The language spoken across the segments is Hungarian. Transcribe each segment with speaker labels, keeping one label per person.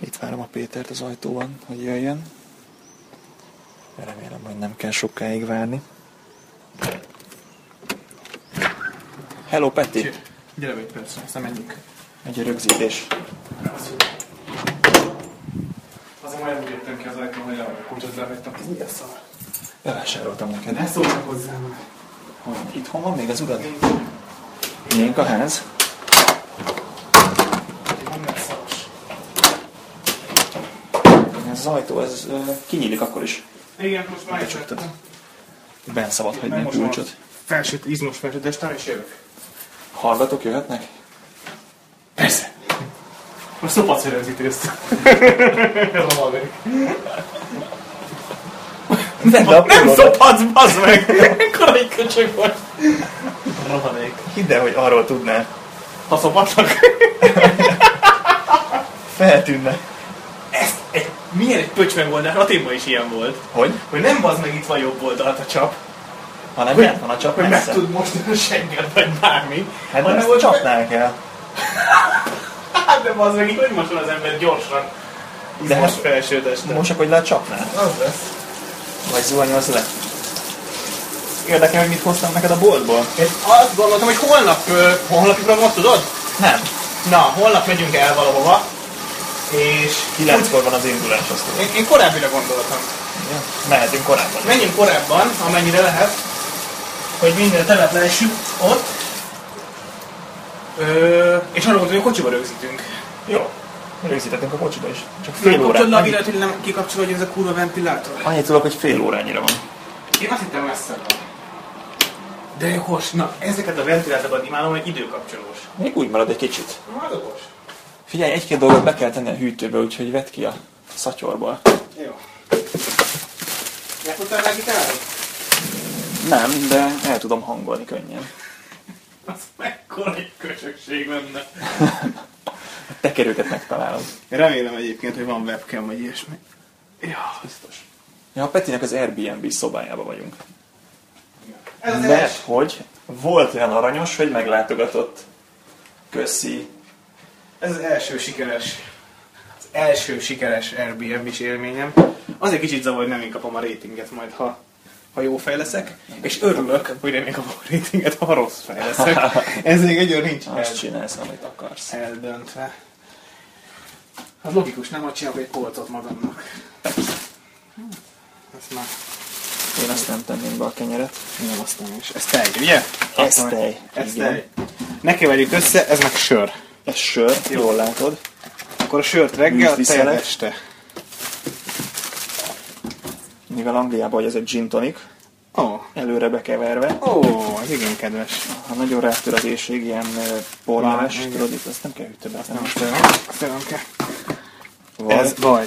Speaker 1: Itt várom a Pétert az ajtóban, hogy jöjjön. Remélem, hogy nem kell sokáig várni. Hello, Peti!
Speaker 2: Gyere be egy percre, aztán menjünk.
Speaker 1: Egy rögzítés.
Speaker 2: Azért majd úgy jöttem ki az ajtón, hogy a kulcsot levettem. Ez mi a szar?
Speaker 1: Bevásároltam neked. hát?
Speaker 2: Ne szólnak hozzám.
Speaker 1: Hogy itthon van még az urad? Miénk a ház?
Speaker 2: Van meg szaros.
Speaker 1: Ez az ajtó, ez ö, kinyílik akkor is.
Speaker 2: Igen, most már
Speaker 1: Becsuktad. Ben szabad hagyni a
Speaker 2: Megmosom a
Speaker 1: kulcsot.
Speaker 2: Felsőt, izmos felsőt, de aztán is jövök.
Speaker 1: Hallgatók jöhetnek?
Speaker 2: Persze. Most szopac rögzítést. Ez a maga.
Speaker 1: Nem,
Speaker 2: Nem szopac, bazd meg! Ekkora egy köcsög vagy. Rohadék.
Speaker 1: Hidd el, hogy arról tudnál.
Speaker 2: Ha szopatnak.
Speaker 1: Feltűnne.
Speaker 2: Ez egy, milyen egy pöcs megoldás? Athénban hát is ilyen volt.
Speaker 1: Hogy?
Speaker 2: Hogy nem bazd meg itt van jobb oldalt a csap.
Speaker 1: Ha nem járt volna, csak
Speaker 2: Hogy meg
Speaker 1: messze.
Speaker 2: tud most a seggel, vagy bármi.
Speaker 1: Hát nem,
Speaker 2: hanem
Speaker 1: ezt
Speaker 2: hogy-
Speaker 1: csapnál kell.
Speaker 2: Hát de az meg így hogy mosol az ember gyorsan.
Speaker 1: De
Speaker 2: De most
Speaker 1: hát-
Speaker 2: felsőteste.
Speaker 1: Most csak, hogy le csapnál.
Speaker 2: az lesz.
Speaker 1: Vagy zuhanyoz le. Érdekel, hogy mit hoztam neked a boltból?
Speaker 2: Én azt gondoltam, Hát, hogy holnap, ö, holnapra most tudod?
Speaker 1: Nem.
Speaker 2: Na, holnap megyünk el valahova. És
Speaker 1: Kilenckor van az indulás, azt tudom.
Speaker 2: én, én korábbira gondoltam.
Speaker 1: Ja. Mehetünk korábban.
Speaker 2: Menjünk korábban, amennyire lehet, hogy minden telepleessük ott. Ö, és arra gondolom, hogy kocsiba rögzítünk.
Speaker 1: Jó. Rögzítettünk a kocsiba is. Csak
Speaker 2: Nem
Speaker 1: fél
Speaker 2: kapcsolod
Speaker 1: óra.
Speaker 2: le a
Speaker 1: Annyit,
Speaker 2: villanyt, hogy nem kikapcsolod, hogy ez a kurva ventilátor.
Speaker 1: annyit tudok, hogy fél órányira van.
Speaker 2: Én azt hittem messze van. De okos, na ezeket a ventilátorokat imádom, hogy időkapcsolós.
Speaker 1: Még úgy marad egy kicsit.
Speaker 2: Na, az okos.
Speaker 1: Figyelj, egy-két dolgot be kell tenni a hűtőbe, úgyhogy vedd ki a szatyorból.
Speaker 2: Jó. Játszottam meg gitárod?
Speaker 1: Nem, de el tudom hangolni könnyen.
Speaker 2: Az mekkora egy köcsökség lenne.
Speaker 1: A tekerőket megtalálom.
Speaker 2: Remélem egyébként, hogy van webcam vagy ilyesmi. Ja, biztos.
Speaker 1: Ja, a Petinek az Airbnb szobájába vagyunk.
Speaker 2: Ez az
Speaker 1: Mert
Speaker 2: első.
Speaker 1: hogy volt olyan aranyos, hogy meglátogatott. Köszi.
Speaker 2: Ez az első sikeres, az első sikeres Airbnb-s élményem. Azért kicsit zavar, hogy nem én kapom a ratinget majd, ha, ha jó fejleszek, és örülök, hogy nem én kapom a ratinget, ha rossz fejleszek. Ez még egyőr nincs
Speaker 1: Azt
Speaker 2: el,
Speaker 1: csinálsz, amit akarsz.
Speaker 2: eldöntve. Az logikus, nem? Hogy csinálok egy polcot magamnak. Ezt már
Speaker 1: Én azt nem tenném be a kenyeret.
Speaker 2: nem aztán is. Ez tej, ugye?
Speaker 1: Ez tej.
Speaker 2: Ez
Speaker 1: Igen.
Speaker 2: tej. Ne keverjük össze, ez meg sör.
Speaker 1: Ez sör, jól látod.
Speaker 2: Akkor a sört reggel, a tejet
Speaker 1: Műzliszelet.
Speaker 2: este.
Speaker 1: Mivel Angliában, hogy ez egy gin tonic,
Speaker 2: Ó, oh.
Speaker 1: előre bekeverve.
Speaker 2: Ó, oh, ez igen kedves.
Speaker 1: Ha nagyon rátör az éjség, ilyen porleves,
Speaker 2: Igen.
Speaker 1: tudod, itt azt nem kell hűtőbe tenni.
Speaker 2: Szerintem kell.
Speaker 1: Ez,
Speaker 2: baj.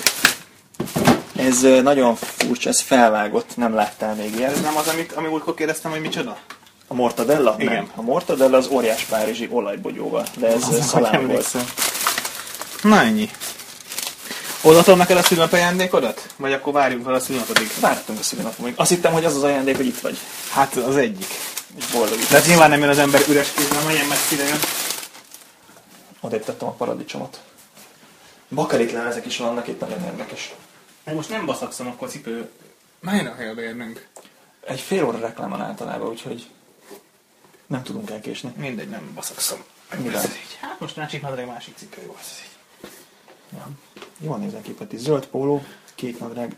Speaker 1: ez ö, nagyon furcsa, ez felvágott, nem láttál még
Speaker 2: Ez
Speaker 1: ilyen.
Speaker 2: nem az, amit, ami múltkor kérdeztem, hogy micsoda?
Speaker 1: A mortadella?
Speaker 2: Igen.
Speaker 1: Nem. A mortadella az óriás párizsi olajbogyóval, de ez ö, szalámi volt.
Speaker 2: Na ennyi. Odaadom neked a szülnap ajándékodat? Vagy akkor várjunk fel a szülnapodig?
Speaker 1: Vártunk a szülinapomig. Azt hittem, hogy az az ajándék, hogy itt vagy.
Speaker 2: Hát az egyik.
Speaker 1: És boldog itt.
Speaker 2: De hát nyilván nem jön az ember üres kézben, hogy ilyen messzire jön.
Speaker 1: Odébb tettem a paradicsomot. Bakalit lemezek is vannak itt, nagyon érdekes.
Speaker 2: Meg most nem baszakszom, akkor cipő. Már a helybe érnünk.
Speaker 1: Egy fél óra reklám van általában, úgyhogy nem tudunk elkésni.
Speaker 2: Mindegy, nem baszakszom.
Speaker 1: Mivel?
Speaker 2: Ez így. Hát most másik nadrág, másik cipő, jó ez így.
Speaker 1: Ja. Jól nézel ki, Peti. Zöld póló, kék nadrág,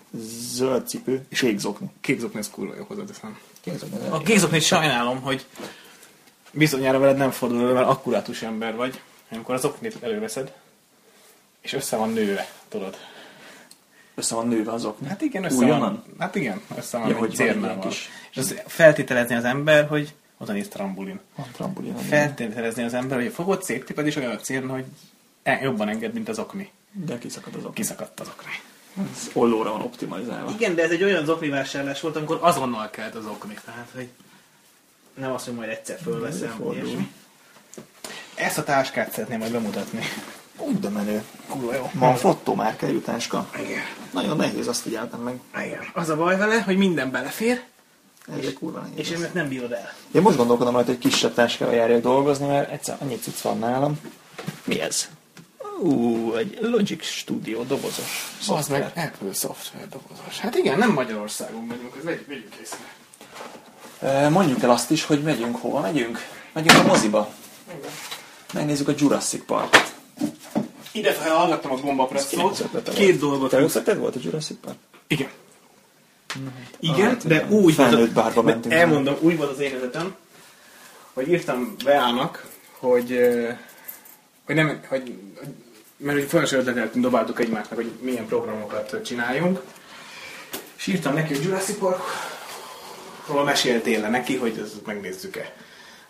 Speaker 1: zöld cipő, kék zokni.
Speaker 2: Kékzokni ez kurva jó hozzáteszem.
Speaker 1: Kék zokni.
Speaker 2: A kézoknél sajnálom, hogy bizonyára veled nem fordul elő, mert akkurátus ember vagy, amikor az oknit előveszed, és össze van nőve, tudod.
Speaker 1: Össze van nőve az okni.
Speaker 2: Hát igen, össze
Speaker 1: Újonnan?
Speaker 2: van. Hát igen, össze van
Speaker 1: Ja,
Speaker 2: ja,
Speaker 1: hogy
Speaker 2: egy
Speaker 1: van
Speaker 2: cérnával.
Speaker 1: ilyen kis-
Speaker 2: Kis... És az feltételezni az ember, hogy oda néz trambulin.
Speaker 1: Van trambulin. Fel.
Speaker 2: Feltételezni az ember, hogy a fogod széttiped, és olyan a cérna, hogy e- jobban enged, mint az okni.
Speaker 1: De kiszakad az okni.
Speaker 2: Kiszakadt az okni.
Speaker 1: Ez ollóra van optimalizálva.
Speaker 2: Igen, de ez egy olyan zokni vásárlás volt, amikor azonnal kelt az okni. Tehát, hogy nem azt, hogy majd egyszer fölveszem,
Speaker 1: Előfordul.
Speaker 2: ilyesmi. Ezt a táskát szeretném majd bemutatni.
Speaker 1: Úgy de menő.
Speaker 2: Kurva jó.
Speaker 1: Manfrotto márkájú táska.
Speaker 2: Igen.
Speaker 1: Nagyon nehéz, azt figyeltem meg.
Speaker 2: Igen. Az a baj vele, hogy minden belefér,
Speaker 1: Ez kurva nehéz.
Speaker 2: és én ezt nem bírod el.
Speaker 1: Én most gondolkodom rajta, hogy kisebb táskával járjak dolgozni, mert egyszer annyit cucc van nálam. Mi ez?
Speaker 3: Ú, egy Logic Studio dobozos
Speaker 2: Az
Speaker 3: szoftver.
Speaker 2: meg Apple szoftver dobozos. Hát igen, nem Magyarországon vagyunk, ez vegy- vegyük észre.
Speaker 4: Ö, Mondjuk el azt is, hogy megyünk hova megyünk. Megyünk a moziba. Megnézzük a Jurassic Parkot.
Speaker 2: Ide hallgattam a
Speaker 1: kilenc
Speaker 4: Szóval
Speaker 2: gombapresszót,
Speaker 1: ötlete
Speaker 2: két dolgot.
Speaker 1: Te összetett volt a Jurassic Park?
Speaker 2: Igen. Igen,
Speaker 1: Hát,
Speaker 2: de
Speaker 1: igen.
Speaker 2: úgy
Speaker 1: Felnőtt bárba
Speaker 2: de
Speaker 1: mentünk.
Speaker 2: Elmondom, úgy volt az én ötletem, hogy írtam Beának, hogy, ö, hogy nem, hogy, hogy- mert hogy fontos ötletet dobáltuk egymásnak, hogy milyen programokat csináljunk. És írtam neki, hogy Jurassic Parkról meséltél le neki, hogy ezt megnézzük-e.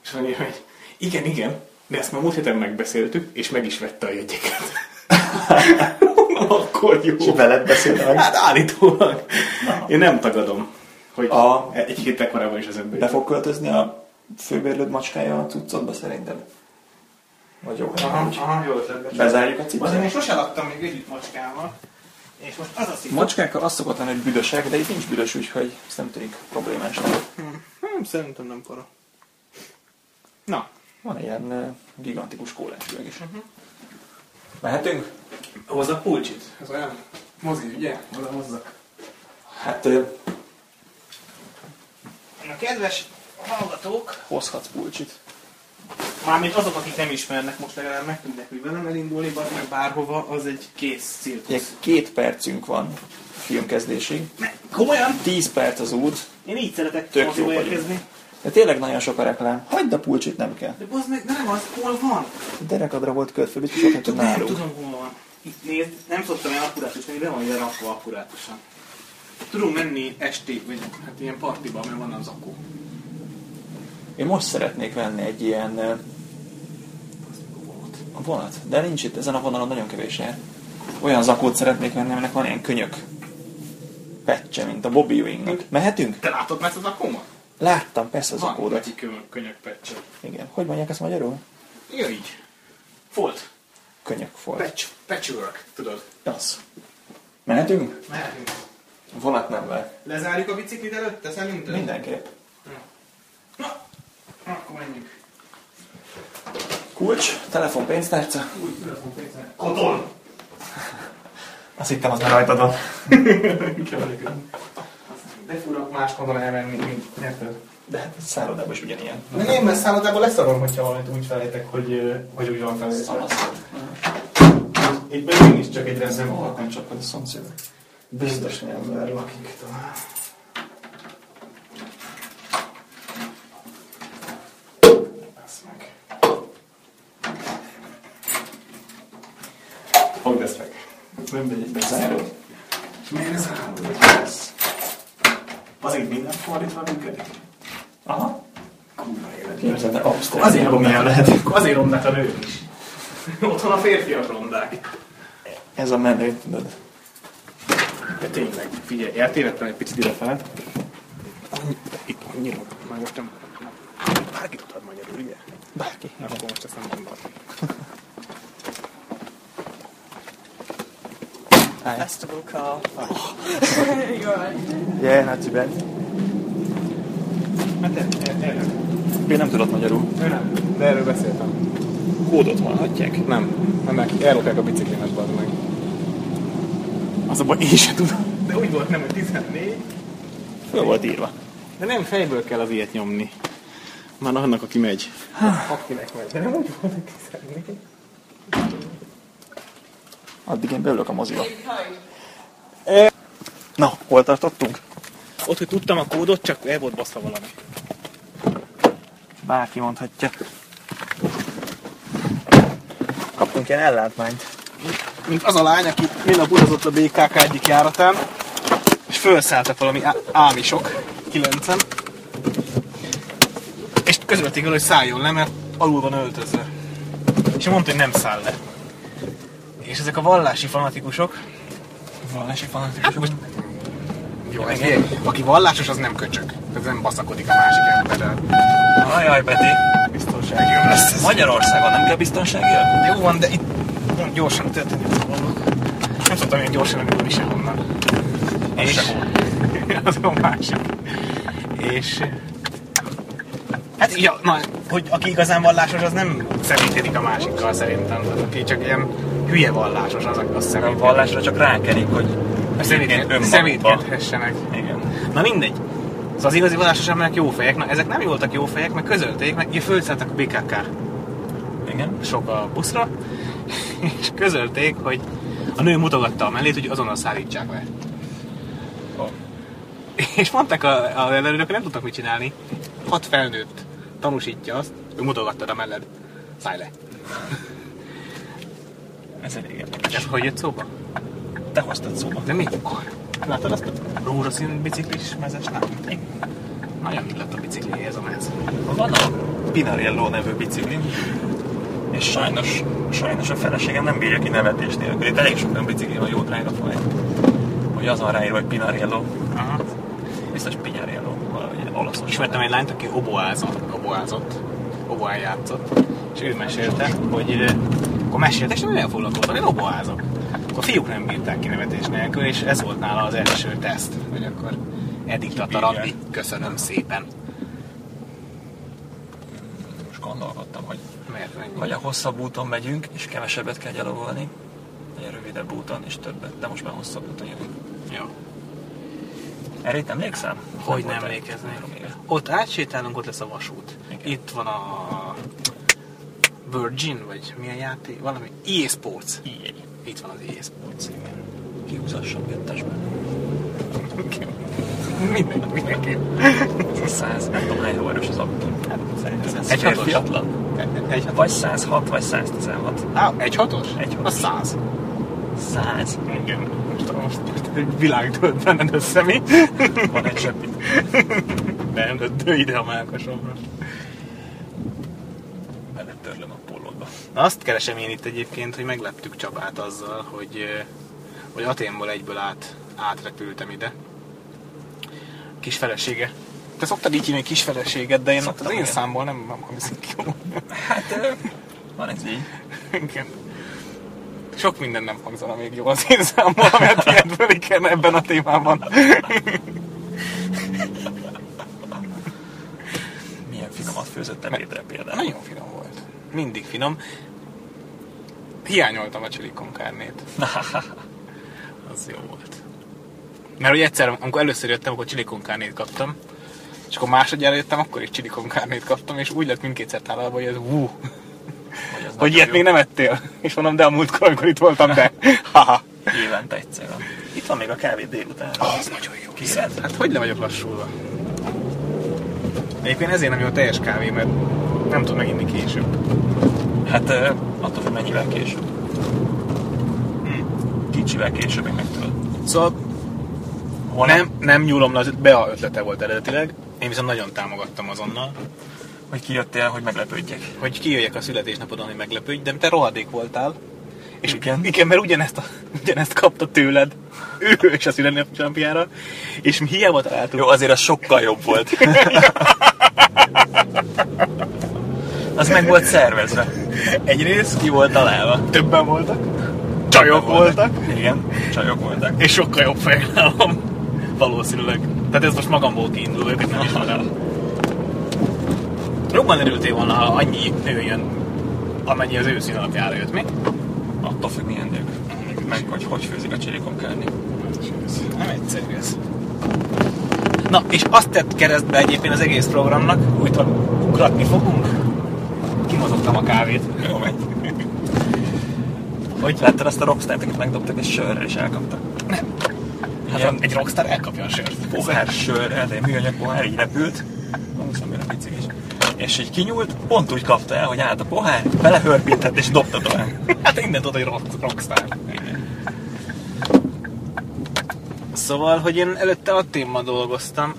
Speaker 2: És mondja, hogy igen, igen, de ezt már múlt héten megbeszéltük, és meg is vette a jegyeket. Mondom, Akkor jó.
Speaker 1: Ki veled beszélt meg?
Speaker 2: Hát állítólag. Én nem tagadom, hogy
Speaker 1: A-
Speaker 2: egy héttel korábban is az ember.
Speaker 1: Be fog költözni a főbérlőd macskája a cuccodba szerintem? Vagy jó,
Speaker 2: Aha,
Speaker 1: hogy
Speaker 2: aha, jó ötlet.
Speaker 1: bezárjuk a
Speaker 2: Azért én
Speaker 1: cipőt?
Speaker 2: sose laktam még együtt macskával. És most az a szint.
Speaker 4: Macskákkal az szokott lenni, hogy büdösek, de itt nincs büdös, úgyhogy ez nem tűnik problémásnak.
Speaker 2: Hmm, szerintem nem para. Na,
Speaker 1: Van ilyen ö, gigantikus kólás üveg is.
Speaker 2: Mhm.
Speaker 1: Mehetünk?
Speaker 2: hozz a pulcsit. Ez olyan mozi, ugye? Oda hozzak.
Speaker 1: Hát ö,
Speaker 2: Na, kedves hallgatók,
Speaker 1: hozhatsz pulcsit.
Speaker 2: mármint azok, akik nem ismernek, most legalább meg tudnak, hogy velem elindulni, bazd meg bárhova, az egy kész
Speaker 1: Ugye
Speaker 2: cirkusz.
Speaker 1: két percünk van filmkezdésig.
Speaker 2: Ne, komolyan?
Speaker 1: 10 perc az út.
Speaker 2: Én így szeretek
Speaker 1: Tök jó
Speaker 2: moziba
Speaker 1: vagyunk.
Speaker 2: érkezni.
Speaker 1: De tényleg nagyon sok a reklám. Hagyd a pulcsit, nem kell.
Speaker 2: De bazd meg, nem az, hol van?
Speaker 1: A derekadra volt kötve, biztos ott hagyta
Speaker 2: Tudom, nem
Speaker 1: nálunk.
Speaker 2: tudom, hol van. Itt nézd, nem szoktam ilyen akkurátusan, de van ide rakva akkurátusan. Tudunk menni esti, vagy hát ilyen partiba, mert van az akku.
Speaker 4: Én most szeretnék venni egy ilyen ö,
Speaker 1: eh,
Speaker 4: vonat, de nincs itt, ezen a vonalon nagyon kevés jár. Olyan zakót szeretnék venni, aminek van ilyen könyök pecse, mint a Bobby Ewingnek. Mehetünk?
Speaker 2: Te látod már ezt az akkumat?
Speaker 1: Láttam persze az
Speaker 2: Hm. Van
Speaker 1: akódat.
Speaker 2: neki könyök, könyökpeccse.
Speaker 1: Igen. Hogy mondják ezt magyarul?
Speaker 2: Ja, így. Folt.
Speaker 1: Könyök volt.
Speaker 2: Patch. Patchwork, tudod.
Speaker 1: Az.
Speaker 4: Mehetünk?
Speaker 2: Mehetünk.
Speaker 4: A vonat nem vár.
Speaker 2: Lezárjuk a biciklit előtte, szerinted?
Speaker 1: Mindenképp.
Speaker 2: Na, akkor menjünk.
Speaker 4: Kulcs, telefon, pénztárca.
Speaker 2: Koton!
Speaker 1: Azt hittem, az már rajtad van.
Speaker 2: De fura más koton elmenni, mint érted?
Speaker 1: De hát a szállodában is ugyanilyen.
Speaker 2: Nem, én mert szállodában leszarom, hogyha valamit úgy felétek, hogy, ö, hogy úgy van felétek. Itt meg mégis csak egy rendben
Speaker 1: Hol
Speaker 2: van.
Speaker 1: nem csak, hogy a szomszéd. Biztos nem ember lakik talán.
Speaker 2: Basz meg. Fogd ezt meg.
Speaker 1: Nem mindegy, bezárod.
Speaker 2: Miért ez állod? Azért minden fordítva működik?
Speaker 1: Aha.
Speaker 2: Kurva élet.
Speaker 1: Képzeld, de abszolút.
Speaker 2: Azért romlák,
Speaker 1: lehet.
Speaker 2: azért romlák a nők is. Otthon a férfiak rondák.
Speaker 1: Ez a menő, tudod.
Speaker 2: De tényleg, figyelj, eltévedtem egy picit idefele. Itt annyira, már most nem... Bárki tudhat magyarul, ugye?
Speaker 1: Bárki.
Speaker 2: Nem, akkor most ezt nem mondom.
Speaker 3: festival car.
Speaker 1: Oh. Yeah, not too bad.
Speaker 2: Hát erről.
Speaker 4: Én nem tudod magyarul.
Speaker 2: Nem, de erről beszéltem.
Speaker 3: Kódot hallhatják?
Speaker 2: Nem, ennek elrakják a biciklimet, bazd meg. Az a baj, én sem tudom. De úgy volt nem, hogy 14.
Speaker 3: Föl volt írva.
Speaker 2: De nem fejből kell az ilyet nyomni. Már annak, aki megy. Akinek megy. De nem úgy volt, hogy 14.
Speaker 1: Addig én beülök a moziba. Na, hol tartottunk?
Speaker 2: Ott, hogy tudtam a kódot, csak el volt baszva valami.
Speaker 1: Bárki mondhatja. Kaptunk ilyen ellátmányt.
Speaker 2: Mint az a lány, aki minap utazott a BKK egyik járatán, és felszálltak valami á- ámisok, kilencen. És közölték el, hogy szálljon le, mert alul van öltözve. És mondta, hogy nem száll le. És ezek a vallási fanatikusok... Vallási fanatikusok? Hát most... Jó, ez ilyen. Aki vallásos, az nem köcsög. Ez nem baszakodik a másik emberrel.
Speaker 4: Ajaj, Peti.
Speaker 2: Biztonsági jó lesz. ez.
Speaker 4: Magyarországon nem kell biztonsági jel?
Speaker 2: Jó van, de itt nagyon gyorsan történik a dolgok. Nem szoktam ilyen gyorsan elindulni sehonnan. És... Azon már sem. És... Hát így, a- na, hogy aki igazán vallásos, az nem szemítélik a másikkal szerintem. Tehát Aki csak ilyen hülye vallásos az a
Speaker 1: Nem
Speaker 2: szemét.
Speaker 1: vallásra csak rákenik, hogy
Speaker 2: Szemétkedhessenek.
Speaker 1: önmagadba.
Speaker 2: Szemétkedhessenek.
Speaker 1: Igen.
Speaker 2: Na mindegy. Ez az igazi vallásos emberek jó fejek, na ezek nem voltak jó fejek, meg közölték, meg ugye fölszálltak a BKK
Speaker 1: Igen.
Speaker 2: sok a buszra, és közölték, hogy a nő mutogatta a mellét, hogy azonnal szállítsák le.
Speaker 1: Ó.
Speaker 2: És mondták a, a ellenőrök, hogy nem tudtak mit csinálni. Hat felnőtt tanúsítja azt, hogy mutogattad a melled. Szállj le.
Speaker 1: Ez elég érdekes.
Speaker 2: Ez hogy jött szóba?
Speaker 1: Te hoztad szóba.
Speaker 2: De mikor? Látod azt a rózsaszín biciklis mezes lányt? Nagyon illett a biciklihez a mez.
Speaker 1: Van a Pinarello nevű biciklim, és sajnos, sajnos a feleségem nem bírja ki nevetés nélkül. Itt elég sok olyan bicikli van jó drága faj, hogy az van ráírva, hogy Pinarello.
Speaker 2: Aha.
Speaker 1: Biztos Pinarello, valahogy olaszos.
Speaker 2: Ismertem egy lányt, aki oboázott, oboázott, oboán játszott, és ő mesélte, hogy ö, akkor mesélte, és nagyon foglalkoztam, én oboázok. Akkor a fiúk nem bírták kinevetés nélkül, és ez volt nála az első teszt, hogy akkor eddig tatarabbi, köszönöm szépen.
Speaker 1: Most gondolkodtam, hogy
Speaker 2: Miért mennyi?
Speaker 1: vagy a hosszabb úton megyünk, és kevesebbet kell gyalogolni, vagy a rövidebb úton, és többet, de most már hosszabb úton jövünk.
Speaker 2: Jó.
Speaker 1: Erre itt emlékszem?
Speaker 2: Hogy nem
Speaker 1: voltam.
Speaker 2: emlékeznék.
Speaker 1: Három éve.
Speaker 2: Ott átsétálunk, ott lesz a vasút.
Speaker 1: Igen.
Speaker 2: Itt van a Virgin, vagy milyen játék? Valami EA Sports.
Speaker 1: Így.
Speaker 2: Itt van az EA Sports, igen.
Speaker 1: Kihúzassam kettesbe.
Speaker 2: Mindenki, mindenki.
Speaker 1: Ez a 100, nem tudom hány lóerős az autó. Ez
Speaker 2: Egy Hát, hatos.
Speaker 1: férfi atlan.
Speaker 2: Egy hatos.
Speaker 1: Vagy 106, vagy 116.
Speaker 2: Á, egy hatos?
Speaker 1: Egy hatos.
Speaker 2: Az száz.
Speaker 1: 100.
Speaker 2: Igen. Most, most, most egy világ tölt benned össze, mi?
Speaker 1: Van egy zsebit.
Speaker 2: Nem, de dő ide a melkasomra.
Speaker 1: Beletörlöm a pólódba.
Speaker 2: Na azt keresem én itt egyébként, hogy megleptük Csabát azzal, hogy, ö, hogy Aténból egyből át, átrepültem ide. Kis felesége. Te szoktad így hívni kis feleséged, de én
Speaker 1: Szoktam,
Speaker 2: az én
Speaker 1: igen.
Speaker 2: számból nem, nem hangzik ki.
Speaker 1: Hát, ö, van ez így.
Speaker 2: Igen. Sok minden nem hangzana még jól az én számból, amelyet ilyet fölik kell ebben a témában.
Speaker 1: Milyen finomat főzött ebédre például.
Speaker 2: Nagyon finom volt. Mindig finom. Hiányoltam a csilikon kárnét. Az jó volt. Mert hogy egyszer, amikor először jöttem, akkor csilikon kárnét kaptam. És akkor másodjára jöttem, akkor is csilikon kárnét kaptam, és úgy lett mindkétszer tálalva, hogy ez hú,
Speaker 1: Hogy, az
Speaker 2: hogy
Speaker 1: nagyon
Speaker 2: ilyet
Speaker 1: jó.
Speaker 2: még nem ettél. És mondom, de a múltkor, amikor itt voltam, de haha. Ah,
Speaker 1: Évente egyszer van. Itt van még a kávé délután.
Speaker 2: Az nagyon jó.
Speaker 1: Kéred?
Speaker 2: Hát hogy le vagyok lassulva? Egyébként ezért nem jó a teljes kávé, mert nem tudom meginni később.
Speaker 1: Hát ö, attól függ mennyivel később. Kicsivel később én megtudod.
Speaker 2: Szóval
Speaker 1: Hol
Speaker 2: nem, nem nyúlom, le, az Bea ötlete volt eredetileg. Én viszont nagyon támogattam azonnal,
Speaker 1: Hogy kijöttél, hogy meglepődjek.
Speaker 2: hogy kijöjjek a születésnapodon, hogy meglepődj, de te rohadék voltál. És igen,
Speaker 1: Igen.
Speaker 2: igen mert ugyanezt, a, ugyanezt kapta tőled. Ő is a születésnapjára. És mi hiába találtuk.
Speaker 1: Jó, azért az sokkal jobb volt. az meg volt szervezve.
Speaker 2: Egyrészt
Speaker 1: Ki volt találva.
Speaker 2: többen voltak, csajok voltak,
Speaker 1: Igen, csajok voltak.
Speaker 2: és sokkal jobb fejlálom. Valószínűleg. Tehát ez most magamból kiindul, őket nem ismerem. Jobban örültél volna, ha annyi nő jön, amennyi az őszín alapjára jött, mi?
Speaker 1: Attól függ milyen nők. Meg hogy hogy főzik a csirikonkárni.
Speaker 2: Nem egyszerű ez. Na, és azt tett keresztbe egyébként az egész programnak, úgy tudom, ugratni fogunk. Kimozottam a kávét.
Speaker 1: Jó megy. Hogy láttad azt a rockstart, akit megdobtak egy sörrel és elkaptak?
Speaker 2: Hát
Speaker 1: Igen.
Speaker 2: egy rockstar elkapja a sört.
Speaker 1: pohár sörrel, de egy műanyag pohár így repült. Húzom a picik is. És így kinyúlt, pont úgy kapta el, hogy állt a pohár, belehörpintett és dobta tovább.
Speaker 2: Hát innen tudod, hogy rock, rockstar. Szóval, hogy én előtte a téma dolgoztam,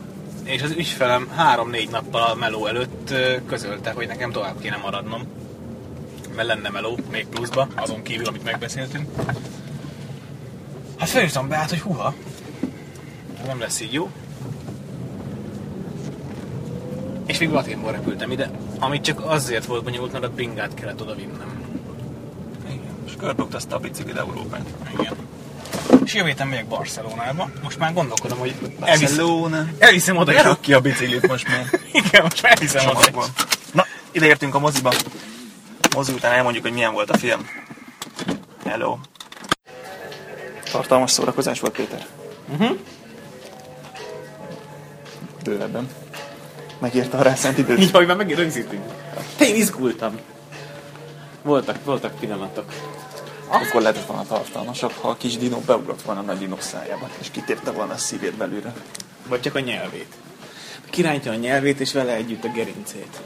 Speaker 2: és az ügyfelem három-négy nappal a meló előtt ö, közölte, hogy nekem tovább kéne maradnom. Mert lenne meló, még pluszba, azon kívül, amit megbeszéltünk. Hát felírtam be, hát, hogy huha. Nem lesz így jó. És még Latinból repültem ide, amit csak azért volt bonyolult, mert a bringát kellett oda vinnem.
Speaker 1: Igen. És körbogtaszta a biciklit Európát.
Speaker 2: Igen. És jövő héten megyek Barcelonába. Most már gondolkodom, hogy elviszem,
Speaker 1: Barcelona.
Speaker 2: elviszem oda is.
Speaker 1: Ne rakd ki a biciklit most már.
Speaker 2: Igen, most már elviszem oda is.
Speaker 1: Csomagban. Na, ideértünk a moziba. Mozi után elmondjuk, hogy milyen volt a film. Hello.
Speaker 5: Tartalmas szórakozás volt, Péter?
Speaker 6: Bővebben.
Speaker 5: Megírta a rászánt időt?
Speaker 7: Így, hogy már megint rögzítünk. Én izgultam. Voltak, voltak pillanatok.
Speaker 6: Akkor lehetett volna tartalmasabb, ha a kis dinó beugrott volna a nagy dinó szájába, és kitépte volna a szívét belülre.
Speaker 7: Vagy csak a nyelvét. Kirántja a nyelvét, és vele együtt a gerincét.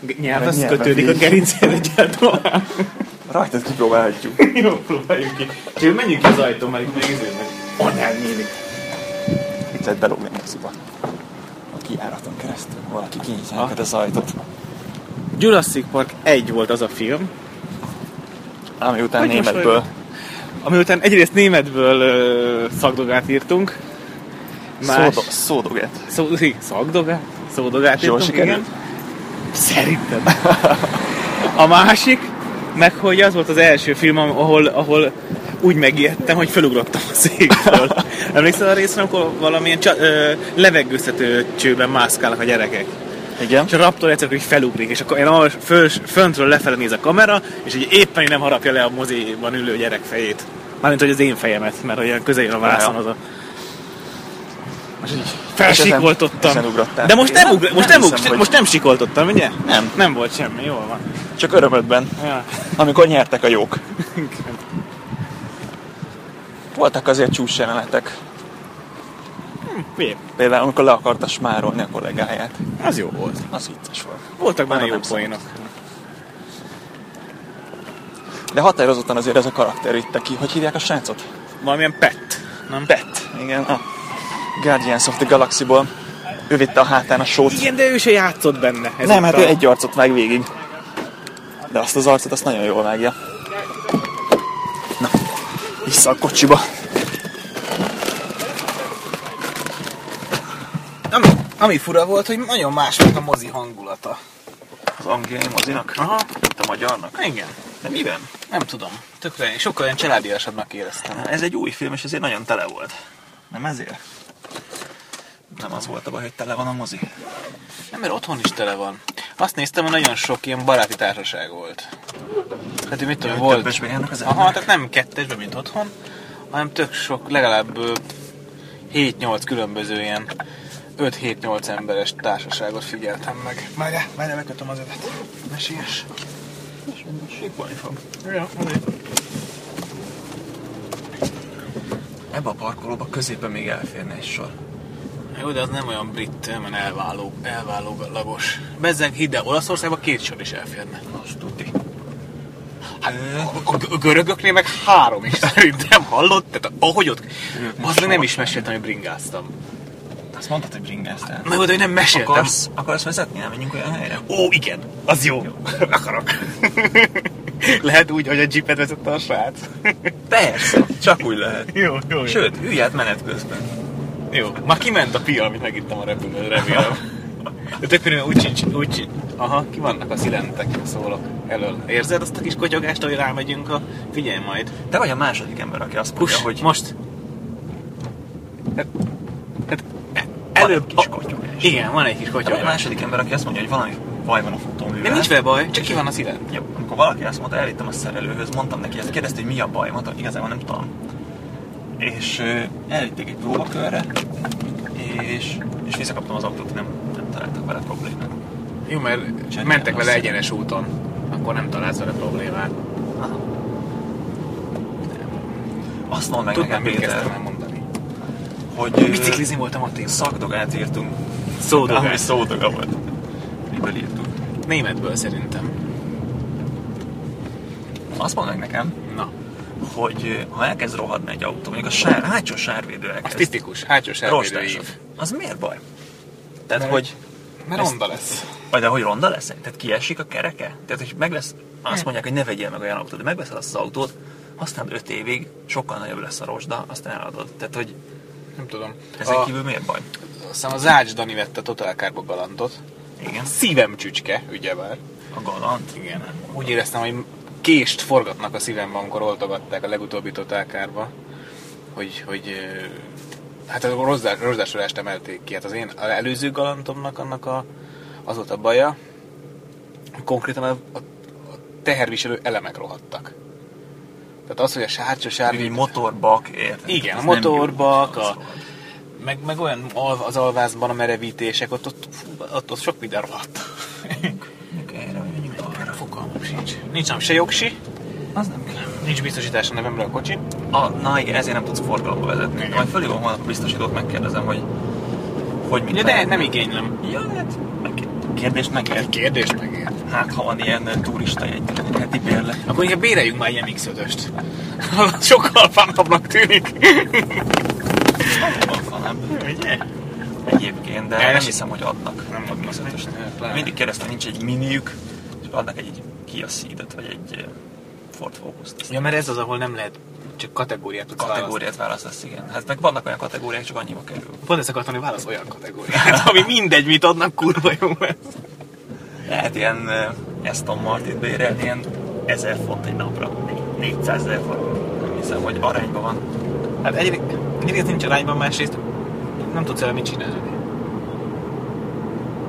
Speaker 7: G-
Speaker 5: Mert
Speaker 7: nyelv,
Speaker 5: nyelven
Speaker 7: kötődik a
Speaker 5: véd.
Speaker 7: gerincéhez egyáltalán.
Speaker 6: Rajtad kipróbálhatjuk.
Speaker 7: Jó, próbáljuk ki. Csak menjünk ki az ajtón, mert itt még izélnek.
Speaker 5: Onnan nyílik.
Speaker 6: Itt lehet belógni a moziba. A kiáraton keresztül. Valaki kinyitja neked az ajtót.
Speaker 7: Jurassic Park 1 volt az a film,
Speaker 6: Ami után
Speaker 7: Hogy most
Speaker 6: németből
Speaker 7: ami után egyrészt németből ö, szakdogát írtunk. Más...
Speaker 6: szódo- szódoget.
Speaker 7: Szó, szí- szakdogát? Szódogát
Speaker 6: Jól
Speaker 7: írtunk,
Speaker 6: sikerült?
Speaker 7: Szerintem. A másik, meg hogy az volt az első film, am- ahol, ahol úgy megijedtem, hogy felugrottam a székből. Emlékszel a részre, amikor valamilyen csa- ö, levegőztető csőben mászkálnak a gyerekek?
Speaker 6: Igen.
Speaker 7: És a Raptor egyszer úgy felugrik, és akkor én ahol föl, föntről lefele néz a kamera, és így éppen így nem harapja le a moziban ülő gyerek fejét. Mármint, hogy az én fejemet, mert olyan közel jön a vászon az a... Most így felsikoltottam.
Speaker 6: ezen ugrottál.
Speaker 7: De most
Speaker 6: Én
Speaker 7: nem, ugr- most, nem,
Speaker 6: hiszem,
Speaker 7: ugr-
Speaker 6: hogy-
Speaker 7: most nem sikoltottam, ugye?
Speaker 6: Nem.
Speaker 7: Nem volt semmi, jól van.
Speaker 6: Csak örömödben,
Speaker 7: Ja.
Speaker 6: amikor nyertek a jók. Voltak azért csúcs jelenetek.
Speaker 7: Miért?
Speaker 6: Például, amikor le akarta smárolni a kollégáját.
Speaker 7: Az jó volt.
Speaker 6: Az vicces volt.
Speaker 7: Voltak benne
Speaker 6: Arra
Speaker 7: jó
Speaker 6: nem
Speaker 7: poénok.
Speaker 6: De határozottan azért ez a karakter ütte ki. Hogy hívják a srácot?
Speaker 7: Valamilyen pet. Nem?
Speaker 6: Pet. Igen, a Guardians of the Galaxy-ból. Ő vitte a hátán a sót.
Speaker 7: Igen, de ő se játszott benne. Ez
Speaker 6: Nem, hát ő egy arcot vág végig. De azt az arcot, azt nagyon jól vágja. Na, vissza a kocsiba.
Speaker 2: Ami, ami fura volt, hogy nagyon más volt a mozi hangulata.
Speaker 1: Az angliai mozinak? Aha. Mint a magyarnak?
Speaker 2: Igen,
Speaker 1: De miben?
Speaker 2: nem tudom. Tökre, én sokkal olyan családiasabbnak éreztem.
Speaker 1: Hát, Ez egy új film, és ezért nagyon tele volt.
Speaker 6: Nem ezért?
Speaker 1: Nem az volt a baj, hogy tele van a mozi.
Speaker 2: Nem, mert otthon is tele van. Azt néztem, hogy nagyon sok ilyen baráti társaság volt. Hát, hogy mit tudom,
Speaker 1: Hogy
Speaker 2: volt...
Speaker 1: Többesbe járnak az
Speaker 2: Aha,
Speaker 1: emberek.
Speaker 2: tehát nem kettesben, mint otthon, hanem tök sok, legalább ö, 7-8 különböző ilyen 5-7-8 emberes társaságot figyeltem meg. Várjál, várjál, megkötöm az övet. Mesélyes.
Speaker 1: Síkolni fog.
Speaker 2: Ja,
Speaker 1: Ebbe a parkolóba középen még elférne egy sor.
Speaker 2: Jó, de az nem olyan brit, nem olyan elváló, elválólagos. Bezzeg, hidd el, Olaszországban két sor is elférne.
Speaker 1: Most tuti.
Speaker 2: Hát, a, a, a görögöknél meg három is szerintem hallott, tehát ahogy ott... Az meg nem is meséltem, hogy bringáztam.
Speaker 1: Azt mondtad, hogy bringáztál.
Speaker 2: Meg oda, hogy nem meséltem.
Speaker 1: Akarsz, akarsz vezetni? Elmenjünk olyan helyre?
Speaker 2: Ó, igen, az jó. jó. Akarok. Lehet úgy, hogy a jeepet vezette a srác.
Speaker 1: Persze, csak úgy lehet.
Speaker 2: Jó, jó, jó.
Speaker 1: Sőt, ülj át menet közben.
Speaker 2: Jó, már kiment a pia, amit megittem a repülőn, remélem. De tök körülbelül úgy sincs, úgy sincs. Aha, ki vannak a szilentek, szólok elől. Érzed azt a kis kotyogást, hogy rámegyünk a... Figyelj majd.
Speaker 1: Te vagy a második ember, aki azt mondja,
Speaker 2: Kus,
Speaker 1: hogy
Speaker 2: most. Hát, hát
Speaker 1: Van
Speaker 2: előbb...
Speaker 1: egy kis kotyogás.
Speaker 2: Igen, van egy kis
Speaker 1: Te vagy a
Speaker 2: kotyogás.
Speaker 1: második ember, aki azt mondja, hogy valami baj van a futóművel.
Speaker 2: De nincs vele baj, csak ki van a szilent.
Speaker 1: Ja, amikor valaki azt mondta, elvittem a szerelőhöz, mondtam neki, ezt kérdezte, hogy mi a baj, mondtam, igazából nem tudom. És ö, elvitték egy próbakörre, és, és visszakaptam az autót, nem, nem találtak vele problémát.
Speaker 2: Jó, mert
Speaker 1: Csinálj,
Speaker 2: mentek vele
Speaker 1: azt.
Speaker 2: egyenes úton, akkor nem találsz vele problémát.
Speaker 1: Azt mondd meg
Speaker 2: Tudnám,
Speaker 1: nekem,
Speaker 2: mit kezdtem el
Speaker 1: Péter,
Speaker 2: mondani.
Speaker 1: hogy ö,
Speaker 2: Biciklizni voltam a tényleg.
Speaker 1: szakdogát írtunk, ami
Speaker 2: Szódogás.
Speaker 1: szódoga volt. Miből írtuk?
Speaker 2: Németből szerintem.
Speaker 1: Azt mondd meg nekem,
Speaker 2: Na,
Speaker 1: hogy ö, ha elkezd rohadni egy autó, mondjuk a sár, hátsó sárvédő
Speaker 2: az
Speaker 1: elkezd,
Speaker 2: tipikus, hátsó sárvédő
Speaker 1: rostásod,
Speaker 2: ív.
Speaker 1: az miért baj? Tehát, hogy
Speaker 2: Mert ronda lesz.
Speaker 1: Vagy de hogy ronda lesz? Tehát kiesik a kereke? Tehát, hogy megvesz, azt mondják, hogy ne vegyél meg olyan autót, de megveszed azt az autót, aztán 5 évig sokkal nagyobb lesz a rozsda, aztán eladod. Tehát, hogy
Speaker 2: Nem tudom.
Speaker 1: ezen
Speaker 2: A,
Speaker 1: kívül miért baj?
Speaker 2: aztán a Zács Dani vette a Total Carbon galantot.
Speaker 1: Igen,
Speaker 2: Szívem csücske, ugyebár.
Speaker 1: a galant.
Speaker 2: Igen. Úgy éreztem, hogy kést forgatnak a szívemben, amikor oltogatták a legutóbbi totálkárba, hogy, hogy ö, hát a rozsdás- rozsdásolást emelték ki. Hát az én az előző galantomnak annak a, az volt a baja, hogy konkrétan a, a, a teherviselő elemek rohadtak. Tehát az, hogy a sárcsa sárga...
Speaker 1: Egy motorbak, érted?
Speaker 2: Igen, a
Speaker 1: Ez nem jó.
Speaker 2: motorbak, a, meg, meg olyan alv, az alvázban a merevítések, ott, ott, fú, ott, ott sok minden rohadt.
Speaker 1: Erre vagy mindig arra.
Speaker 2: Fogalmam sincs. Nincs nem se jogsi,
Speaker 1: Az nem kell.
Speaker 2: nincs biztosítás a nevemre a kocsi.
Speaker 1: A, na igen, ezért nem tudsz forgalomba vezetni. Igen. Majd fölhívom holnap a biztosítót, megkérdezem, hogy hogy mit
Speaker 2: Ja, de
Speaker 1: lehet.
Speaker 2: nem igénylem.
Speaker 1: Ja, hát meg- kérdést megér.
Speaker 2: Kérdést megér.
Speaker 1: Hát, ha van ilyen ö, turista egy heti bérlet.
Speaker 2: Akkor inkább béreljünk már ilyen X5-öst. Az Sokkal fánabbnak tűnik.
Speaker 1: Van, nem? Ugye? Egyébként, de
Speaker 2: Ez-
Speaker 1: nem hiszem, hogy adnak.
Speaker 2: Nem adnak.
Speaker 1: Biztosan.
Speaker 2: Hát, pláne.
Speaker 1: Mindig kérdeztem, nincs egy miniük, és adnak egy Kia Ceed-et, vagy egy ö, Ford Focus-t. Azt
Speaker 2: Ja, mert ez az, ahol nem lehet csak kategóriát tudsz választani.
Speaker 1: Kategóriát választasz, igen. Hát meg vannak olyan kategóriák, csak annyiba kerül.
Speaker 2: Pont ezt akartam, hogy válasz olyan kategóriát, ami mindegy, mit adnak, kurva jó lesz.
Speaker 1: Lehet ilyen ö, Aston Martin bérelni, ilyen 1000 font egy napra. 400 ezer font. Nem hiszem, hogy arányban van.
Speaker 2: Hát egyrészt, egyrészt nincs arányban, másrészt nem tudsz el mit csinálni.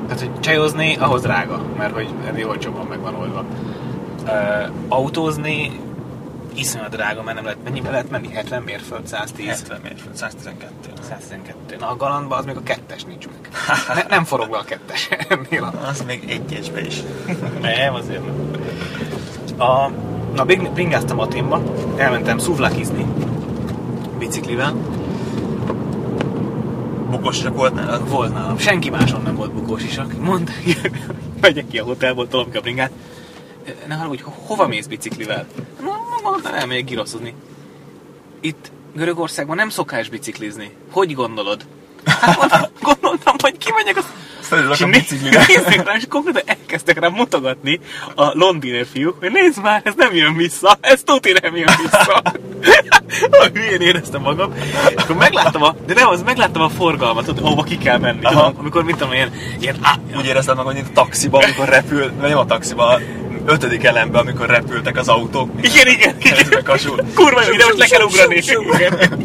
Speaker 2: Tehát, hogy csajozni, ahhoz drága, mert hogy ennél olcsóbban meg van oldva. Ö, autózni, iszonyat drága, mert nem lehet, mennyibe lehet menni? 70 mérföld, 110,
Speaker 1: 70 mérföld, 112.
Speaker 2: 112. Na, a galantban az még a kettes nincs meg. Ne, nem forog le a kettes ennél a
Speaker 1: Az még egy egyesbe is.
Speaker 2: nem, azért nem. A, na, bing- bringáztam a témba, elmentem szuvlakizni biciklivel,
Speaker 1: Bukosra volt nálad?
Speaker 2: Volt nálam. Senki máson nem volt bukós is, aki mondta, megyek ki a hotelból, tolom ki a bringát. Ne haragudj, ho- hova mész biciklivel? Na, mondta, elmegyek giroszozni. Itt Görögországban nem szokás biciklizni. Hogy gondolod? Hát mondtam, gondoltam, hogy kimegyek az...
Speaker 1: Fölülök a
Speaker 2: né-
Speaker 1: biciklire.
Speaker 2: Nézzük rá, és konkrétan elkezdtek rám mutogatni a londiner fiú, hogy nézd már, ez nem jön vissza, ez tuti nem jön vissza. Olyan hülyén éreztem magam. És akkor megláttam a, de nem, az megláttam a forgalmat, tudod, ahova ki kell menni. Tudom, amikor mit tudom, ilyen, ilyen á,
Speaker 1: Úgy éreztem meg, hogy itt a taxiban, amikor repül, vagy nem a taxiban, a ötödik elemben, amikor repültek az autók.
Speaker 2: Igen, igen,
Speaker 1: Keresztbe
Speaker 2: igen.
Speaker 1: kasul.
Speaker 2: Kurva jó, ide most le kell ugrani. Igen.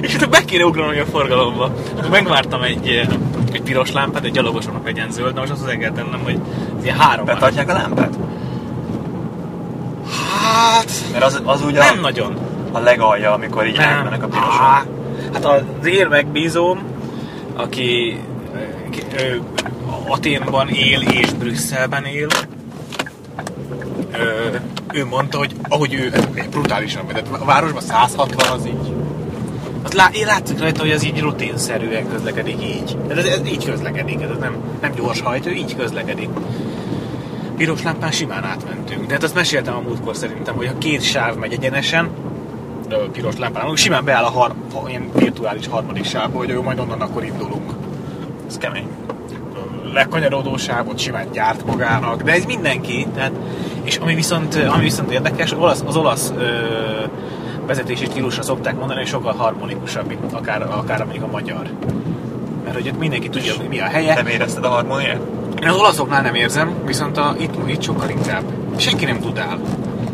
Speaker 2: És utána meg kéne ugranom a forgalomba. Akkor Megvártam egy, eh, egy piros lámpát, egy gyalogosomnak legyen zöld, na most azt hozzá kell tennem, hogy ez ilyen három áll.
Speaker 1: Betartják a lámpát?
Speaker 2: Hát,
Speaker 1: Mert az, az ugye
Speaker 2: nem
Speaker 1: a,
Speaker 2: nagyon.
Speaker 1: a legalja, amikor szóval így átmennek a piroson.
Speaker 2: Á, Hát az én megbízóm, aki eh, ki- ő Aténban él és Brüsszelben él, ö, ő mondta, hogy ahogy ő eh, brutálisan vezet, a városban 160 az így. Az lá, én látszik rajta, hogy az így rutinszerűen közlekedik így. Tehát ez, ez így közlekedik, ez nem, nem gyors hajtó, így közlekedik. Piros lámpán simán átmentünk. De hát azt meséltem a múltkor szerintem, hogy ha két sáv megy egyenesen, ö, piros lámpán, úgy simán beáll a har, ha- ilyen virtuális harmadik sávba, hogy jó, majd onnan akkor indulunk
Speaker 1: Ez kemény.
Speaker 2: lekanyarodó sávot simán gyárt magának, de ez mindenki. Tehát, és ami viszont, ami viszont érdekes, olasz, az olasz ö, vezetési stílusra szokták mondani, hogy sokkal harmonikusabb, mint akár, akár mondjuk a magyar. Mert hogy ott mindenki tudja, hogy mi a helye.
Speaker 1: Nem érezted a harmóniát?
Speaker 2: Én az olaszoknál nem érzem, viszont a, itt, itt sokkal inkább. Senki nem tudál.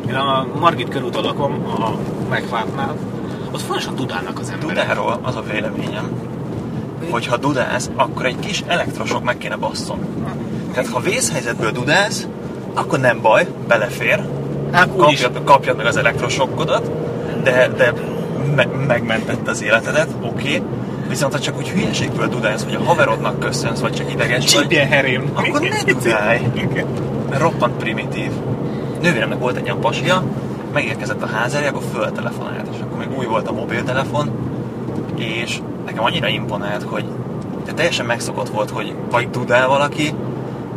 Speaker 2: Én a Margit körúton lakom, a megvártnál, ott fontosan tudálnak az emberek.
Speaker 1: Dudáról az a véleményem, hogy ha dudálsz, akkor egy kis elektrosok meg kéne basszon. Tehát ha vészhelyzetből dudálsz, akkor nem baj, belefér,
Speaker 2: Hát úgyis
Speaker 1: kapjad, kapjad meg az elektrosokkodat, de, de me- megmentett az életedet, oké. Okay. Viszont ha csak úgy hülyeségből dudálsz, hogy a haverodnak köszönsz, vagy csak ideges vagy,
Speaker 2: csípjen herém.
Speaker 1: akkor ne dudálj. Mert roppant primitív. Nővéremnek volt egy olyan pasia, megérkezett a ház elé, akkor föltelefonált, és akkor még új volt a mobiltelefon, és nekem annyira imponált, hogy de teljesen megszokott volt, hogy vagy dudál valaki,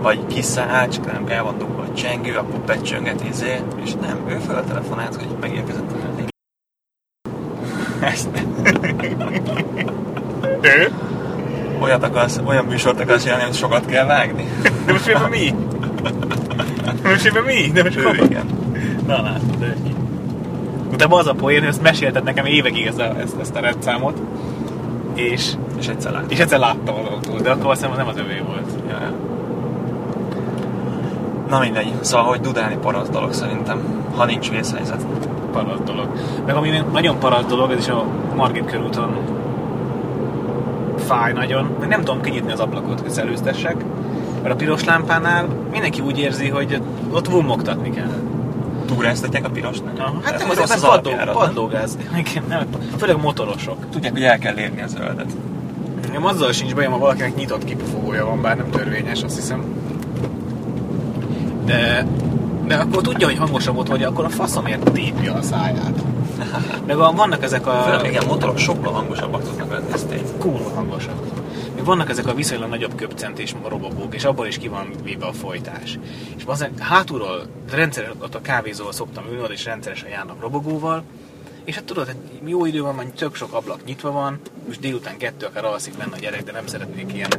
Speaker 1: vagy kiszáll, csak nem kell van dugva a csengő, akkor becsönget, izé, és nem, ő föltelefonált, hogy megérkezett a ház elé. Ezt nem. Olyat akarsz, olyan műsort akarsz csinálni, hogy sokat kell vágni?
Speaker 2: De most éppen mi? De most éppen mi? De most
Speaker 1: Ő igen.
Speaker 2: Na látod, ő ki. Utána az a poén, hogy ezt mesélted nekem évekig ezt a, ezt, ezt a rendszámot, és,
Speaker 1: És egyszer lát.
Speaker 2: és egyszer láttam az autót, de akkor azt hiszem, nem az övé volt.
Speaker 1: Ja, ja. Na mindegy, szóval, hogy dudálni paraszt dolog szerintem, ha nincs vészhelyzet.
Speaker 2: Paraszt dolog. Meg ami nagyon paraszt dolog, ez is a Margit körúton fáj nagyon, mert nem tudom kinyitni az ablakot, hogy szellőztessek, mert a piros lámpánál mindenki úgy érzi, hogy ott vumogtatni kell.
Speaker 1: túráztatják a pirosnak.
Speaker 2: Aha. Hát
Speaker 1: Tehát
Speaker 2: nem
Speaker 1: ez
Speaker 2: azért,
Speaker 1: rossz
Speaker 2: mert
Speaker 1: az
Speaker 2: paddog,
Speaker 1: alapjárat.
Speaker 2: padlógázni. Igen, nem, főleg motorosok.
Speaker 1: Tudják, hogy el kell érni a zöldet.
Speaker 2: Nekem azzal sincs bajom, ha valakinek nyitott kipufogója van, bár nem törvényes, azt hiszem. De, de akkor tudja, hogy hangosabb ott vagy, akkor a faszomért tépje a száját. Meg a, vannak ezek a...
Speaker 1: Főleg igen, motorok sokkal hangosabbak tudnak lenni, ez tény.
Speaker 2: kurva hangosak. Még vannak ezek a viszonylag nagyobb köpcentés robogók, és abból is ki van véve a folytás. És bazen, hátulról rendszeresen ott a kávézóval szoktam ülni, oda is rendszeresen járnak robogóval, és hát tudod, hát jó idő van, majd tök sok ablak nyitva van, most délután kettő akár alszik benne a gyerek, de nem szeretnék ilyen,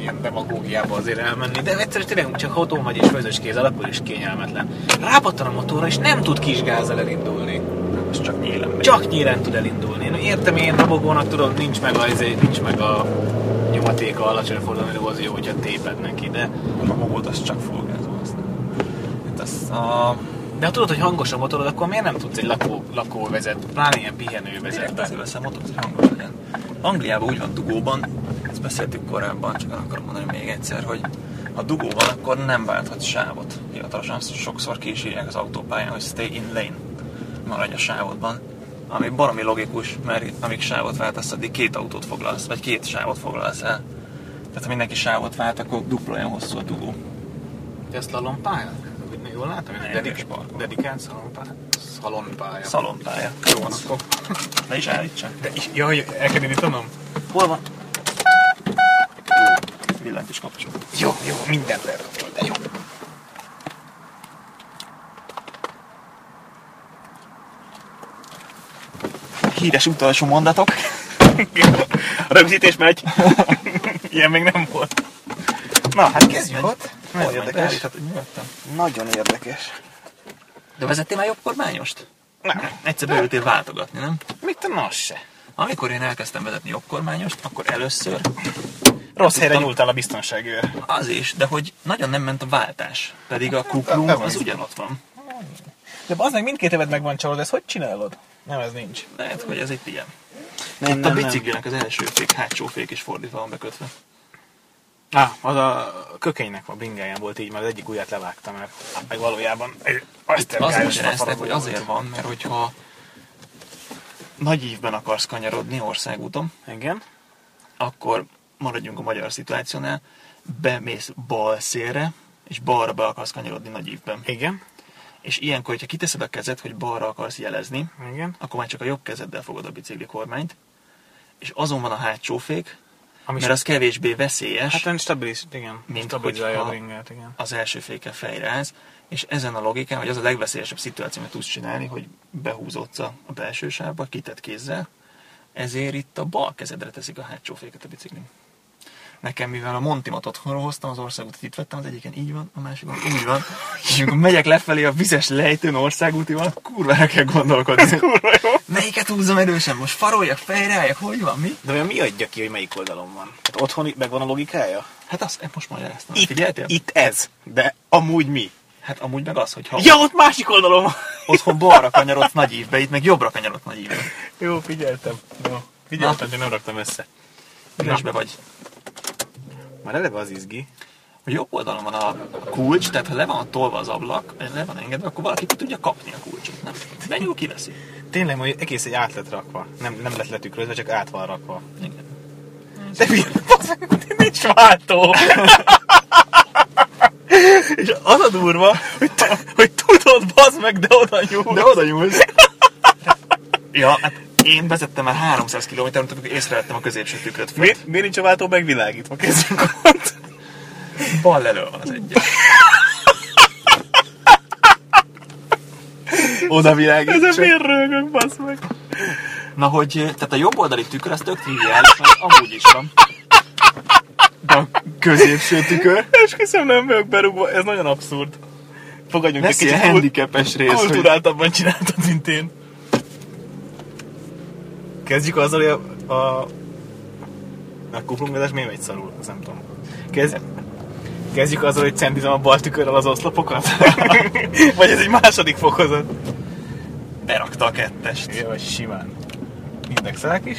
Speaker 2: ilyen demagógiába azért elmenni, de egyszerűen tényleg csak ha otthon vagy és közös kéz, akkor is kényelmetlen. Rápattan a motorra, és nem tud kis gázzal elindulni.
Speaker 1: Ez csak nyílen megy.
Speaker 2: Csak nyílen tud elindulni. Na, értem én robogónak, tudom, nincs meg a, izé, nincs meg a nyomatéka alacsony fordulni, de az jó, hogyha téped neki, de...
Speaker 1: A magót az csak fulgázó. az nem. Hát az a...
Speaker 2: De ha tudod, hogy hangos a motorod, akkor miért nem tudsz egy lakó, lakóvezet, pláne ilyen
Speaker 1: Direkt
Speaker 2: pihenővezetbe?
Speaker 1: azért veszem motort, hogy hangos legyen. Angliában úgy van dugóban, ezt beszéltük korábban, csak el akarom mondani még egyszer, hogy ha dugó van, akkor nem válthat sávot. Hivatalosan azt sokszor ki is írják az autópályán, hogy stay in lane, maradj a sávodban. Ami baromi logikus, mert amíg sávot váltasz, addig két autót foglalsz, vagy két sávot foglalsz el. Tehát ha mindenki sávot vált, akkor dupla olyan hosszú a dugó.
Speaker 2: De ezt lalompályán? Jól látom, hogy
Speaker 1: Nem,
Speaker 2: dedik,
Speaker 1: és parkoló.
Speaker 2: dedikált szalompály. Szalompálya.
Speaker 1: Szalonpálya. Jó van, akkor ne is állítsa.
Speaker 2: De, jaj, el kell indítanom? Hol van?
Speaker 1: Villant is kapcsol.
Speaker 2: Jó, jó, mindent elkapcsol, de jó.
Speaker 1: Híres utolsó mondatok.
Speaker 8: Rögzítés megy. Ilyen még nem volt.
Speaker 1: Na, hát
Speaker 2: Kezdjük ott.
Speaker 1: Nagyon érdekes. Nagyon érdekes. De vezettél már jobb kormányost? Nem. Egyszer beültél váltogatni, nem?
Speaker 2: Mit te nos se?
Speaker 1: Amikor én elkezdtem vezetni jobb kormányost, akkor először
Speaker 2: Rossz helyre nyúltál a biztonsági őr.
Speaker 1: az is, de hogy nagyon nem ment a váltás. Pedig a kuklum az ugyanott van.
Speaker 2: De az meg mindkét évet meg van csalod, ezt hogy csinálod? Nem, ez nincs.
Speaker 1: Lehet, hogy ez itt ilyen.
Speaker 2: Nem,
Speaker 1: Itt a biciklinek az első fék, hátsó fék is fordítva van bekötve.
Speaker 2: Ah, az a kökénynek a bringáján volt így, mert az egyik ujját levágta, mert meg valójában egy
Speaker 1: Azt
Speaker 2: asztergályos
Speaker 1: magyarázták, hogy
Speaker 2: fafaragó
Speaker 1: azért van, mert hogyha nagy ívben akarsz kanyarodni országúton,
Speaker 2: volt. Igen.
Speaker 1: akkor maradjunk a magyar szituációnál, bemész bal szélre, és balra be akarsz kanyarodni nagy ívben.
Speaker 2: Igen.
Speaker 1: És ilyenkor, hogyha kiteszed a kezed, hogy balra akarsz jelezni,
Speaker 2: Igen.
Speaker 1: akkor már csak a jobb kezeddel fogod a bicikli kormányt, és azon van a hátsó fék,
Speaker 2: Ami
Speaker 1: mert az kevésbé veszélyes,
Speaker 2: Hát ön stabiliz, igen.
Speaker 1: Mint
Speaker 2: Stabilizálja a
Speaker 1: hogyha-
Speaker 2: bringát, igen.
Speaker 1: az első fékkel fejre állsz, és ezen a logikán, hogy az a legveszélyesebb szituáció, amit tudsz csinálni, hogy behúzódsz a a belső sávba, kitett kézzel, ezért itt a bal kezedre teszik a hátsó féket a biciklin. Nekem, mivel a Montimat otthonról hoztam, az országútit itt vettem, az egyiken így van, a másikon úgy van, és amikor megyek lefelé a vizes lejtőn országúti van, kurvára kell gondolkodni. Ez kurva jó. Melyiket húzom erősen? Most faroljak, fejre álljak, hogy van, mi?
Speaker 2: De vajon mi adja ki, hogy melyik oldalon van? Hát otthon itt megvan a logikája?
Speaker 1: Hát azt én most magyaráztam. Figyeltél?
Speaker 2: itt ez, de amúgy mi?
Speaker 1: Hát amúgy meg az, hogy ha
Speaker 2: Ja, ott másik oldalon van!
Speaker 1: otthon balra kanyarodsz nagy ívbe, itt meg jobbra kanyarodsz nagy ívbe.
Speaker 2: Jó, figyeltem. Jó. Figyeltem, de nem raktam össze.
Speaker 1: Üresbe vagy.
Speaker 2: Már eleve az izgi.
Speaker 1: A jobb oldalon van a a kulcs, tehát ha le van tolva az ablak, le van engedve, akkor valaki ki tudja kapni a kulcsot, nem? De jó, kiveszi.
Speaker 2: Tényleg, hogy egész egy át lett rakva. Nem, nem lett letükrözve, csak át van rakva.
Speaker 1: Igen.
Speaker 2: De mi? Bazzeg, nincs váltó! És az a durva, hogy, t- hogy tudod, bazd meg, de oda nyúl.
Speaker 1: De oda nyúlsz. ja, hát én vezettem már 300 km-t, amikor észrevettem a középső tükröt. fönt.
Speaker 8: Miért, miért nincs a váltó megvilágítva? Kezdjünk ott.
Speaker 1: Bal elő van az egyik.
Speaker 8: Oda világít. Ez a miért rögök, basz meg.
Speaker 1: Na, hogy eh, tehát a jobb oldali tükör az tök triviális, mert amúgy is van. De a középső tükör,
Speaker 8: És hiszem nem vagyok berúgva, ez nagyon abszurd. Fogadjunk egy
Speaker 1: lesz ilyen
Speaker 8: kicsit kul-
Speaker 1: handicapes rész, hogy
Speaker 8: kulturáltabban csináltad, mint én.
Speaker 2: Kezdjük azzal, hogy a... a... Na, kuplungvedás miért megy szarul? Azt nem tudom. Kezd... Kezdjük azzal, hogy centizem a bal tükörrel az oszlopokat? Vagy ez egy második fokozat?
Speaker 1: berakta a kettest.
Speaker 2: Ja, vagy simán. Indexelek is.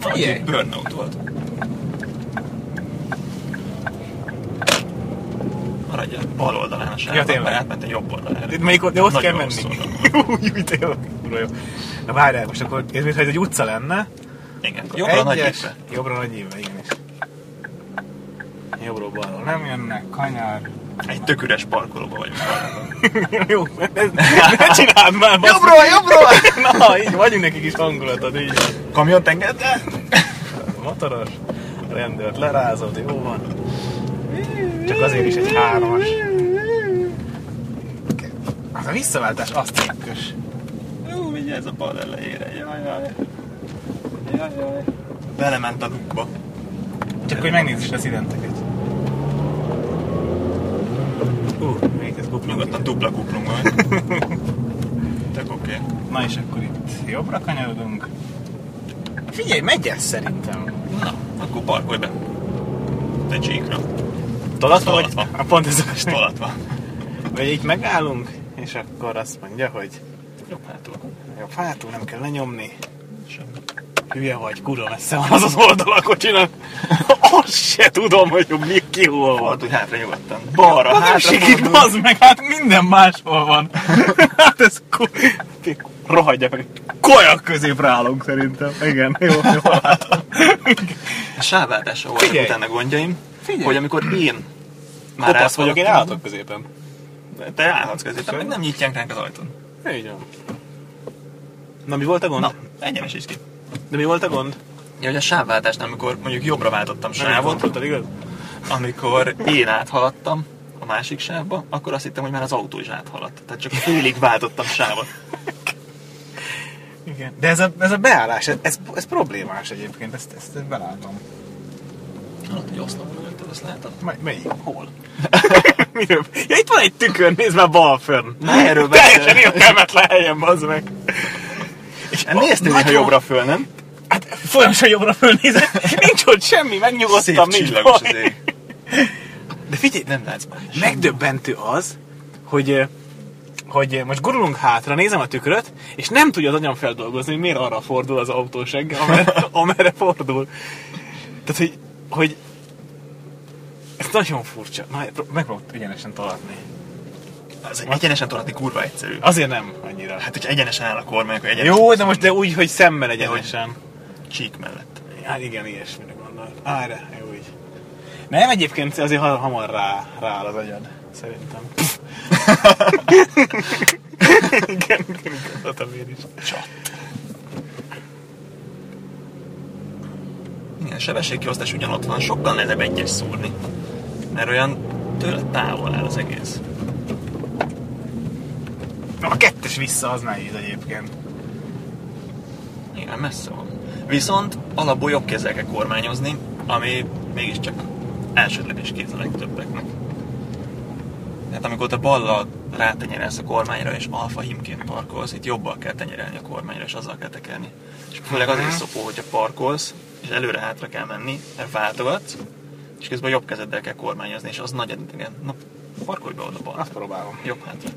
Speaker 2: Figyelj!
Speaker 1: Egy burnout volt. Maradj megy bal oldalán a sávban,
Speaker 2: Ja, tényleg.
Speaker 1: mert átment egy jobb oldalán.
Speaker 2: Hát Itt Melyik, de ott
Speaker 1: Nagyon
Speaker 2: kell menni.
Speaker 1: rosszul.
Speaker 2: Úgy, úgy, tényleg. Kurva jó. Na várjál, most akkor ez mintha ez egy utca lenne.
Speaker 1: Igen, jobbra a nagy
Speaker 2: Egyes,
Speaker 1: éppen.
Speaker 2: Jobbra nagy éve, igenis. Jobbról balról nem jönnek, kanyar.
Speaker 1: Egy tök üres parkolóba vagyunk.
Speaker 2: jó, ez, ne csináld már! basz.
Speaker 1: Jobbról, jobbról!
Speaker 2: Na, így vagyunk nekik is hangulatod, így van.
Speaker 1: Kamion tengedte?
Speaker 2: Motoros, rendőrt lerázod, jó van. Csak azért is egy hármas. Az a visszaváltás azt trükkös.
Speaker 1: Jó, vigyázz a bal elejére, jaj, jaj. Jaj, jaj. Belement a lukba.
Speaker 2: Csak hogy megnézzük az identeket. Ú, még ez kuplunk.
Speaker 1: Nyugodtan dupla kuplunk van. Tök oké.
Speaker 2: Na és akkor itt jobbra kanyarodunk. Figyelj, megy ez szerintem.
Speaker 1: Na, akkor parkolj be. Te csíkra.
Speaker 2: Tolatva vagy?
Speaker 1: Tolatva.
Speaker 2: A pont ez a
Speaker 1: Tolatva.
Speaker 2: Vagy itt megállunk, és akkor azt mondja, hogy
Speaker 1: Jobb hátul.
Speaker 2: jobb hátul nem kell lenyomni. Hülye vagy, kurva messze van az az oldal a kocsinak. Azt se tudom, hogy mi ki hol van.
Speaker 1: Fordulj hátra nyugodtan. Balra,
Speaker 2: Az nem
Speaker 1: hátra
Speaker 2: sikít,
Speaker 1: fordulj.
Speaker 2: az meg, hát minden máshol van. hát ez ku... rohadja meg. Kajak középre állunk szerintem. Igen, jó, jó.
Speaker 1: A sávváltással voltak
Speaker 2: Figyelj.
Speaker 1: utána gondjaim,
Speaker 2: Figyelj.
Speaker 1: hogy amikor én már
Speaker 2: Kopasz vagyok, én
Speaker 1: áthaladtam,
Speaker 2: állatok középen.
Speaker 1: Te állhatsz középen, meg nem nyitják ránk az ajtón.
Speaker 2: Így van. Na mi volt a gond?
Speaker 1: Na, egyenesíts ki.
Speaker 2: De mi volt a gond?
Speaker 1: Ja, hogy a sávváltásnál, amikor mondjuk jobbra váltottam sávot,
Speaker 2: Sávot? igaz?
Speaker 1: amikor én áthaladtam a másik sávba, akkor azt hittem, hogy már az autó is áthaladt. Tehát csak félig váltottam sávot.
Speaker 2: Igen. De ez a, ez a beállás, ez, ez, ez problémás egyébként, ezt, ezt, ezt belátom.
Speaker 1: Ott egy oszlop ültől, Hát, azt látod?
Speaker 2: Mely, melyik? Hol? Miről? Ja, itt van egy tükör, nézd már bal fönn.
Speaker 1: Na, erről
Speaker 2: Teljesen
Speaker 1: beszélek.
Speaker 2: értelmetlen helyen, bazd meg.
Speaker 1: És néztél néha jobbra föl, nem?
Speaker 2: Hát folyamatosan jobbra fölnézek, nincs ott semmi,
Speaker 1: Szép
Speaker 2: megnyugodtam, nincs
Speaker 1: csillagos az
Speaker 2: baj.
Speaker 1: ég.
Speaker 2: De figyelj,
Speaker 1: Nem látsz más.
Speaker 2: megdöbbentő az, hogy ö, hogy ö, most gurulunk hátra, nézem a tükröt, és nem tudja az agyam feldolgozni, hogy miért arra fordul az autó segge, amerre, amerre fordul. Tehát, hogy, hogy ez nagyon furcsa. Na, pró- megpróbálok egyenesen találni.
Speaker 1: Az egyenesen tolatni kurva egyszerű.
Speaker 2: Azért nem annyira.
Speaker 1: Hát, hogy egyenesen áll a kormány, akkor egyenesen
Speaker 2: Jó, de most de úgy, hogy szemmel egyenesen.
Speaker 1: csík mellett.
Speaker 2: Hát igen, ilyesmire gondolt. Á, de jó így. Nem, egyébként azért ha- hamar rá, rááll az agyad, szerintem. igen, igen, gondoltam én is.
Speaker 1: Igen, sebességkiosztás ugyanott van, sokkal nehezebb egyes szúrni. Mert olyan tőle távol áll az egész.
Speaker 2: Na, a kettes vissza az nehéz egyébként.
Speaker 1: Igen, messze van. Viszont alapból jobb kézzel kell kormányozni, ami mégiscsak elsődleges kéz a legtöbbeknek. Tehát amikor te ballal rátenyerelsz a kormányra, és alfa himként parkolsz, itt jobbal kell tenyerelni a kormányra, és azzal kell tekerni. És főleg az
Speaker 2: Mhm.
Speaker 1: is szopó, hogyha parkolsz, és előre-hátra kell menni, mert váltogatsz, és közben jobb kezeddel kell kormányozni, és az nagy idegen. Na, parkolj be oda bal.
Speaker 2: Azt próbálom.
Speaker 1: Jobb hátra.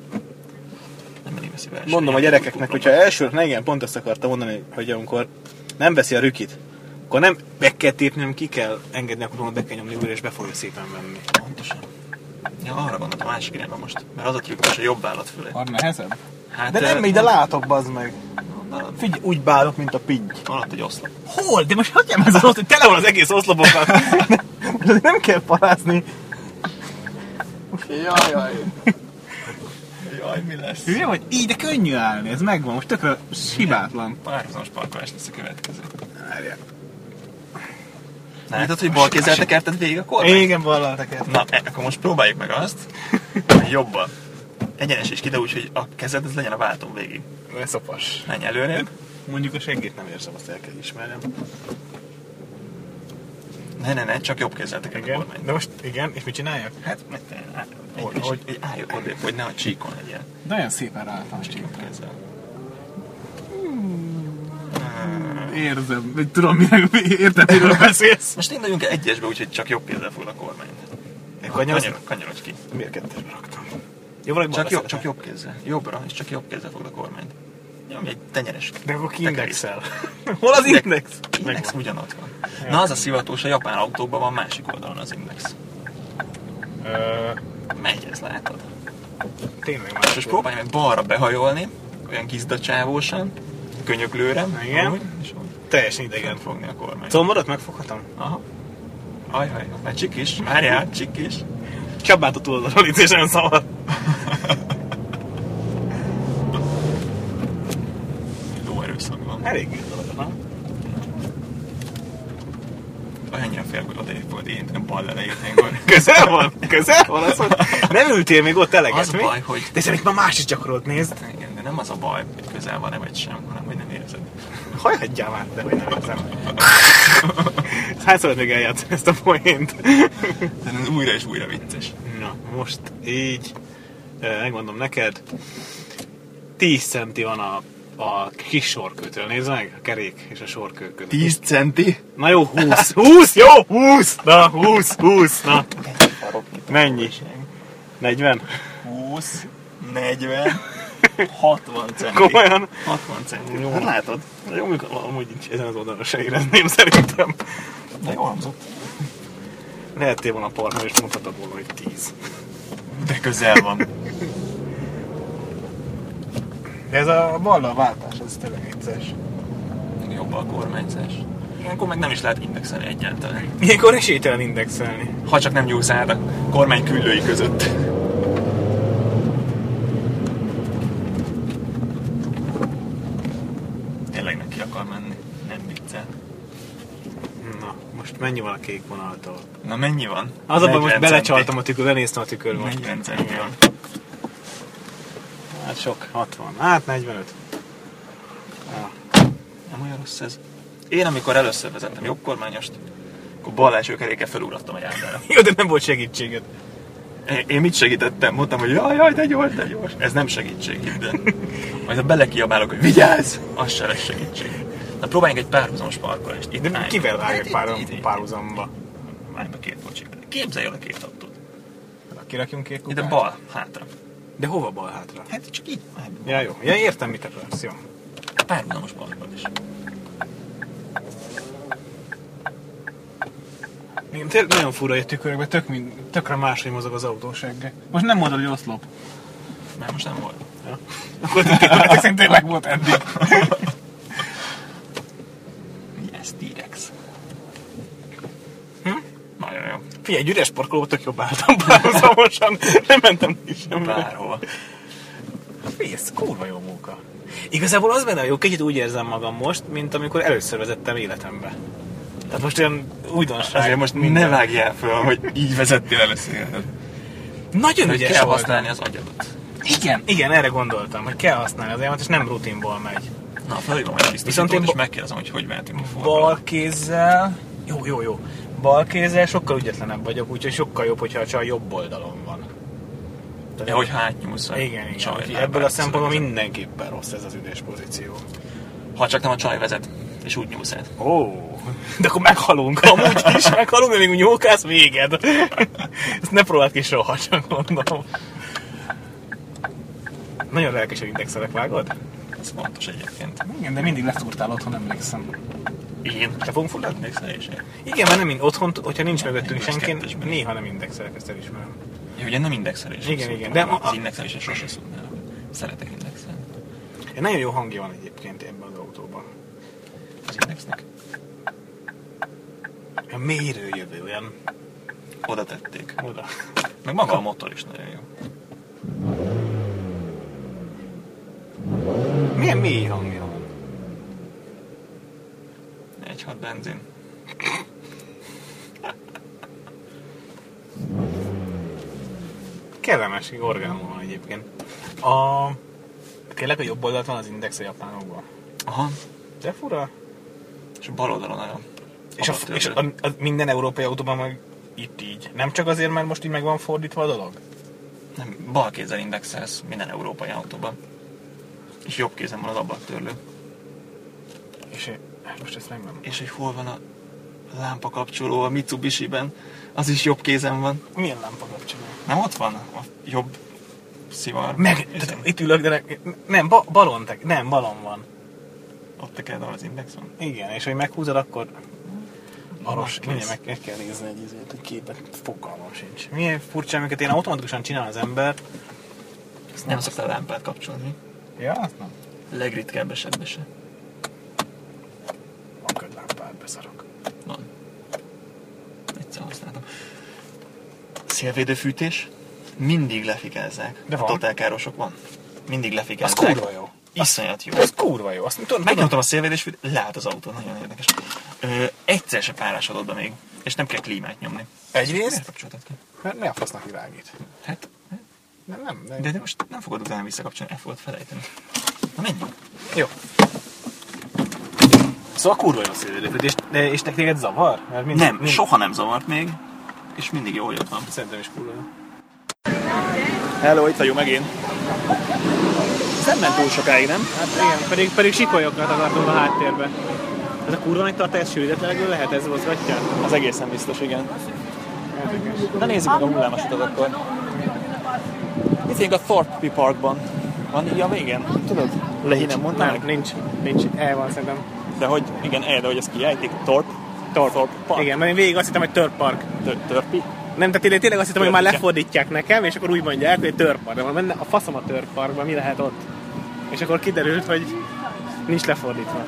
Speaker 1: Nem mindig veszi be első.
Speaker 2: Mondom a gyerekeknek, hogyha első, na igen, pont ezt akartam mondani, hogy amikor nem veszi a rükit, akkor nem be kell tépni, hanem ki kell engedni, akkor be kell nyomni újra, és be fogja szépen menni.
Speaker 1: Pontosan. Ja, arra gondoltam a másik irányba most. Mert az a trükk, hogy a jobb állat fölé.
Speaker 2: Van nehezebb?
Speaker 1: Hát,
Speaker 2: De nem, de látok, bazd meg. Figyelj, úgy bálok, mint a pingy.
Speaker 1: Alatt egy oszlop.
Speaker 2: Hol? De most hagyjam ez az oszlop, tele van az egész oszlopokkal. Most nem kell parázni. Jaj, jaj.
Speaker 1: Jaj, mi lesz?
Speaker 2: Hülye vagy? Így, de könnyű állni, ez megvan, most tökre hibátlan.
Speaker 1: Párhuzamos parkolás lesz a következő.
Speaker 2: Várjál.
Speaker 1: Látod, hogy bal kézzel tekerted végig a kormány?
Speaker 2: Igen, vallateket.
Speaker 1: Na, e- akkor most próbáljuk meg azt, hogy jobban. Egyenes is ki, de úgy, hogy a kezed ez legyen a váltón végig.
Speaker 2: Ne szopas.
Speaker 1: Menj előrébb.
Speaker 2: Mondjuk a seggét nem érzem, azt el kell ismernem.
Speaker 1: Ne, ne, ne, csak jobb kézzel tekerd a kormányt.
Speaker 2: De most igen, és mit csináljak? Hát,
Speaker 1: Ne, te- á- egy-
Speaker 2: Hogy-
Speaker 1: és-
Speaker 2: hogy-
Speaker 1: egy- Állj odébb, hogy ne a csíkon legyen.
Speaker 2: de olyan szépen ráálltam most így.
Speaker 1: Jobb kézzel.
Speaker 2: Érzem, hogy tudom, mire, értem, miről beszélsz.
Speaker 1: Most induljunk el egyesbe, úgyhogy csak jobb kézzel fog a kormányt.
Speaker 2: Kanyarodsz?
Speaker 1: Kanyar- Kanyarodj ki.
Speaker 2: Miért kettesbe raktam? Jó, valami
Speaker 1: Csak, jobb, csak jobb kézzel. Jobbra, és csak jobb kézzel fogod a kormányt. Nyomj egy tenyeres.
Speaker 2: De akkor ki
Speaker 1: tekerés.
Speaker 2: indexel. Hol az index?
Speaker 1: Index ugyanott van. Na az a szivatós, a japán autóban van másik oldalon az index.
Speaker 2: Ö,
Speaker 1: megy, ez látod.
Speaker 2: Tényleg
Speaker 1: És
Speaker 2: más.
Speaker 1: most próbálj meg balra behajolni, olyan kizdacsávósan, könyöklőre,
Speaker 2: Igen.
Speaker 1: amúgy, és úgy
Speaker 2: Teljesen
Speaker 1: igen
Speaker 2: idegen.
Speaker 1: fogni a kormány.
Speaker 2: Combodot megfoghatom?
Speaker 1: Aha. Ajaj, már csikis, várjál, csikis.
Speaker 2: Csabát a túloldalról itt, és nem szabad.
Speaker 1: Jó erőszak van.
Speaker 2: Elég jó dolog, nem?
Speaker 1: Annyian fél odébb volt, én nem bal elejétnénk.
Speaker 2: Közel van, közel van az, hogy nem ültél még ott eleget,
Speaker 1: Az
Speaker 2: mi?
Speaker 1: baj, hogy-
Speaker 2: De szerintem már más is gyakorolt, nézd.
Speaker 1: Igen, de nem az a baj, hogy közel van-e vagy sem, hanem hogy nem érzed.
Speaker 2: Hajhagyjál már, de hogy nem érzem. Hányszor még eljátszom ezt a poént?
Speaker 1: De ez újra és újra vicces.
Speaker 2: Na, most így, eh, megmondom neked, 10 centi van a, a kis sorkőtől, nézd meg, a kerék és a sorkő között.
Speaker 1: 10 centi?
Speaker 2: Na jó, 20, 20, jó, 20, na, 20, 20, na. Mennyi? 40?
Speaker 1: 20, 40, 60 centi.
Speaker 2: Komolyan?
Speaker 1: 60 centi.
Speaker 2: Jó, hát látod. Na Jó, mikor amúgy így ezen az oldalon se érezném szerintem.
Speaker 1: De jól hangzott.
Speaker 2: Lehettél volna a partner, és mondhatod volna, hogy 10.
Speaker 1: De közel van.
Speaker 2: De ez a balla váltás, ez tényleg vicces.
Speaker 1: Jobb a kormányzás. Ilyenkor meg nem is lehet indexelni egyáltalán.
Speaker 2: Ilyenkor esélytelen indexelni.
Speaker 1: Ha csak nem nyúlsz át a kormány küllői között. Tényleg neki akar menni. Nem viccel.
Speaker 2: Na, most mennyi van a kék vonaltól?
Speaker 1: Na mennyi van?
Speaker 2: Az a baj, most
Speaker 1: 40
Speaker 2: belecsaltam a tükör, lenéztem a tükör
Speaker 1: centi.
Speaker 2: most.
Speaker 1: 40 centi van.
Speaker 2: Hát sok, 60. Hát 45.
Speaker 1: Nem olyan rossz ez. Én amikor először vezettem jobbkormányost, akkor bal első keréke felugrattam a járdára.
Speaker 2: Jó, de nem volt segítséged.
Speaker 1: Én- Én mit segítettem? Mondtam, hogy jaj, jaj, de gyors, de gyors. Ez nem segítség, de majd ha belekiabálok, hogy vigyázz, az se lesz segítség. Na próbáljunk egy párhuzamos parkolást. Itt
Speaker 2: De
Speaker 1: állj.
Speaker 2: kivel
Speaker 1: Hát
Speaker 2: vágj egy
Speaker 1: itt-
Speaker 2: pár,
Speaker 1: itt- itt-
Speaker 2: párhuzamba?
Speaker 1: Állj be két kocsit. Képzelj el a két autót.
Speaker 2: Kirakjunk két
Speaker 1: Ide
Speaker 2: kukát?
Speaker 1: bal, hátra.
Speaker 2: De hova bal hátra?
Speaker 1: Hát csak így. állj be.
Speaker 2: Ja, jó. Ja, értem, mit akarsz, jó.
Speaker 1: Párhuzamos parkolás.
Speaker 2: Még tér- nagyon fura, hogy a tükörökben tök, mind, tökre máshogy mozog az autósegge. Most nem mondod, hogy oszlop.
Speaker 1: Már most nem volt.
Speaker 2: Akkor tényleg- szerintem tényleg volt eddig.
Speaker 1: Mi ez? T-Rex. Hm? Nagyon jó.
Speaker 2: Figyelj, egy üres parkolóba tök jobb álltam párhuzamosan. Nem mentem ki semmire.
Speaker 1: Bárhova.
Speaker 2: Fész, kurva jó munka. Igazából az benne a jó, kicsit úgy érzem magam most, mint amikor először vezettem életembe. Tehát most olyan újdonság.
Speaker 1: Azért most ne vágjál föl, hogy így vezettél először. életed.
Speaker 2: Nagyon
Speaker 1: Hogy
Speaker 2: ügyes
Speaker 1: kell
Speaker 2: voltam.
Speaker 1: használni az agyadat.
Speaker 2: Igen, igen, erre gondoltam, hogy kell használni az elmet, és nem rutinból megy.
Speaker 1: Na, felhívom egy biztosítót,
Speaker 2: Viszont én
Speaker 1: és
Speaker 2: bo-
Speaker 1: megkérdezem, hogy hogy váltunk a forgalom.
Speaker 2: Bal kézzel, jó, jó, jó, bal kézzel sokkal ügyetlenebb vagyok, úgyhogy sokkal jobb, hogyha a csaj jobb oldalon van. Tehát-
Speaker 1: Ja, hogy hátnyúlsz a
Speaker 2: igen, igen.
Speaker 1: csaj
Speaker 2: Csaj,
Speaker 1: lábát,
Speaker 2: ebből a szempontból
Speaker 1: szóval
Speaker 2: mindenképpen rossz ez az üdés pozíció.
Speaker 1: vezet. Ha csak nem a csaj vezet, és úgy nyúlsz át.
Speaker 2: Ó, de akkor meghalunk, amúgy is meghalunk, de még úgy nyókász, véged. Ezt ne próbáld ki soha, csak mondom. Nagyon lelkesen indexelek, vágod?
Speaker 1: Ez fontos egyébként.
Speaker 2: Igen, de mindig leszúrtál otthon, emlékszem.
Speaker 1: Én?
Speaker 2: Te fogunk fulladni?
Speaker 1: Emlékszel is?
Speaker 2: Igen, mert nem mind otthon, hogyha nincs mögöttünk
Speaker 1: Mindez
Speaker 2: senki,
Speaker 1: kettesben.
Speaker 2: néha nem indexelek, ezt elismerem.
Speaker 1: Jó, ugye nem indexelés.
Speaker 2: Igen, igen, de ma-
Speaker 1: az indexelés sose szólnál. Szeretek indexelni.
Speaker 2: Egy nagyon jó hangja van egyébként ebben az autóban.
Speaker 1: Az indexnek.
Speaker 2: A mélyről jövő, olyan
Speaker 1: Oda tették.
Speaker 2: oda.
Speaker 1: Meg maga a motor is nagyon jó.
Speaker 2: Milyen mély hangja van?
Speaker 1: Egy hat benzin.
Speaker 2: Kellemes orgánum van egyébként. A... Tényleg a jobb oldalt van az index a japánokban.
Speaker 1: Aha.
Speaker 2: De fura.
Speaker 1: És a bal oldalon nagyon.
Speaker 2: És, a, és a, a, minden európai autóban meg itt így. Nem csak azért, mert most így meg van fordítva a dolog?
Speaker 1: Nem, bal kézzel indexelsz minden európai autóban. És jobb kézen van az ablaktörlő.
Speaker 2: És hát most ezt meg nem.
Speaker 1: És hogy hol van a lámpa kapcsoló a Mitsubishi-ben, az is jobb kézen van.
Speaker 2: Milyen lámpa kapcsoló?
Speaker 1: Nem ott van a jobb szivar?
Speaker 2: Meg, tehát itt ülök, de ne, nem, ba, balon, te, nem, balon van.
Speaker 1: Ott kell az indexon.
Speaker 2: Igen, és hogy meghúzod, akkor
Speaker 9: Baros kész. Meg, meg kell nézni egy izét, egy képet, fogalmam sincs. Milyen furcsa, amiket én automatikusan csinál az ember.
Speaker 10: Ezt nem szoktál lámpát kapcsolni.
Speaker 9: Ja, azt nem.
Speaker 10: Legritkább esetben se.
Speaker 9: A ködlámpát beszarok.
Speaker 10: Van. Egyszer használtam. Szélvédőfűtés. Mindig lefikázzák.
Speaker 9: De van.
Speaker 10: Totálkárosok van. Mindig
Speaker 9: Az
Speaker 10: lefikázzák.
Speaker 9: kurva jó.
Speaker 10: Iszonyat jó.
Speaker 9: Az kurva jó. Azt tudom, tudom.
Speaker 10: Megnyomtam a szélvédésfűt, lát az autó, nagyon érdekes. Ö, egyszer se párásodott be még, és nem kell klímát nyomni. Miért
Speaker 9: Egyrészt,
Speaker 10: kapcsoltad ki?
Speaker 9: mert mi a fasznak világít?
Speaker 10: Hát,
Speaker 9: Nem, nem, nem.
Speaker 10: de, de most nem fogod utána visszakapcsolni, el fogod felejteni. Na menjünk.
Speaker 9: Jó. Szóval kurva jó szélvédőfűtés, de és te- téged zavar? Mert mind,
Speaker 10: Nem,
Speaker 9: mind,
Speaker 10: soha nem zavart még, és mindig jól jött van.
Speaker 9: Szerintem is kurva jó.
Speaker 1: Hello, itt vagyunk megint. Ez nem ment túl sokáig, nem?
Speaker 2: Hát igen, pedig, pedig sikolyokat akartunk a háttérbe. Ez a kurva nagy tartály, ez sűrűtetlenül lehet, ez mozgatja?
Speaker 1: Az egészen biztos, igen. Na nézzük meg a hullámos utat akkor. Itt vagyunk a Thorpe Parkban. Van így a végén? Tudod? Lehi nem mondtam
Speaker 2: Nem,
Speaker 1: meg?
Speaker 2: nincs, nincs, el van szerintem.
Speaker 1: De hogy, igen, eh, de hogy ezt kiejtik? Thorpe? Thorpe, Thorpe Park?
Speaker 2: Igen, mert én végig azt hittem, hogy törpark.
Speaker 1: Tör- Törpi?
Speaker 2: Nem, tehát én tényleg azt hittem, hogy már
Speaker 1: Törpítják.
Speaker 2: lefordítják nekem, és akkor úgy mondják, hogy törpark. De mondom, menne a faszom a törparkban, mi lehet ott? És akkor kiderült, hogy nincs lefordítva.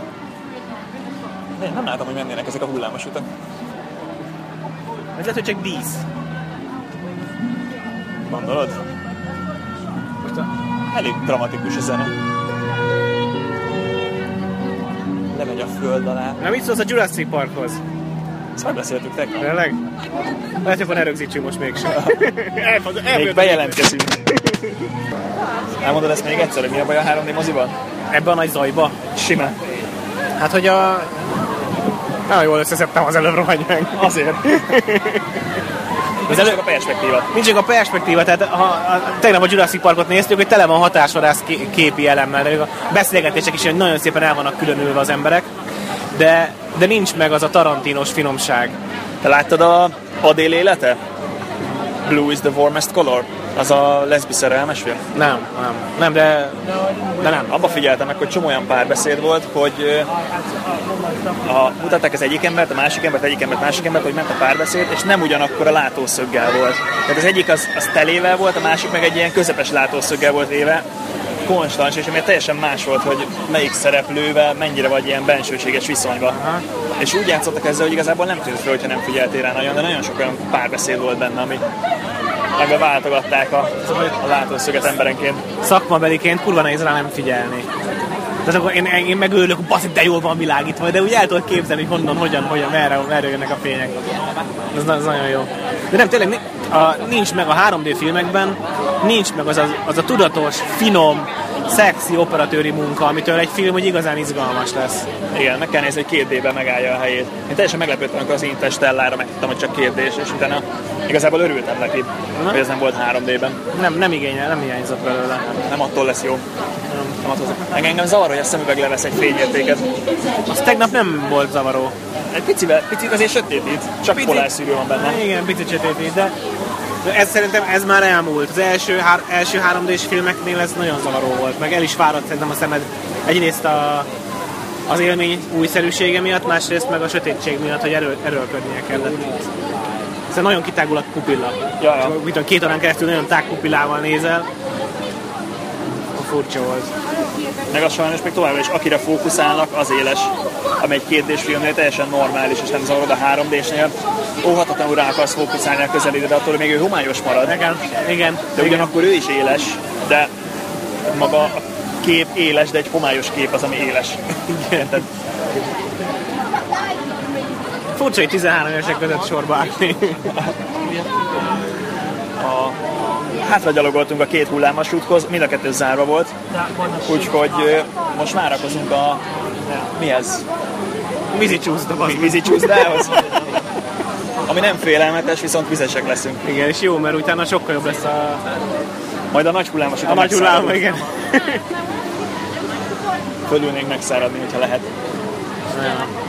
Speaker 1: Én nem látom, hogy mennének ezek a hullámos utak.
Speaker 2: Ez lehet, hogy csak dísz.
Speaker 1: Gondolod? Most a- elég dramatikus a zene. Lemegy a föld alá.
Speaker 2: Na mit szólsz a Jurassic Parkhoz?
Speaker 1: Ezt megbeszéltük tegnap.
Speaker 2: Tényleg? Lehet, hogy van erőgzítsünk most mégsem. Elfog,
Speaker 1: Még bejelentkezünk. Elmondod ezt még egyszer, hogy mi a baj a 3D moziban?
Speaker 2: Ebben a nagy zajba?
Speaker 1: Simán.
Speaker 2: Hát, hogy a... Nagyon jól összeszedtem az előbb rohagy meg.
Speaker 1: Azért. Ez előbb a perspektíva.
Speaker 2: Nincs csak a perspektíva, tehát ha, a, tegnap a Jurassic Parkot néztük, hogy tele van hatásvadász ké- képi elemmel, de még a beszélgetések is ilyen nagyon szépen el vannak különülve az emberek, de, de nincs meg az a tarantinos finomság.
Speaker 1: Te láttad a Adél élete? Blue is the warmest color. Az a leszbi szerelmes film.
Speaker 2: Nem, nem, nem, de, de nem.
Speaker 1: Abba figyeltem meg, hogy csomó olyan párbeszéd volt, hogy ö, a, mutatták az egyik embert, a másik embert, egyik embert, másik embert, hogy ment a párbeszéd, és nem ugyanakkor a látószöggel volt. Tehát az egyik az, az telével volt, a másik meg egy ilyen közepes látószöggel volt éve, konstans, és amiért teljesen más volt, hogy melyik szereplővel mennyire vagy ilyen bensőséges viszonyban. És úgy játszottak ezzel, hogy igazából nem tűnt fel, hogyha nem figyeltél rá nagyon, de nagyon sok olyan párbeszéd volt benne, ami ebbe váltogatták a, a látószöget emberenként.
Speaker 2: Szakmabeliként kurva nehéz rá nem figyelni. Tehát akkor én, én megőlök, baszik, de jól van világítva, de úgy el tudod képzelni, hogy honnan, hogyan, hogyan, merre, merre jönnek a fények. Ez, na- ez nagyon jó. De nem, tényleg ni- a, nincs meg a 3D filmekben, nincs meg az, az, az a tudatos, finom, szexi operatőri munka, amitől egy film hogy igazán izgalmas lesz.
Speaker 1: Igen, meg kell nézni, hogy két D-ben megállja a helyét. Én teljesen meglepődtem, amikor az Interstellára megtudtam, hogy csak kérdés, és utána igazából örültem neki, hogy ez nem volt 3D-ben.
Speaker 2: Nem, nem igényel, nem hiányzott belőle.
Speaker 1: Nem attól lesz jó. Nem attól lesz. Engem, engem zavar, hogy a szemüveg levesz egy fényértéket.
Speaker 2: Az tegnap nem volt zavaró.
Speaker 1: Egy picivel, picit azért sötétít, csak
Speaker 2: Picit.
Speaker 1: polárszűrő van benne.
Speaker 2: Igen, picit sötétít, de de ez szerintem ez már elmúlt. Az első, hár, első 3D-s filmeknél ez nagyon zavaró volt, meg el is fáradt szerintem a szemed. Egyrészt a, az élmény újszerűsége miatt, másrészt meg a sötétség miatt, hogy erő, erőlködnie kellett. Szóval nagyon kitágul a pupilla.
Speaker 1: Ja, ja.
Speaker 2: És Mit tudom, két órán keresztül nagyon tág pupillával nézel. A furcsa volt.
Speaker 1: Meg az sajnos még továbbra is, akire fókuszálnak, az éles, ami egy két d filmnél teljesen normális, és nem zavarod a 3D-snél. Óhatatlanul rá akarsz fókuszálni a közelédre, de attól még ő homályos marad.
Speaker 2: Nekem, igen.
Speaker 1: De ugyanakkor ő is éles, de maga a kép éles, de egy homályos kép az, ami éles. Érted?
Speaker 2: Furcsa, hogy 13 évesek között sorba állni.
Speaker 1: Hátra gyalogoltunk a két hullámos úthoz, mind a kettő zárva volt, úgyhogy ö, most várakozunk a... Mi ez?
Speaker 2: Vízi csúszta, bazd
Speaker 1: Vi- Vízi csúszdához? Ami nem félelmetes, viszont vizesek leszünk.
Speaker 2: Igen, és jó, mert utána sokkal jobb lesz a,
Speaker 1: Majd a nagy hullámos
Speaker 2: a
Speaker 1: úton
Speaker 2: nagy hullám,
Speaker 1: megszáradunk.
Speaker 2: igen.
Speaker 1: Fölülnénk megszáradni, hogyha lehet.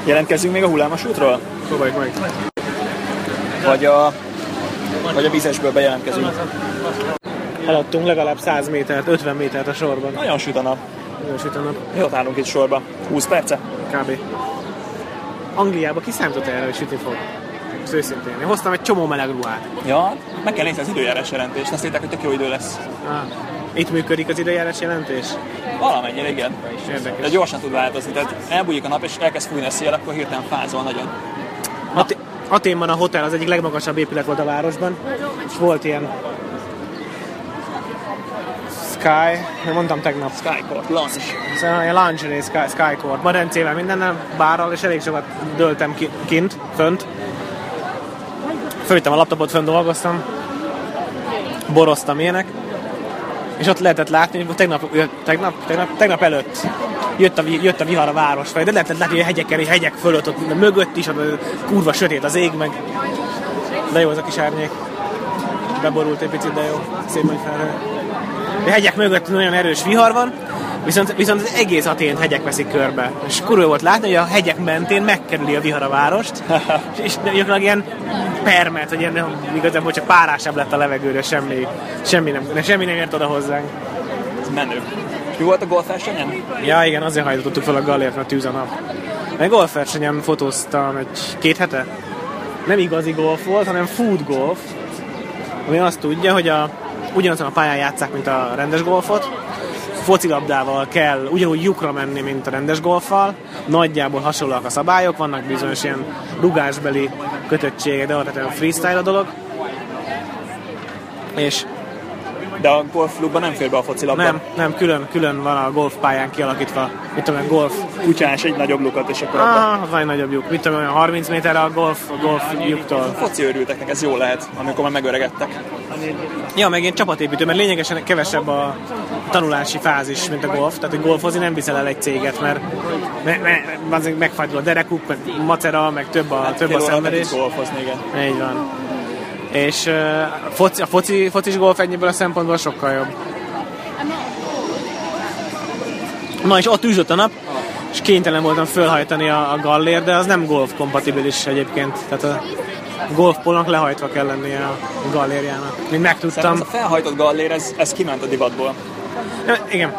Speaker 1: Jelentkezzünk még a hullámos útról?
Speaker 2: Próbáljuk meg.
Speaker 1: Vagy a, vagy a vízesből bejelentkezünk?
Speaker 2: Haladtunk legalább 100 métert, 50 métert a sorban.
Speaker 1: Nagyon süt a nap.
Speaker 2: Nagyon süt a nap,
Speaker 1: Miért ott állunk itt sorba? 20 perce?
Speaker 2: kb. Angliába kiszámított erre, hogy sütni fog. Most őszintén. Én hoztam egy csomó meleg ruhát.
Speaker 1: Ja, meg kell nézni az időjárás jelentést, azt hitták, hogy tök jó idő lesz.
Speaker 2: Ah, itt működik az időjárás jelentés?
Speaker 1: Valamennyire, igen. De
Speaker 2: Érdekes.
Speaker 1: gyorsan tud változni, tehát elbújik a nap, és elkezd fújni a szél, akkor hirtelen fázol nagyon.
Speaker 2: At- Aténban a hotel az egyik legmagasabb épület volt a városban, és volt ilyen Sky, hogy mondtam tegnap,
Speaker 1: Skycourt, launch.
Speaker 2: Ez a ilyen lingerie sky, skycore, badencével, mindennel, bárral, és elég sokat döltem ki, kint, fönt. Fölvittem a laptopot, fönn dolgoztam, boroztam ilyenek, és ott lehetett látni, hogy tegnap, tegnap, tegnap, tegnap előtt jött a, vi- jött a vihar a város felé, de lehetett látni, hogy a hegyeken, a hegyek fölött, ott minden mögött is, ott ö, kurva sötét az ég, meg de jó az a kis árnyék. Beborult egy picit, de jó. Szép nagy felhő. A hegyek mögött nagyon erős vihar van, viszont, viszont az egész Atént hegyek veszik körbe. És kurva volt látni, hogy a hegyek mentén megkerüli a vihar a várost, és, és gyakorlatilag ilyen permet, hogy ilyen nem, igazából csak párásabb lett a levegőre, semmi, semmi, nem, ne, semmi nem ért oda hozzánk.
Speaker 1: Ez menő. És mi volt a golfversenyen?
Speaker 2: Ja, igen, azért hajtottuk fel a galért, mert tűz a nap. Meg golfversenyen fotóztam egy két hete. Nem igazi golf volt, hanem food golf, ami azt tudja, hogy a, ugyanazon a pályán játszák, mint a rendes golfot, focilabdával kell ugyanúgy lyukra menni, mint a rendes golfal. Nagyjából hasonlóak a szabályok, vannak bizonyos ilyen rugásbeli kötöttségek, de alapvetően freestyle a dolog. És
Speaker 1: De a golfklubban nem fér be a focilabda.
Speaker 2: nem, nem, külön, külön van a golfpályán kialakítva, mit tudom, én, golf
Speaker 1: Kutyás egy nagyobb lukat, és akkor abban.
Speaker 2: Ah, van egy nagyobb lyuk. Mit tudom, olyan 30 méterre a golf, a golf lyuktól.
Speaker 1: Foci őrülteknek ez jó lehet, amikor már megöregedtek.
Speaker 2: Ja, meg én csapatépítő, mert lényegesen kevesebb a tanulási fázis, mint a golf. Tehát, hogy golfozni nem viszel el egy céget, mert me, me, azért megfagyol a derekuk, meg macera, meg több a, Hát több a
Speaker 1: Fél óra nem
Speaker 2: szenvedés.
Speaker 1: tudsz golfozni, igen.
Speaker 2: Így van. És ö, a, foci, a foci, focis golf ennyiből a szempontból sokkal jobb. Na és ott üzött a nap, és kénytelen voltam fölhajtani a, a gallér, de az nem golf kompatibilis egyébként. Tehát a golfpolnak lehajtva kell lennie a gallérjának. Mint
Speaker 1: Szerintem
Speaker 2: megtudtam.
Speaker 1: ez a felhajtott gallér, ez, ez kiment a divatból.
Speaker 2: Ja, Igen,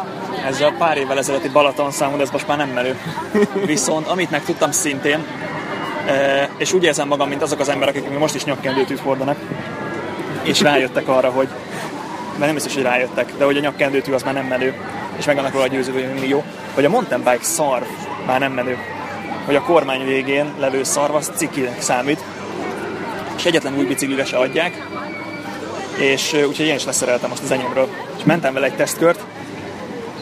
Speaker 1: Ez a pár évvel ezelőtti Balaton számod, ez most már nem merő. Viszont amit megtudtam szintén, eh, és úgy érzem magam, mint azok az emberek, akik még most is nyakkendőtűt hordanak, és rájöttek arra, hogy mert nem biztos, hogy rájöttek, de hogy a nyakkendőtű az már nem menő, és meg annak róla győződve, hogy mindig jó, hogy a mountain bike szar már nem menő, hogy a kormány végén levő szarv az cikinek számít, és egyetlen új biciklire se adják, és eh, úgyhogy én is leszereltem most az enyémről. És mentem vele egy tesztkört,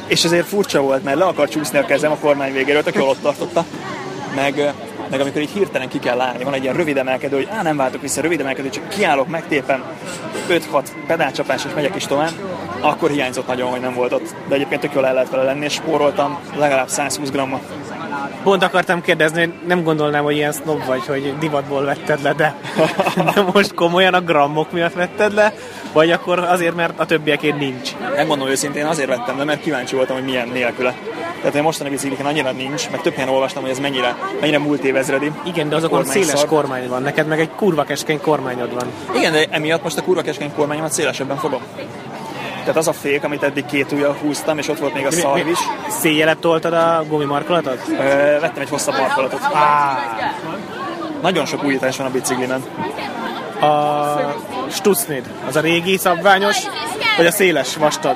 Speaker 1: és azért furcsa volt, mert le akar csúszni a kezem a kormány végéről, tök jól ott tartotta. Meg, meg amikor így hirtelen ki kell állni, van egy ilyen rövid emelkedő, hogy á, nem váltok vissza, rövid emelkedő, csak kiállok, megtépem, 5-6 pedálcsapás, és megyek is tovább, akkor hiányzott nagyon, hogy nem volt ott. De egyébként tök jól el lehet vele lenni, és spóroltam legalább 120 grammot.
Speaker 2: pont akartam kérdezni, hogy nem gondolnám, hogy ilyen snob vagy, hogy divatból vetted le, de, de most komolyan a grammok miatt vetted le, vagy akkor azért, mert a többiekén nincs.
Speaker 1: Megmondom őszintén, azért vettem le, mert kíváncsi voltam, hogy milyen nélküle. Tehát a mostani bicikliken annyira nincs, meg több helyen olvastam, hogy ez mennyire, mennyire múlt évezredi.
Speaker 2: Igen, de azokon
Speaker 1: Kormány
Speaker 2: széles
Speaker 1: szar.
Speaker 2: kormány van, neked meg egy kurva keskeny kormányod van.
Speaker 1: Igen, de emiatt most a kurva keskeny kormányomat szélesebben fogom. Tehát az a fék, amit eddig két ujjal húztam, és ott volt még a szarv is,
Speaker 2: Széjjelebb toltad a gumimarkolatot?
Speaker 1: ö, vettem egy hosszabb markolatot. Nagyon sok újítás van a biciklimen.
Speaker 2: A Stutznéd, az a régi szabványos, vagy a széles vastag?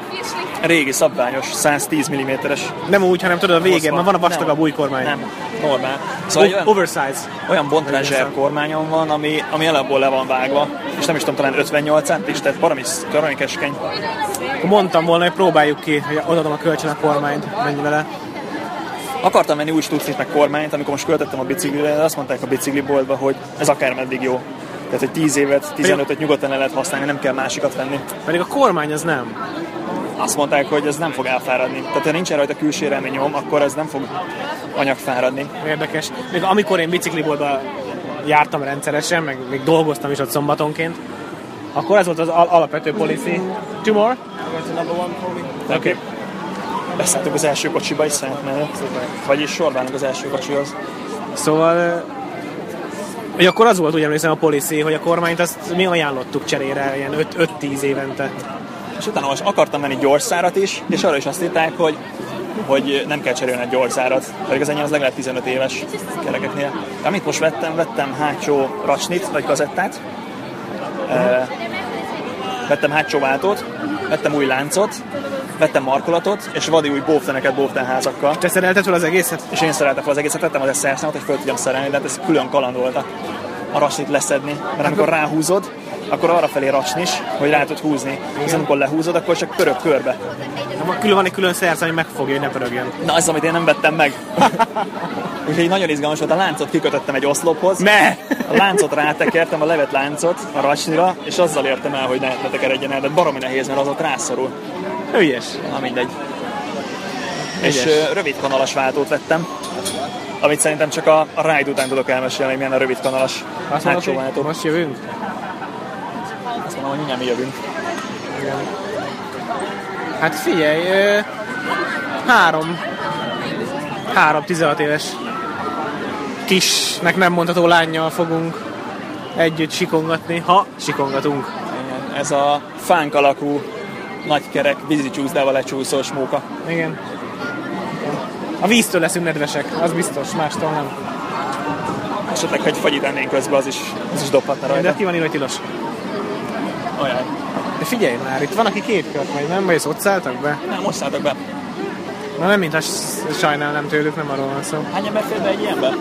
Speaker 1: Régi szabványos, 110 mm-es.
Speaker 2: Nem úgy, hanem tudod, a végén, már van a vastagabb új kormány.
Speaker 1: Nem, normál. Szóval egy
Speaker 2: O-
Speaker 1: olyan,
Speaker 2: Oversize.
Speaker 1: olyan bontrázser
Speaker 2: Igen.
Speaker 1: kormányom van, ami, ami alapból le van vágva, és nem is tudom, talán 58 centis, tehát parami, parami keskeny.
Speaker 2: Mondtam volna, hogy próbáljuk ki, hogy odaadom a kölcsön a kormányt, menj vele.
Speaker 1: Akartam menni új stucnit meg kormányt, amikor most költöttem a biciklire, de azt mondták a bicikliboltba, hogy ez akár meddig jó. Tehát, hogy 10 évet, 15-öt nyugodtan el lehet használni, nem kell másikat venni.
Speaker 2: Pedig a kormány az nem.
Speaker 1: Azt mondták, hogy ez nem fog elfáradni. Tehát, ha nincsen rajta külső reményom, akkor ez nem fog anyagfáradni.
Speaker 2: Érdekes. Még amikor én bicikliboltba jártam rendszeresen, meg még dolgoztam is ott szombatonként, akkor ez volt az al- alapvető policy. Two more?
Speaker 1: Oké. Okay. Beszálltunk az első kocsiba is szent mellett. Vagyis sorbálunk az első kocsihoz.
Speaker 2: Szóval, hogy akkor az volt, úgy emlékszem, a policy, hogy a kormányt azt mi ajánlottuk cserére, ilyen 5-10 évente.
Speaker 1: És utána most akartam menni gyorszárat is, és arra is azt írták, hogy hogy nem kell cserélni a gyorzárat, pedig az enyém az legalább 15 éves kerekeknél. Amit most vettem, vettem hátsó racsnit, vagy kazettát, Eh, vettem hátsó váltót, vettem új láncot, vettem markolatot, és vadi új bófteneket bóftenházakkal.
Speaker 2: Te szerelted fel az egészet?
Speaker 1: És én szereltem fel az egészet, vettem az srs hogy föl tudjam szerelni, de hát ez külön kaland volt a, a rasnit leszedni. Mert amikor ráhúzod, akkor arra felé racsnis, hogy rá tud húzni. És amikor lehúzod, akkor csak pörög körbe.
Speaker 2: Külön van egy külön szersz, ami megfogja, hogy ne pörögjön.
Speaker 1: Na ez, amit én nem vettem meg. Úgyhogy nagyon izgalmas volt, a láncot kikötöttem egy oszlophoz.
Speaker 2: Ne!
Speaker 1: A láncot rátekertem, a levet láncot a racsnira, és azzal értem el, hogy ne, ne tekeredjen el, de baromi nehéz, mert az ott rászorul.
Speaker 2: Hülyes.
Speaker 1: Na mindegy. És ö, rövid kanalas váltót vettem, amit szerintem csak a, a ride után tudok elmesélni, hogy milyen a rövid kanalas
Speaker 2: Azt mondod,
Speaker 1: hátsó
Speaker 2: hogy
Speaker 1: váltó.
Speaker 2: most jövünk?
Speaker 1: Azt mondom, hogy mindjárt mi jövünk.
Speaker 2: Hát figyelj, ö, három, három 16 éves kisnek nem mondható lányjal fogunk együtt sikongatni, ha sikongatunk.
Speaker 1: Igen, Ez a fánk alakú nagykerek vízi csúszdával lecsúszós móka.
Speaker 2: Igen. A víztől leszünk nedvesek, az biztos, mástól nem.
Speaker 1: Esetleg, hogy fagyit ennénk közben, az is, az is dobhatna
Speaker 2: De
Speaker 1: rajta.
Speaker 2: ki van írva, hogy tilos.
Speaker 1: Olyan.
Speaker 2: De figyelj már, itt van, aki két kört megy, nem? Vagy ezt ott szálltak be?
Speaker 1: Na, most szálltak be.
Speaker 2: Na nem, mintha s- sajnálnám tőlük, nem arról van szó.
Speaker 1: Hány ember fér be egy ilyenbe?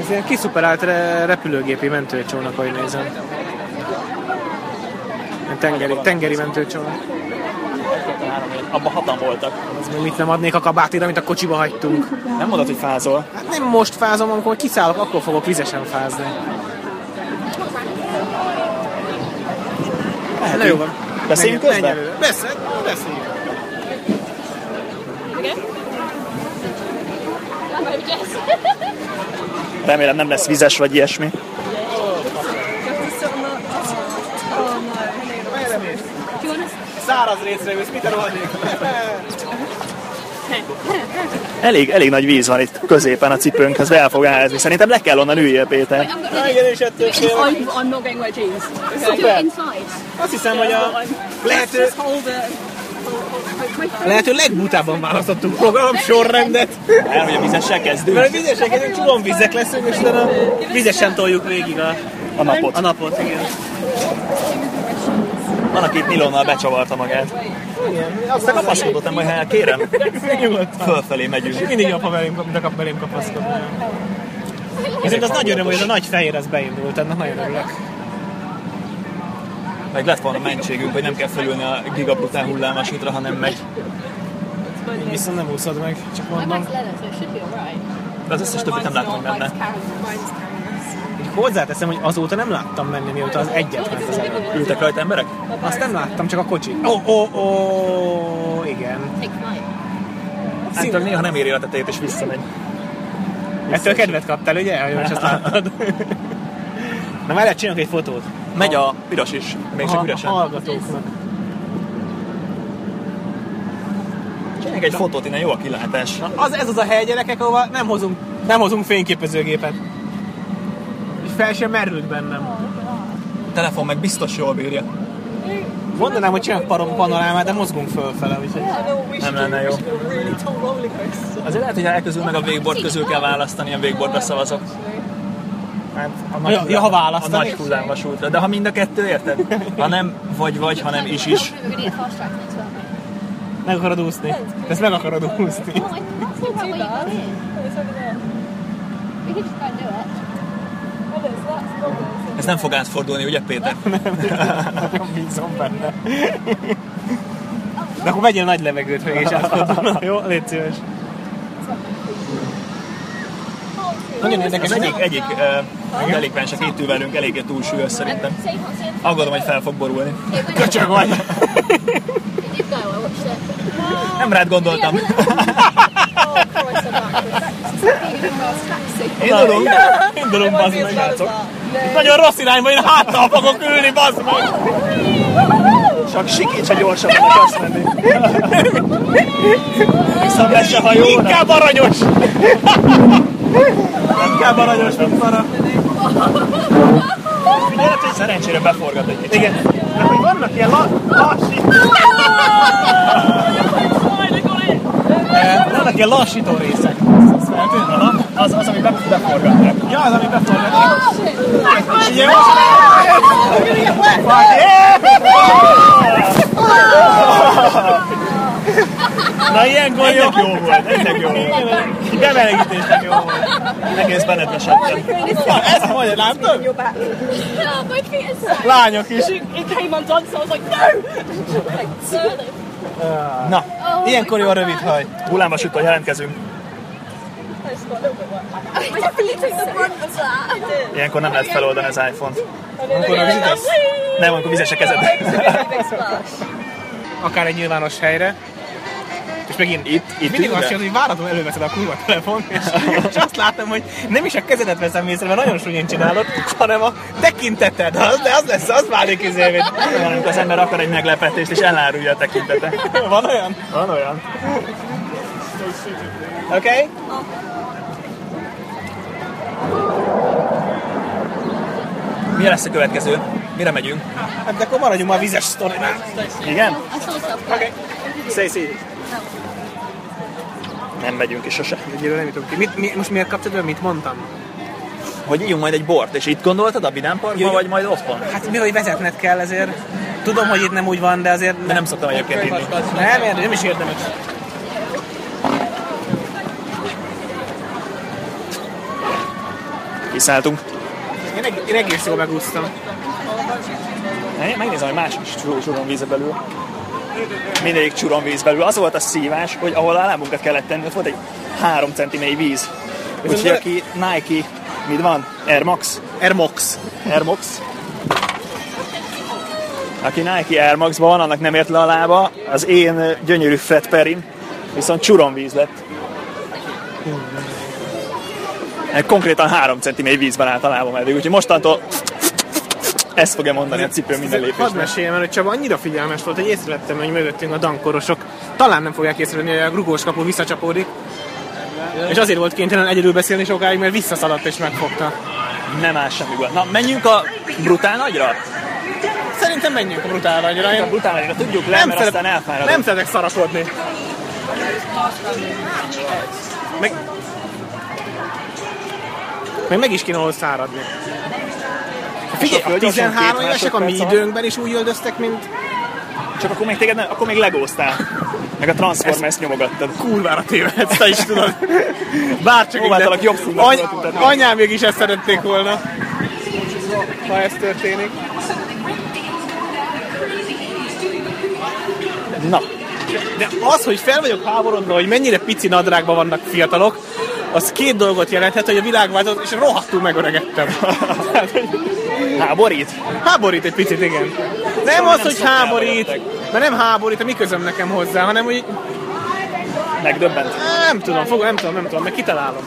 Speaker 2: Ez ilyen kiszuperált re- repülőgépi mentőcsónak, ahogy nézem. Ilyen Tengeri, tengeri mentőcsónak.
Speaker 1: Abban hatan voltak.
Speaker 2: Az még mit nem adnék a kabátira, amit a kocsiba hagytunk.
Speaker 1: Nem mondod, hogy fázol.
Speaker 2: Hát nem most fázom, amikor kiszállok, akkor fogok vizesen fázni. Na jó van.
Speaker 1: Beszéljünk
Speaker 2: Menj- menj
Speaker 1: közben?
Speaker 2: előre. Beszél, beszéljünk.
Speaker 1: Remélem nem lesz vizes vagy ilyesmi.
Speaker 2: Száraz részre jössz, mit rohadnék?
Speaker 1: Elég, elég nagy víz van itt középen a cipőnkhez, de el fog ázni. Szerintem le kell onnan üljél, Péter.
Speaker 2: Igen, és ettől félek.
Speaker 11: I'm, I'm not going to wear jeans. Okay. Do
Speaker 2: Super.
Speaker 11: it inside.
Speaker 2: Azt hiszem, hogy a lehető,
Speaker 11: Just hold the. hold- hold-
Speaker 2: a lehető legbutábban választottunk program sorrendet.
Speaker 1: Már hogy a vizessel kezdünk
Speaker 2: Mert a vizesek, ezek csúlom vizek leszünk, és utána vizesen toljuk végig a,
Speaker 1: a napot.
Speaker 2: a napot. Igen.
Speaker 1: Van, aki itt nylonnal becsavarta magát. Aztán kapaszkodott, nem baj, hát kérem. Fölfelé megyünk.
Speaker 2: Mindig jobb, ha belém, mint a kap belém kapaszkod. Ezért az nagy öröm, hogy ez a nagy fehér ez beindult, ennek nagyon örülök.
Speaker 1: Meg lett volna mentségünk, hogy nem kell felülni a gigabrutál hullámvasútra, hanem megy.
Speaker 2: Viszont nem úszod meg, csak
Speaker 11: I
Speaker 2: mondom.
Speaker 11: mine's leather, so it should be alright.
Speaker 1: De az összes többit nem látom, hogy
Speaker 11: Mine's
Speaker 1: menne.
Speaker 11: carrot- mine's carrots.
Speaker 2: Így hozzáteszem, hogy azóta nem láttam menni, mióta az egyet ment az előbb.
Speaker 1: Ültek rajta emberek?
Speaker 2: Azt nem láttam, csak a kocsi. Ó, ó, ó, igen.
Speaker 11: Take mine.
Speaker 1: Hát néha nem éri a tetejét és visszamegy.
Speaker 2: Ettől kedvet kaptál, ugye? Jó, és azt láttad. Na várjál, csinálok egy fotót.
Speaker 1: Megy a piros is, még csak
Speaker 2: Ha- A
Speaker 1: üresen.
Speaker 2: hallgatóknak.
Speaker 1: Csináljunk egy fotót, innen jó a kilátás.
Speaker 2: Az, ez az a hely, gyerekek, ahova nem hozunk, nem hozunk fényképezőgépet. És fel sem merült bennem.
Speaker 1: A telefon meg biztos jól bírja.
Speaker 2: Mondanám, hogy csinálok parom panorámát, de mozgunk fölfele, úgyhogy...
Speaker 1: Nem lenne jó. Azért lehet, hogy elközül meg a végbord közül kell választani, a végbordra szavazok.
Speaker 2: A ja, ja, ha
Speaker 1: A
Speaker 2: választani.
Speaker 1: nagy hullámvasútra. De ha mind a kettő, érted? Ha nem vagy-vagy, hanem is-is.
Speaker 11: We're going to get fast track next one.
Speaker 2: Meg akarod úszni. De ezt meg akarod úszni.
Speaker 11: Oh, I can't figure out where you go in. We can just go and do it.
Speaker 1: Ez nem fog átfordulni, ugye Péter?
Speaker 2: Nagyon bízom benne. De akkor vegyél nagy levegőt meg, és átfordulna. Jó, légy szíves. Nagyon érdekes.
Speaker 1: Az egyik, egyik uh, delikvens, aki itt ül velünk, eléggé túlsúlyos szerintem.
Speaker 11: So you can't see it.
Speaker 1: Aggódom, hogy fel fog borulni.
Speaker 11: It went-
Speaker 2: Köcsög vagy.
Speaker 11: it did go, I watched it.
Speaker 1: Nem rád gondoltam.
Speaker 11: Oh, Christ, I'm backwards. Being a fast taxi.
Speaker 1: Indulunk, indulunk, bazd meg, srácok. Nagyon rossz irányba, én háttal fogok ülni, bazd meg! Csak sikíts, ha gyorsabban akarsz menni. Viszont lesz a hajóra. Inkább aranyos! Inkább aranyos, mint para. Figyelj, hát, hogy szerencsére beforgat egy kicsit. Igen. Hát,
Speaker 2: Vannak ilyen la- lassít.
Speaker 11: Fine, I got it.
Speaker 2: vannak ilyen lassító részek. Azt feltűnt? Aha. Az, az, ami be, beforgatnak. Ja, az, ami beforgatnak. Na ilyenkor ennek jó volt, ennek jó volt. Bemelegítésnek jó volt. Egész benetmesedtem. Na, ezt majd látod?
Speaker 11: No, my feet are so...
Speaker 2: Lányok is.
Speaker 12: It came undone, so I was like, no!
Speaker 11: Like, further.
Speaker 2: Na,
Speaker 11: Oh,
Speaker 2: ilyenkor jó a rövid haj.
Speaker 1: Hullámvasúttal jelentkezünk.
Speaker 12: I just got a little bit wet.
Speaker 11: My feet took the brunt of that.
Speaker 1: Ilyenkor nem lehet feloldani az iPhone-t.
Speaker 12: And then I
Speaker 2: Akkor
Speaker 12: went,
Speaker 2: rövidítesz?
Speaker 1: Nem, amikor vizes a kezed.
Speaker 12: like, big splash.
Speaker 2: akár egy nyilvános helyre. És megint itt, itt mindig azt jön, hogy váratlan előveszed a kurva telefon, és, és, azt látom, hogy nem is a kezedet veszem észre, mert nagyon súlyén csinálod, hanem a tekinteted, az, de az lesz, az válik izé, izévé.
Speaker 1: Olyan, amikor az ember akar egy meglepetést, és elárulja a tekintete.
Speaker 2: Van olyan?
Speaker 1: Van olyan.
Speaker 2: Oké? Okay?
Speaker 1: Mi lesz a következő? Mire megyünk?
Speaker 2: Hát de akkor maradjunk már a vizes sztorinál.
Speaker 1: Igen?
Speaker 11: I saw myself.
Speaker 1: Stacy. Nem megyünk is sose.
Speaker 2: Egyelőre nem jutunk ki. Mit, mi, most miért kapcsolatban mit mondtam?
Speaker 1: Hogy ígyunk majd egy bort, és itt gondoltad a Bidán Parkban,
Speaker 2: Jöjjön.
Speaker 1: vagy majd otthon? De
Speaker 2: Hát mi, hogy vezetned kell ezért. Tudom, hogy itt nem úgy van, de azért
Speaker 1: nem szoktam egyébként inni.
Speaker 2: Nem, érdemes, nem is érdemes.
Speaker 1: Kiszálltunk.
Speaker 2: Én, eg- én egész jól megúsztam.
Speaker 1: Megnézem, hogy más is csuró- csuromvíz belül. Mindegyik csuromvíz belül. Az volt a szívás, hogy ahol a lábunkat kellett tenni, ott volt egy 3 cm mély víz. Úgyhogy
Speaker 2: bele-
Speaker 1: aki Nike, mit van? Air Max?
Speaker 2: Ermox.
Speaker 1: Air Max. Aki Nike Air Max-ban van, annak nem ért le a lába. Az én ö, gyönyörű Fred Perim viszont csuromvíz lett. Én Konkrétan 3 cm vízben állt a lábam eddig, úgyhogy mostantól ezt fogja mondani a cipő minden
Speaker 2: Hadd
Speaker 1: lépésben.
Speaker 2: meséljem el, hogy Csaba annyira figyelmes volt, hogy észrevettem, hogy mögöttünk a dankorosok. Talán nem fogják észrevenni, hogy a rugós kapu visszacsapódik. És azért volt kénytelen egyedül beszélni sokáig, mert visszaszaladt és megfogta.
Speaker 1: Nem áll semmi gond. Na, menjünk a brutál nagyra?
Speaker 2: Szerintem menjünk a brutálra annyira.
Speaker 1: A
Speaker 2: Én
Speaker 1: brutál nagyra tudjuk le, nem mert aztán elfáradunk.
Speaker 2: nem szeretek szarasodni. Meg... Meg, meg is kéne ahol száradni.
Speaker 1: a
Speaker 2: Figyelj, a
Speaker 1: föld lassan
Speaker 2: 13
Speaker 1: két
Speaker 2: évesek a mi
Speaker 1: másodperc alatt.
Speaker 2: időnkben is úgy öldöztek, mint
Speaker 1: Csak akkor még téged nem, akkor még legóztál. Meg a Transformers nyomogattad.
Speaker 2: kurvára tévedsz, te is tudod. Bárcsak
Speaker 1: Próbáltalak
Speaker 2: innen-
Speaker 1: jobb színben
Speaker 2: Any-
Speaker 1: tudod mutatni.
Speaker 2: Anyám mégis ezt szerették volna. Ha ez történik.
Speaker 1: Na,
Speaker 2: De az, hogy fel vagyok háborodva, hogy mennyire pici nadrágban vannak fiatalok, az két dolgot jelenthet, hogy a világ változott, és rohadtul megöregedtem. Tehát, hogy
Speaker 1: háborít?
Speaker 2: háborít egy picit, igen. Nem az, hogy háborít, mert nem háborít, a mi közöm nekem hozzá, hanem hogy eh,
Speaker 1: Megdöbbent.
Speaker 2: nem tudom, fogom, nem tudom, nem tudom, meg kitalálom.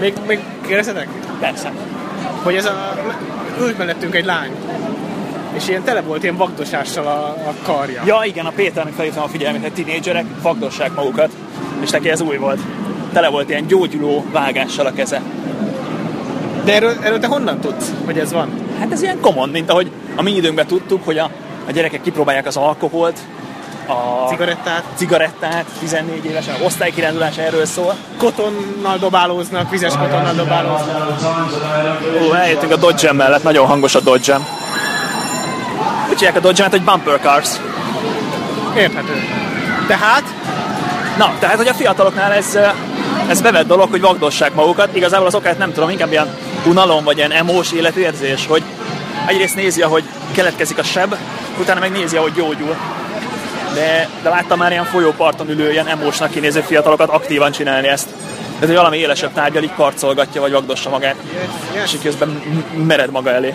Speaker 2: Még, még kérdezhetek?
Speaker 1: Persze.
Speaker 2: hogy ez a, ült mellettünk egy lány, és ilyen tele volt ilyen vagdosással a, a karja.
Speaker 1: Ja, igen, a Péternek felhívtam a figyelmét, hogy tinédzserek fagdossák magukat, és neki ez új volt. Tele volt ilyen gyógyuló vágással a keze.
Speaker 2: De erről, erről te honnan tudsz, hogy ez van?
Speaker 1: Hát ez ilyen common, mint ahogy a mi időnkben tudtuk, hogy a, a gyerekek kipróbálják az alkoholt, a
Speaker 2: Cigarettát,
Speaker 1: cigarettát, 14 évesen, a osztálykirándulás erről szól.
Speaker 2: kotonnal dobálóznak, vizes kotonnal dobálóznak.
Speaker 1: Ó, eljöttünk a dodge mellett, nagyon hangos a dodge Úgy hívják a dodge hogy bumper cars.
Speaker 2: Érthető. Tehát,
Speaker 1: Na, tehát, hogy a fiataloknál ez, eh, ez bevett dolog, hogy vagdossák magukat. Igazából az okát nem tudom, inkább ilyen unalom, vagy ilyen emós életérzés, hogy egyrészt nézi, ahogy keletkezik a seb, utána meg nézi, ahogy gyógyul. De, de láttam már ilyen folyóparton ülő, ilyen emósnak kinéző fiatalokat aktívan csinálni ezt. Tehát, hogy valami élesebb tárgyal így karcolgatja, vagy vagdossa magát, és így közben m- m- mered maga elé.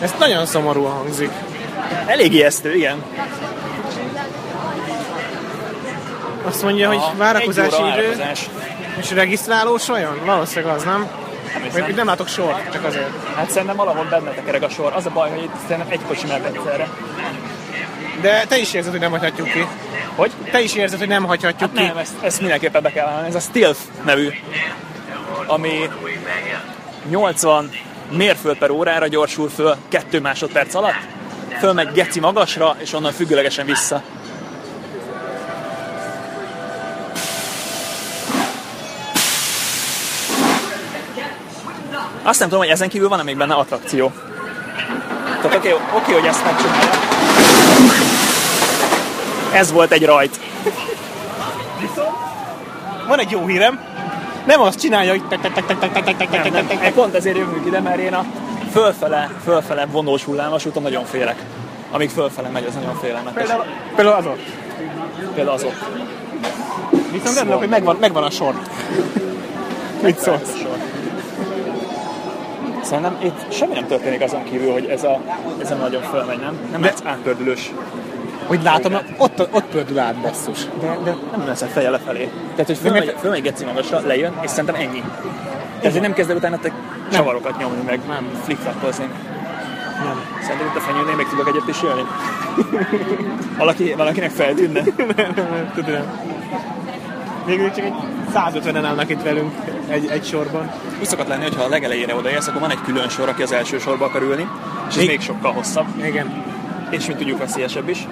Speaker 2: ez nagyon szomorú hangzik.
Speaker 1: Elég ijesztő, igen.
Speaker 2: Azt mondja, hogy
Speaker 1: Egy
Speaker 2: várakozási
Speaker 1: óra
Speaker 2: idő,
Speaker 1: várakozás.
Speaker 2: és regisztrálós olyan? Valószínűleg az, nem? Még
Speaker 1: hiszem.
Speaker 2: nem látok sort, csak azért.
Speaker 1: Hát szerintem valahol benne tekerek a sor. Az a baj, hogy itt szerintem egy kocsi mehet egyszerre.
Speaker 2: De te is érzed, hogy nem hagyhatjuk ki.
Speaker 1: Hogy? Hát
Speaker 2: Te is érzed, hogy nem hagyhatjuk ki.
Speaker 1: Nem, ezt, ezt mindenképpen be kell állni. Ez a Stealth nevű, ami 80 mérföld per órára gyorsul föl 2 másodperc alatt, fölmegy geci magasra, és onnan függőlegesen vissza. Azt nem tudom, hogy ezen kívül van-e még benne attrakció. Tehát oké, okay, okay, hogy ezt megcsinálja. Ez volt egy rajt.
Speaker 2: Van egy jó hírem. Nem azt csinálja, hogy tek tek tek tek tek tek tek tek tek tek tek
Speaker 1: Én pont ezért jövünk ide, mert én a fölfele, fölfele vonós hullámos úton nagyon félek. Amíg fölfele megy, az nagyon félelmetes.
Speaker 2: Például- Például azon.
Speaker 1: Például azok.
Speaker 2: Viszont örülök, hogy megvan, megvan a sor. Mit szólsz?
Speaker 1: Szerintem itt semmi nem történik azon kívül, hogy ez a, ez a nagyon fölmegy, nem? Nem lesz átpördülős.
Speaker 2: Hogy látom, ott, ott pördül át, basszus.
Speaker 1: De, de nem lesz a feje lefelé. Tehát, hogy fölmegy, fölmegy geci magasra, lejön, és szerintem ennyi. Tehát, hogy nem kezd el utána te csavarokat nyomni meg, nem flikflakozni. Nem. Szerintem itt a fenyőnél még tudok egyet is jönni. Valaki, valakinek feltűnne.
Speaker 2: Végül csak egy 150-en állnak itt velünk egy, egy sorban.
Speaker 1: Úgy szokott lenni, hogyha a legelejére odaérsz, akkor van egy külön sor, aki az első sorba akar ülni, és ez még sokkal hosszabb.
Speaker 2: Igen.
Speaker 1: És mint tudjuk, veszélyesebb is.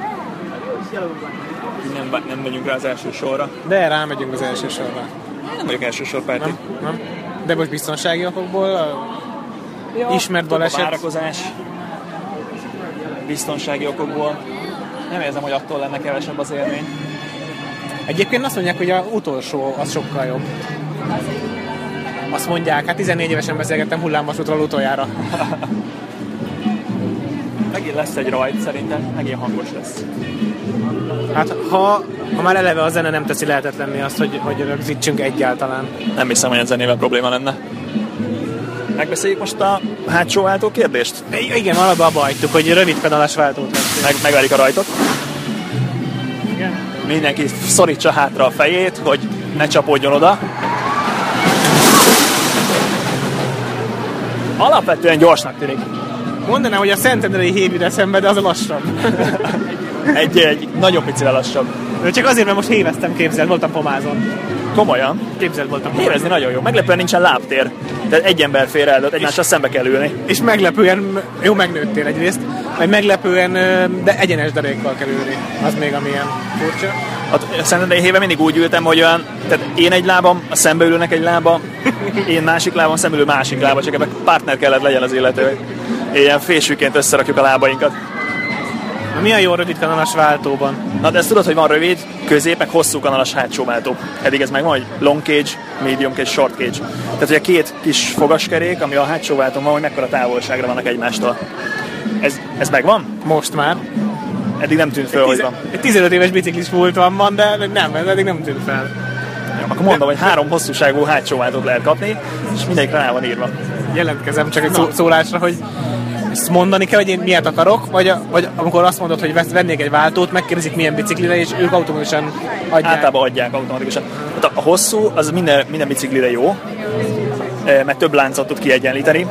Speaker 1: Nem, nem megyünk rá az első sorra.
Speaker 2: De rámegyünk az első sorra.
Speaker 1: Én nem vagyok első sorpárti.
Speaker 2: Nem? Nem? De most biztonsági okokból a ismert
Speaker 1: Több a
Speaker 2: baleset.
Speaker 1: várakozás, biztonsági okokból. Nem érzem, hogy attól lenne kevesebb az élmény.
Speaker 2: Egyébként azt mondják, hogy a utolsó az sokkal jobb. Azt mondják, hát 14 évesen beszélgettem hullámvasútról utoljára.
Speaker 1: Megint lesz egy rajt szerintem, megint hangos lesz.
Speaker 2: Hát ha, ha már eleve a zene nem teszi lehetetlenni azt, hogy, hogy rögzítsünk egyáltalán.
Speaker 1: Nem hiszem, hogy a zenével probléma lenne. Megbeszéljük most a hátsó váltó kérdést?
Speaker 2: I- igen, alapban abba hagytuk, hogy rövid pedalás váltót lesz.
Speaker 1: Meg, megverjük a rajtot. Mindenki szorítsa hátra a fejét, hogy ne csapódjon oda. Alapvetően gyorsnak tűnik.
Speaker 2: Mondanám, hogy a Szentendrei hív jut eszembe, de az a lassabb.
Speaker 1: Egy, egy nagyon picivel lassabb.
Speaker 2: Csak azért, mert most héveztem, képzeld, voltam pomázon.
Speaker 1: Komolyan.
Speaker 2: Képzeld, voltam pomázon.
Speaker 1: Érezni nagyon jó. Meglepően nincsen lábtér. Tehát egy ember fér el, ott egymással szembe kell ülni.
Speaker 2: És meglepően, jó, megnőttél egyrészt, meg meglepően, ö, de egyenes derékkal kell ülni. Az még amilyen furcsa.
Speaker 1: A Szentendrei héve mindig úgy ültem, hogy olyan, tehát én egy lábam, a szembe ülőnek egy lába, én másik lábam, szembe ülő másik lába, csak ebben partner kellett legyen az illető. Ilyen fésűként összerakjuk a lábainkat.
Speaker 2: Na, mi a jó rövid kanalas váltóban?
Speaker 1: Na de ezt tudod, hogy van rövid, közép, meg hosszú kanalas hátsó váltó. Eddig ez megvan, hogy long cage, medium cage, short cage. Tehát ugye két kis fogaskerék, ami a hátsó váltón van, hogy mekkora távolságra vannak egymástól. Ez, ez megvan?
Speaker 2: Most már.
Speaker 1: Eddig nem tűnt föl, hogy van.
Speaker 2: Egy 15 éves biciklis múltam van, de nem, ez eddig nem tűnt fel.
Speaker 1: Akkor mondom, hogy három hosszúságú hátsó váltót lehet kapni, és mindegyikre rá van írva.
Speaker 2: Jelentkezem csak egy szó- szólásra, hogy ezt mondani kell, hogy én miért akarok, vagy, a, vagy amikor azt mondod, hogy vesz- vennék egy váltót, megkérdezik milyen biciklire, és ők automatikusan adják.
Speaker 1: Általában adják automatikusan. Hát a, a hosszú az minden, minden biciklire jó, eh, mert több láncot tud kiegyenlíteni.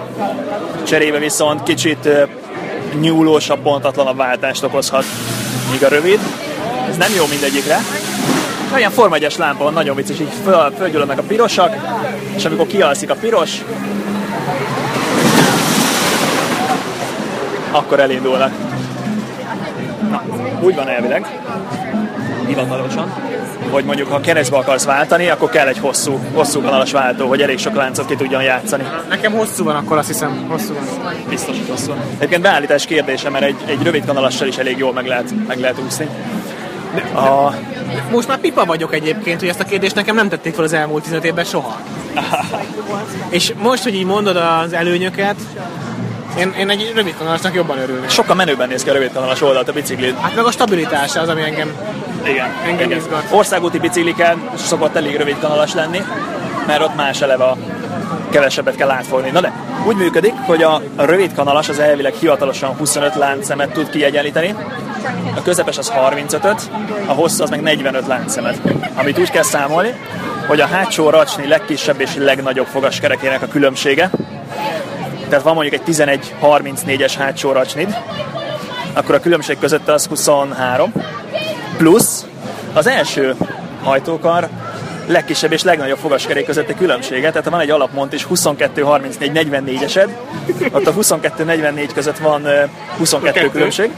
Speaker 1: Cserébe viszont kicsit eh, nyúlósabb, pontatlanabb váltást okozhat, míg a rövid. Ez nem jó mindegyikre. Olyan formegyes lámpa van, nagyon vicces, így föl, fölgyülödnek a pirosak, és amikor kialszik a piros, akkor elindulnak. Na, úgy van elvileg hivatalosan, hogy mondjuk ha keresztbe akarsz váltani, akkor kell egy hosszú, hosszú kanalas váltó, hogy elég sok láncot ki tudjon játszani.
Speaker 2: Nekem hosszú van, akkor azt hiszem, hosszú van.
Speaker 1: Biztos, hogy hosszú. Egyébként beállítás kérdése, mert egy, egy rövid kanalassal is elég jól meg lehet, meg lehet úszni. A,
Speaker 2: Most már pipa vagyok egyébként, hogy ezt a kérdést nekem nem tették fel az elmúlt 15 évben soha. És most, hogy így mondod az előnyöket, én, én egy rövid kanalasnak jobban örülnék.
Speaker 1: sokkal menőben néz ki a rövid kanalas oldalt a biciklit.
Speaker 2: Hát meg a stabilitása az, ami engem...
Speaker 1: Igen,
Speaker 2: Engem
Speaker 1: igen.
Speaker 2: izgat.
Speaker 1: Országúti bicikliken szokott elég rövid kanalas lenni, mert ott más eleve a kevesebbet kell átfogni. Na de, úgy működik, hogy a a rövid kanalas az elvileg hivatalosan 25 láncszemet tud kiegyenlíteni, a közepes az 35-öt, a hosszú az meg 45 láncszemet, amit úgy kell számolni, hogy a hátsó racsni legkisebb és legnagyobb fogaskerekének a különbsége, tehát van mondjuk egy 11-34-es hátsó racsnid, akkor a különbség között az 23, plusz az első hajtókar legkisebb és legnagyobb fogaskerék közötti különbsége, tehát van egy alapmont is 22-34-44 esed, ott a 22-44 között van ö, 22 különbség,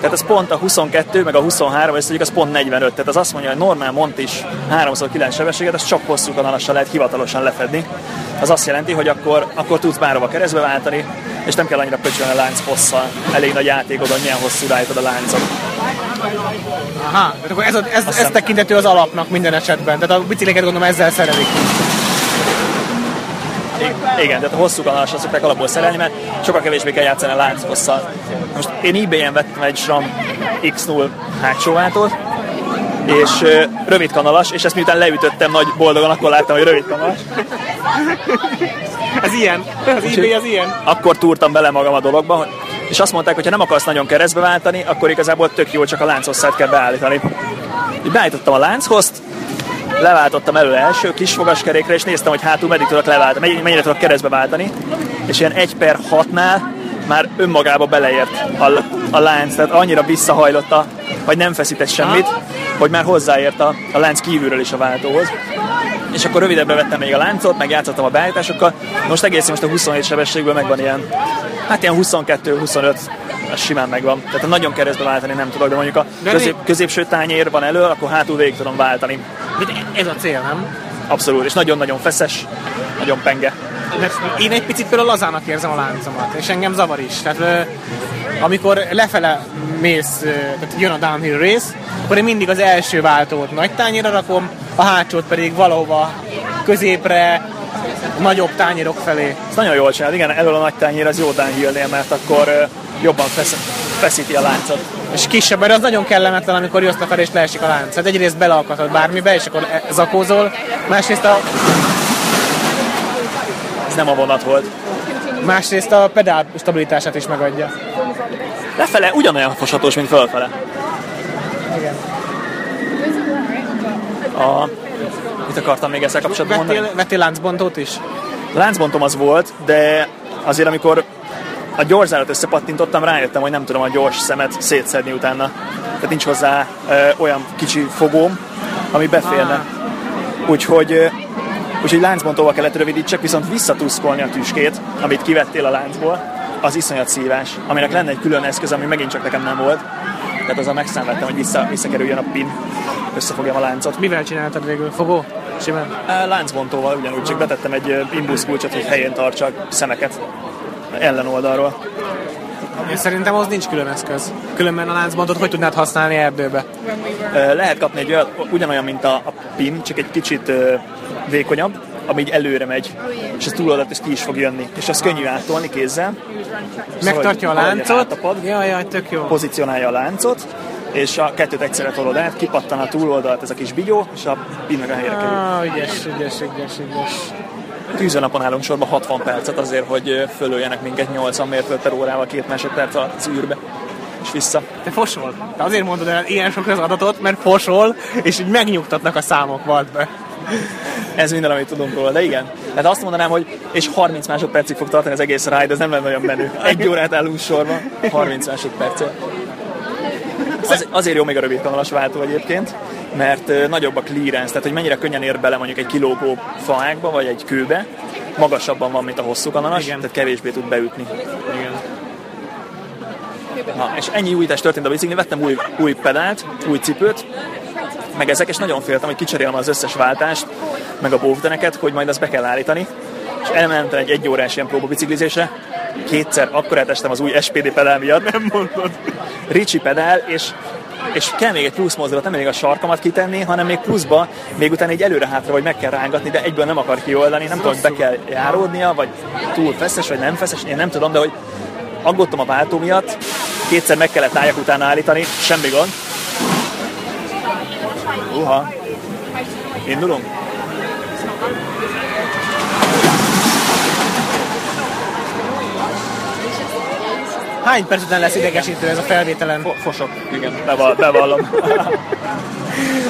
Speaker 1: Tehát ez pont a 22, meg a 23, és az pont 45. Tehát az azt mondja, hogy normál mont is 3x9 sebességet, az csak hosszú kanalassal lehet hivatalosan lefedni. Az azt jelenti, hogy akkor, akkor tudsz bárhova keresztbe váltani, és nem kell annyira pöcsölni a lánc hosszal. Elég nagy játékod, hogy milyen hosszú állítod a láncot.
Speaker 2: Aha, tehát akkor ez, a- ez, ez
Speaker 1: hiszem.
Speaker 2: tekintető az alapnak minden esetben. Tehát a bicikliket gondolom ezzel szerelik.
Speaker 1: I- Igen, tehát a hosszú kanalasra szokták alapból szerelni, mert sokkal kevésbé kell játszani a láncfosszal. Most én eBay-en vettem egy SRAM X0 hátsóvától, és ö, rövid kanalas, és ezt miután leütöttem nagy boldogan, akkor láttam, hogy rövid kanalas.
Speaker 2: Ez ilyen. Az eBay az ilyen.
Speaker 1: Akkor túrtam bele magam a dologba, hogy- és azt mondták, hogy ha nem akarsz nagyon keresztbe váltani, akkor igazából tök jó, csak a lánchosszát kell beállítani. Így beállítottam a lánchoszt, leváltottam elő első kisfogaskerékre, és néztem, hogy hátul meddig tudok leváltani, mennyi- mennyire tudok keresztbe váltani, és ilyen 1 per 6-nál már önmagába beleért a, a lánc, tehát annyira visszahajlotta, hogy nem feszített semmit, hogy már hozzáért a, a lánc kívülről is a váltóhoz. És akkor rövidebbre vettem még a láncot, meg játszottam a beállításokkal. Most egészen most a 27 sebességből megvan ilyen, hát ilyen 22-25 az simán megvan. Tehát ha nagyon keresztbe váltani nem tudok, de mondjuk a
Speaker 2: De
Speaker 1: közép,
Speaker 2: mi-
Speaker 1: középső tányér van elő, akkor hátul végig tudom váltani.
Speaker 2: Ez a cél, nem?
Speaker 1: Abszolút, és nagyon-nagyon feszes, nagyon penge.
Speaker 2: Mert én egy picit például lazának érzem a láncomat, és engem zavar is. Tehát ö, amikor lefele mész, ö, tehát jön a downhill rész, akkor én mindig az első váltót nagy tányérra rakom, a hátsót pedig valahova középre, nagyobb tányérok felé.
Speaker 1: Ez nagyon jól csinál, igen, elől a nagy tányér az jó downhillnél, mert akkor ö, jobban fesz, feszíti a láncot.
Speaker 2: És kisebb, mert az nagyon kellemetlen, amikor jössz lefelé és leesik a lánc. Hát egyrészt beleakadhat bármibe, és akkor e- zakózol, másrészt a,
Speaker 1: Ez nem a vonat volt.
Speaker 2: másrészt a pedál stabilitását is megadja.
Speaker 1: Lefele ugyanolyan fosatós, mint fölfele. A... Mit akartam még ezzel kapcsolatban mondani?
Speaker 2: Vettél, vettél láncbontót is?
Speaker 1: Láncbontom az volt, de azért amikor a gyors zárat összepattintottam, rájöttem, hogy nem tudom a gyors szemet szétszedni utána. Tehát nincs hozzá ö, olyan kicsi fogóm, ami beférne. Úgyhogy, ö, úgyhogy láncbontóval kellett rövidítsek, viszont visszatuszkolni a tüskét, amit kivettél a láncból, az iszonyat szívás, aminek lenne egy külön eszköz, ami megint csak nekem nem volt. Tehát az a megszenvedtem, hogy vissza, visszakerüljön a pin, összefogjam a láncot.
Speaker 2: Mivel csináltad végül? Fogó? Simán?
Speaker 1: Á, Láncbontóval ugyanúgy, csak betettem egy ö, imbusz kulcsot, hogy helyén tartsak szemeket ellenoldalról.
Speaker 2: Én szerintem az nincs külön eszköz. Különben a láncbontot hogy tudnád használni erdőbe?
Speaker 1: Ö, Lehet kapni egy olyan, ugyanolyan, mint a, a pin, csak egy kicsit ö, vékonyabb, ami így előre megy, és ez túloldalt, és ki is fog jönni. És az könnyű áttolni kézzel, Szóval,
Speaker 2: Megtartja a
Speaker 1: hogy
Speaker 2: láncot.
Speaker 1: rátapad.
Speaker 2: Jaj, jaj, tök jó.
Speaker 1: pozícionálja a láncot, és a kettőt egyszerre tolod át, kipattan a túloldalt ez a kis bigyó, és a pin meg a helyre kerül.
Speaker 2: Ah, ügyes, ügyes, ügyes, ügyes.
Speaker 1: Tűzönapon állunk sorba 60 percet azért, hogy ö, fölöljenek minket 80 mérföld órával két másodperc alatt az űrbe és vissza.
Speaker 2: Te fosol. Te azért mondod el ilyen sok az adatot, mert fosol, és így megnyugtatnak a számok volt be.
Speaker 1: Ez minden, amit tudunk róla, de igen. Tehát azt mondanám, hogy és 30 másodpercig fog tartani az egész ride, ez nem lenne olyan menő. Egy órát állunk sorba, 30 másodperccel. Az, azért jó még a rövid kanalas váltó egyébként, mert ö, nagyobb a clearance, tehát hogy mennyire könnyen ér bele mondjuk egy kilógó faákba, vagy egy kőbe, magasabban van, mint a hosszú kanalas, Igen. tehát kevésbé tud beütni. Igen. Na, és ennyi újítás történt a biciklin, vettem új, új pedált, új cipőt, meg ezek, és nagyon féltem, hogy kicserélem az összes váltást, meg a bóvdeneket, hogy majd azt be kell állítani. És elmentem egy egyórás ilyen próbabiciklizésre, kétszer akkorát estem az új SPD pedál miatt. Nem mondod. Ricsi pedál, és és kell még egy plusz mozdulat, nem elég a sarkamat kitenni, hanem még pluszba, még utána egy előre-hátra vagy meg kell rángatni, de egyből nem akar kioldani, nem tudom, hogy be kell járódnia, vagy túl feszes, vagy nem feszes, én nem tudom, de hogy aggódtam a váltó miatt, kétszer meg kellett álljak utána állítani, semmi gond. Uha, indulunk?
Speaker 2: Hány perc után lesz idegesítő ez a felvételen?
Speaker 1: Fo- Fosok, igen, Beval- bevallom.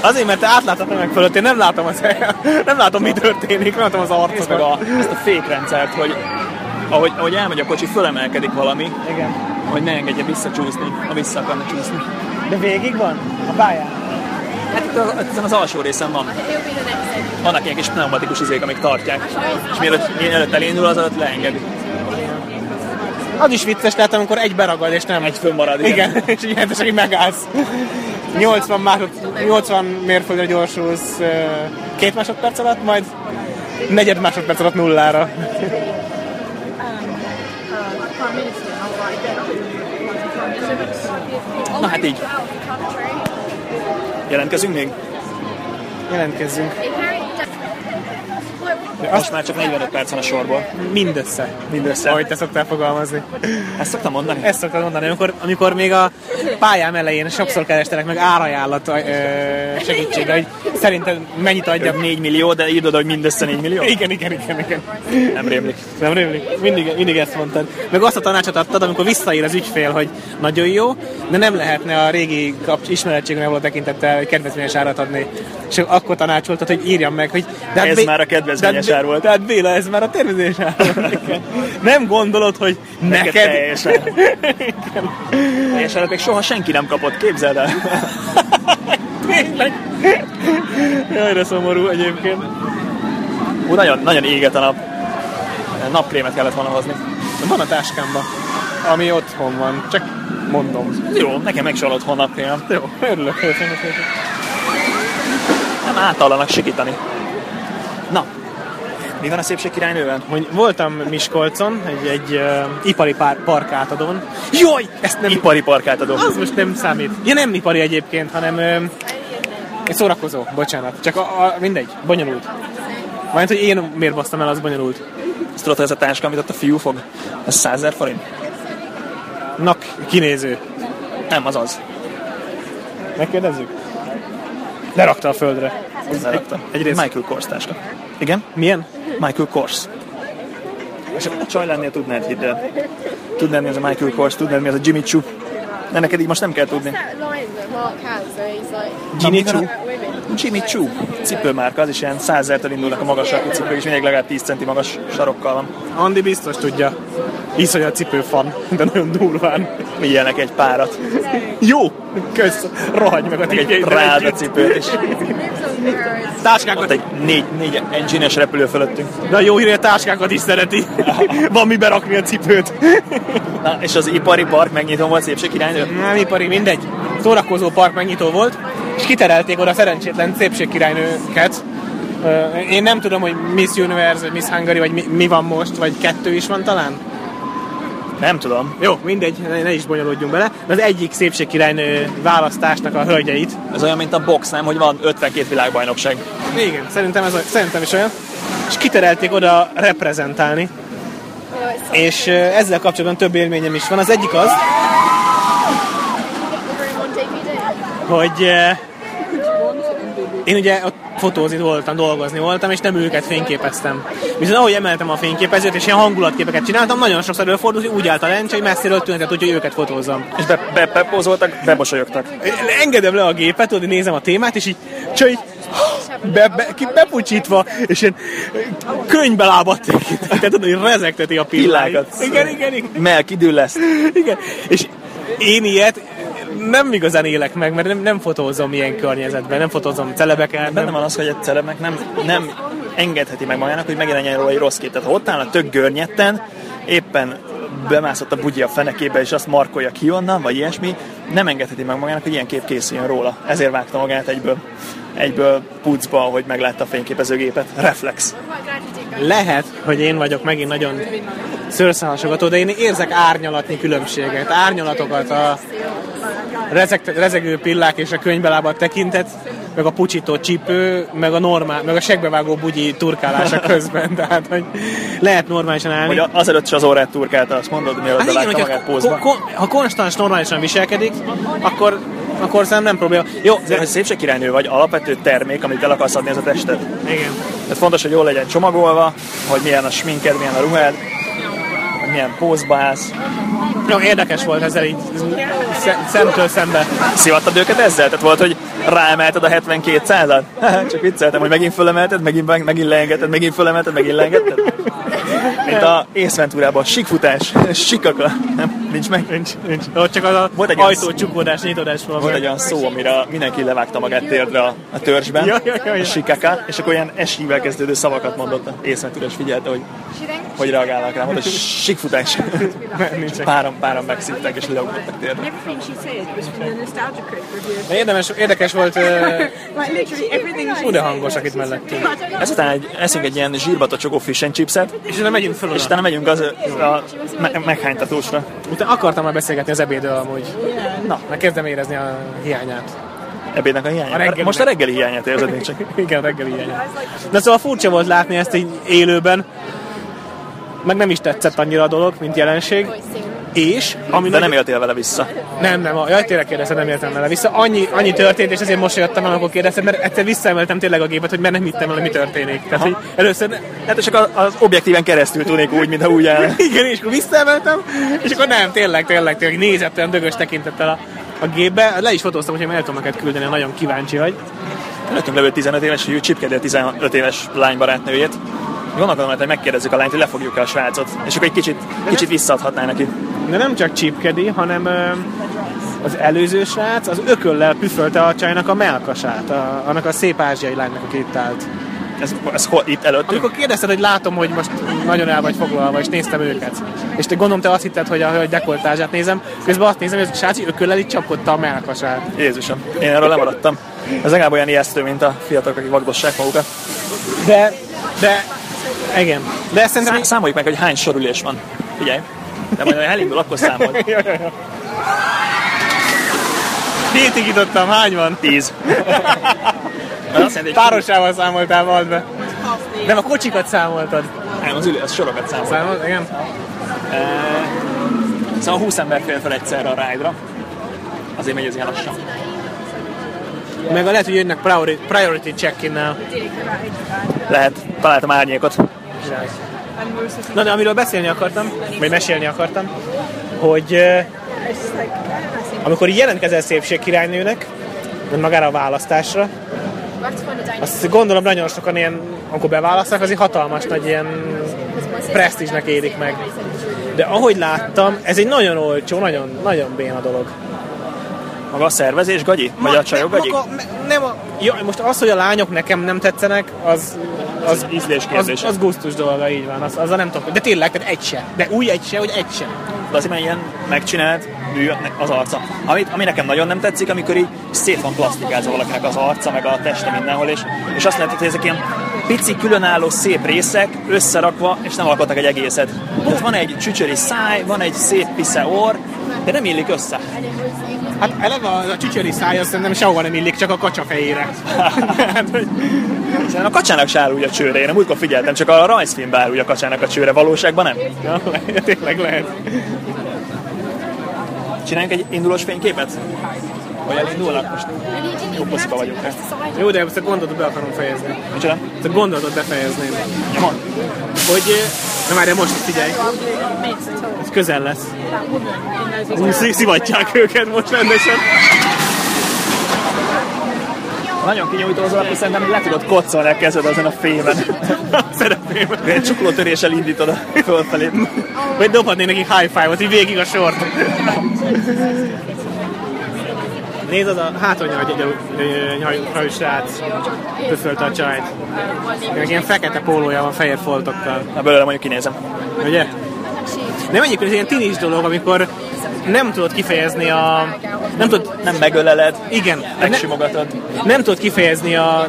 Speaker 2: Azért, mert te átlátod meg fölött, én nem látom, az, nem látom mi történik, nem látom az
Speaker 1: Nézd meg
Speaker 2: arcodat.
Speaker 1: a, ezt a fékrendszert, hogy ahogy, ahogy elmegy a kocsi, fölemelkedik valami,
Speaker 2: Igen.
Speaker 1: hogy ne engedje visszacsúszni, ha vissza akarna csúszni.
Speaker 2: De végig van? A pályán?
Speaker 1: Hát itt az, ezen az alsó részen van. Vannak ilyen kis pneumatikus izék, amik tartják. És mielőtt, mielőtt elindul, az alatt leengedi.
Speaker 2: Az is vicces lehet, amikor egy beragad, és nem. Egy
Speaker 1: fönnmarad, igen.
Speaker 2: Igen, és így jelentős, hogy megállsz. 80, másod, 80 mérföldre gyorsulsz ö, két másodperc alatt, majd negyed másodperc alatt nullára.
Speaker 1: Na hát így. Jelentkezünk még?
Speaker 2: Jelentkezzünk.
Speaker 1: Most már csak 45 perc van a sorból.
Speaker 2: Mindössze.
Speaker 1: Mindössze.
Speaker 2: Ahogy te szoktál fogalmazni.
Speaker 1: Ezt szoktam mondani?
Speaker 2: Ezt szoktam mondani, amikor, amikor még a pályám elején sokszor kerestelek meg árajánlat ö, segítségre, hogy szerinted mennyit adjak.
Speaker 1: 4 millió, de írd oda, hogy mindössze 4 millió?
Speaker 2: Igen, igen, igen, igen.
Speaker 1: Nem rémlik.
Speaker 2: Nem rémlik? Mindig, mindig ezt mondtad. Meg azt a tanácsot adtad, amikor visszaír az ügyfél, hogy nagyon jó, de nem lehetne a régi kapcs- ismerettségre való tekintettel kedvezményes árat adni. És akkor tanácsoltad, hogy írjam meg, hogy... De hát
Speaker 1: Ez
Speaker 2: Bé-
Speaker 1: már a kedvezményes
Speaker 2: de hát Bé-
Speaker 1: ár volt.
Speaker 2: De hát Béla, ez már a tervezés ár volt. Igen. Nem gondolod, hogy
Speaker 1: Neked
Speaker 2: neked...
Speaker 1: teljesen. Teljesen, még soha senki nem kapott, képzeld el.
Speaker 2: Tényleg. Jaj, de szomorú egyébként.
Speaker 1: Ú, nagyon, nagyon éget a nap. Napkrémet kellett volna hozni.
Speaker 2: Van a táskámban, ami otthon van. Csak mondom.
Speaker 1: Jó, nekem meg se van otthon napkrém.
Speaker 2: Jó, örülök.
Speaker 1: Nem általanak sikítani. Na, mi van a szépség királynővel?
Speaker 2: Hogy voltam Miskolcon, egy, egy uh, ipari pár, park átadón.
Speaker 1: Jaj! Ezt nem... Ipari parkát adom.
Speaker 2: Az most nem számít. Ja, nem ipari egyébként, hanem uh, egy szórakozó, bocsánat. Csak a, a, mindegy, bonyolult. Majd, hogy én miért basztam el, az bonyolult.
Speaker 1: Azt tudod, hogy ez a táska, amit ott a fiú fog? Ez 100 000 forint?
Speaker 2: Nak, kinéző.
Speaker 1: Nem, az az.
Speaker 2: Megkérdezzük? Lerakta a földre.
Speaker 1: Leraktam.
Speaker 2: egyrészt-
Speaker 1: Michael Kors táska. Igen?
Speaker 2: Milyen?
Speaker 1: Michael Kors. És a csaj lennél tudnád, hidd el. Tudnád, mi az a Michael Kors, tudnád, mi az a Jimmy Choo. De neked így most nem kell tudni.
Speaker 12: That line that Mark has where he's like,
Speaker 1: Jimmy
Speaker 12: like
Speaker 1: Choo?
Speaker 12: about women.
Speaker 1: Jimmy Choo. Cipőmárka, az is ilyen 100 000-től indulnak a magas sarkú cipők, és mindig legalább 10 centi magas sarokkal van.
Speaker 2: Andi biztos tudja. Iszony a cipőfan, de nagyon durván.
Speaker 1: Vigyenek egy párat,
Speaker 2: Jó! Kösz! Rohagy meg a
Speaker 1: meg egy
Speaker 2: tiéddel
Speaker 1: Prada
Speaker 2: együtt.
Speaker 1: cipőt, és ott
Speaker 2: Táskákat,
Speaker 1: egy négy, négy engine-es repülő fölöttünk.
Speaker 2: de a jó hírű a táskákat is szereti. Van mi berakni a cipőt.
Speaker 1: Na, és az ipari park megnyitó volt szépségkirálynő?
Speaker 2: Nem ipari, mindegy. Szórakozó park megnyitó volt, és kiterelték oda szerencsétlen szépségkirálynőket. Ö, Én nem tudom, hogy Miss Universe, vagy Miss Hungary, vagy mi, mi van most, vagy kettő is van talán.
Speaker 1: Nem tudom.
Speaker 2: Jó, mindegy, ne, ne is bonyolódjunk bele. De az egyik szépségkirálynő választásnak a hölgyeit.
Speaker 1: Ez olyan, mint a box, nem? Hogy van 52 világbajnokság.
Speaker 2: Igen, szerintem, ez, oly- szerintem is olyan. És kiterelték oda reprezentálni. És ö, ezzel kapcsolatban több élményem is van. Az egyik az, hogy ö, én ugye ott fotózni voltam, dolgozni voltam, és nem őket fényképeztem. Viszont ahogy emeltem a fényképezőt, és ilyen hangulatképeket csináltam, nagyon sokszor előfordult, hogy úgy állt a lencse, hogy messziről tűnhetett, úgyhogy őket fotózzam.
Speaker 1: És be, be, bepózoltak, bebosolyogtak.
Speaker 2: engedem le a gépet, tudod, nézem a témát, és így csak így be, be, ki, bepucsítva, és ilyen könyvbe lábadt tehát tudod, hogy rezegteti a pillákat.
Speaker 1: Pillákat.
Speaker 2: Igen, igen, igen,
Speaker 1: Melk, idő lesz.
Speaker 2: igen. És én ilyet nem igazán élek meg, mert nem, nem fotózom ilyen környezetben, nem fotózom celebeket.
Speaker 1: Benne van az, hogy egy celebnek nem, nem engedheti meg magának, hogy megjelenjen róla egy rossz kép. Tehát ha ott áll a tök görnyetten, éppen bemászott a bugyi a fenekébe, és azt markolja ki onnan, vagy ilyesmi, nem engedheti meg magának, hogy ilyen kép készüljön róla. Ezért vágta magát egyből, egyből pucba, hogy meglátta a fényképezőgépet. Reflex.
Speaker 2: Hát Lehet, hogy én vagyok megint nagyon szőrszahasogató, de én érzek árnyalatni különbséget, árnyalatokat a rezeg, rezegő pillák és a könyvbelábat tekintet, meg a pucsító csípő, meg a normál, meg a segbevágó bugyi turkálása közben, tehát hogy lehet normálisan állni.
Speaker 1: Hogy a- azelőtt is az órát turkálta, azt mondod, mielőtt
Speaker 2: Hát
Speaker 1: hát
Speaker 2: igen,
Speaker 1: belátta
Speaker 2: hogyha
Speaker 1: magát pózba.
Speaker 2: ko- ko- ha konstans normálisan viselkedik, akkor, akkor szerintem nem probléma. Jó,
Speaker 1: Azért, hogy szépségkirálynő vagy, alapvető termék, amit el akarsz adni, ez a tested.
Speaker 2: igen.
Speaker 1: Tehát fontos, hogy jól legyen csomagolva, hogy milyen a sminked, milyen a ruhád, hogy milyen pózba állsz.
Speaker 2: Jó, érdekes volt ezzel így szem- szemtől szembe.
Speaker 1: Szivattad őket ezzel? Tehát volt, hogy ráemelted a 72 százat? Csak vicceltem, hogy megint fölemelted, megint, megint leengedted, megint fölemelted, megint leengedted? Mint a észventúrában, sikfutás, sikaka. Nem, nincs meg?
Speaker 2: Nincs, nincs. Ott csak az a
Speaker 1: Volt egy
Speaker 2: ajtó csukódás, nyitodás van.
Speaker 1: Volt egy olyan szó, amire mindenki levágta magát térdre a, a törzsben,
Speaker 2: Ja, ja, ja, ja.
Speaker 1: a sikaka, és akkor ilyen esível kezdődő szavakat mondott. Észventúrás figyelte, hogy hogy reagálnak rá, mondta, hogy sikfutás. páran, páran megszívták és leugrattak térre.
Speaker 13: Everything she said was from the Nostalgia Critic
Speaker 2: De
Speaker 13: review.
Speaker 2: érdemes, érdekes volt,
Speaker 13: Like literally everything she
Speaker 2: Ude
Speaker 13: said.
Speaker 2: hangosak itt mellettünk.
Speaker 1: Ezután egy, eszünk egy ilyen zsírba tocsogó fish and chipset,
Speaker 2: És nem megyünk föl
Speaker 1: és
Speaker 2: oda.
Speaker 1: utána megyünk az a me- meghánytatósra.
Speaker 2: Utána akartam már beszélgetni az ebédről amúgy. Na, már kezdem érezni a hiányát.
Speaker 1: Ebédnek a
Speaker 2: A
Speaker 1: hiányát.
Speaker 2: reggelnek.
Speaker 1: Most a reggeli hiányát érzed még csak.
Speaker 2: Igen, a reggeli hiányát. De szóval furcsa volt látni ezt így élőben. Meg nem is tetszett annyira a dolog, mint jelenség. És, ami
Speaker 1: De
Speaker 2: nagy-
Speaker 1: nem éltél vele vissza.
Speaker 2: Nem, nem, a- jaj, tényleg kérdezted, nem értem vele vissza. Annyi, annyi történt, és ezért mosolyodtam el, amikor kérdezted, mert egyszer visszaemeltem tényleg a gépet, hogy mert nem hittem el, hogy mi történik. Tehát, hogy először, ne-
Speaker 1: Hát és akkor az objektíven keresztül tűnik úgy, mintha úgy állna.
Speaker 2: igen, és akkor visszaemeltem, és akkor nem, tényleg, tényleg, tényleg nézett olyan dögös tekintettel a, a gépbe. Le is fotóztam, hogy el tudom neked küldeni, nagyon kíváncsi vagy.
Speaker 1: Előttünk levő 15 éves, hogy ő csipkedi a 15 éves lánybarátnőjét. Gondolkodom, hogy megkérdezzük a lányt, hogy lefogjuk-e a srácot, és akkor egy kicsit, kicsit visszaadhatná neki.
Speaker 2: De nem csak csípkedi, hanem ö, az előző srác az ököllel püfölte a csajnak a melkasát, a, annak a szép ázsiai lánynak, aki itt állt.
Speaker 1: Ez, ez hol, itt előttünk?
Speaker 2: Amikor kérdezted, hogy látom, hogy most nagyon el vagy foglalva, és néztem őket. És te gondolom, te azt hitted, hogy a hölgy dekoltázsát nézem, közben azt nézem, hogy a srác így ököllel itt csapkodta a melkasát.
Speaker 1: Jézusom, én erről lemaradtam. Ez legalább olyan ijesztő, mint a fiatalok, akik vagdossák magukat.
Speaker 2: De, de, igen. De ezt szerintem
Speaker 1: Szá- számoljuk meg, hogy hány sorülés van. Figyelj. De majd, ha elindul, akkor számol.
Speaker 2: hétig jutottam, hány van?
Speaker 1: Tíz.
Speaker 2: Párosával számoltál, vald be. Nem, a kocsikat számoltad.
Speaker 1: Nem, az ülő, az sorokat számol.
Speaker 2: Számolt, igen.
Speaker 1: Szóval 20 ember fél fel egyszerre a ride-ra. Azért megy ez ilyen lassan.
Speaker 2: Meg lehet, hogy jönnek priori- priority check-innel.
Speaker 1: Lehet, találtam árnyékot.
Speaker 2: Na de amiről beszélni akartam, vagy mesélni akartam, hogy eh, amikor így jelentkezel szépség királynőnek, vagy magára a választásra, azt gondolom nagyon sokan ilyen, amikor beválasztanak, az egy hatalmas nagy ilyen presztízsnek érik meg. De ahogy láttam, ez egy nagyon olcsó, nagyon, nagyon béna dolog.
Speaker 1: Maga a szervezés, gagyi? Vagy a csajok, gagyi?
Speaker 2: maga- ne- nem a, ja, most az, hogy a lányok nekem nem tetszenek, az, az,
Speaker 1: ízlés
Speaker 2: az,
Speaker 1: kérdése.
Speaker 2: az gusztus dolga, így van. Az, azzal nem tudok. De tényleg, tehát egy se. De úgy egy se, hogy egy se.
Speaker 1: De azért, mert ilyen megcsinált mű az arca. Ami, ami nekem nagyon nem tetszik, amikor így szét van plastikázva valakinek az arca, meg a teste mindenhol, és, és azt látod, hogy ezek ilyen pici, különálló, szép részek összerakva, és nem alkottak egy egészet. Tehát van egy csücsöri száj, van egy szép pisze orr, de nem illik össze.
Speaker 2: Hát eleve a, a csücsöri szája szerintem sehova nem illik, csak a kacsa fejére. hát, hogy
Speaker 1: Hiszen a kacsának se áll úgy a csőre, én nem múltkor figyeltem, csak a rajzfilmben áll úgy a kacsának a csőre, valóságban nem.
Speaker 2: ja, tényleg lehet.
Speaker 1: Csináljunk egy indulós fényképet? Vagy elindulnak most? Jó posziba vagyunk.
Speaker 2: Jó, de ezt a gondolatot be akarom fejezni.
Speaker 1: Micsoda?
Speaker 2: Ezt a gondolatot befejezném.
Speaker 1: Nyomon.
Speaker 2: Hogy... ö, Na már, de most figyelj. Ez közel lesz. Ú, szi- Szivatják őket most rendesen.
Speaker 1: Nagyon kinyújtó az alap, és szerintem le tudod kocolni a kezed azon a fémen. Szeretném. Egy csuklótöréssel indítod a fölfelé.
Speaker 2: Vagy dobhatnék neki high five-ot, így végig a sort. Nézd, az a hátonya egy nyhajú srác pöfölte a csajt. Meg ilyen fekete pólója van fehér foltokkal.
Speaker 1: Na belőle mondjuk kinézem.
Speaker 2: Ugye? Nem egyébként ez ilyen tinis dolog, amikor nem tudod kifejezni a... Nem tudod...
Speaker 1: Nem megöleled,
Speaker 2: Igen. Ne,
Speaker 1: megsimogatod.
Speaker 2: nem tudod kifejezni a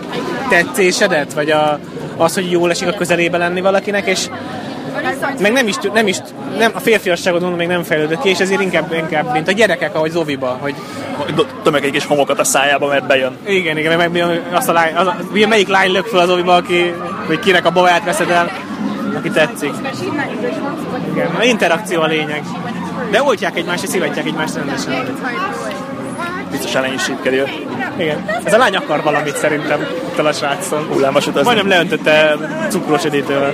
Speaker 2: tetszésedet, vagy a, az, hogy jól esik a közelébe lenni valakinek, és meg nem is, tud- nem is nem, a férfiasságodon még nem fejlődött ki, és ezért inkább, inkább mint a gyerekek, ahogy Zoviba, hogy
Speaker 1: Do- Tömök egy kis homokat a szájába, mert bejön.
Speaker 2: igen, igen, meg mi a- azt a lány, az, a- mi a- melyik lány lök fel az Zoviba, aki, vagy kinek a babáját veszed el, aki tetszik. Igen, a interakció a lényeg. De oltják egymást, és szivatják egymást rendesen.
Speaker 1: Biztos ellen is sípkedél.
Speaker 2: Igen. Ez a lány akar valamit szerintem itt a srácon.
Speaker 1: Hullámos utazni.
Speaker 2: Majdnem leöntötte cukros edítővel.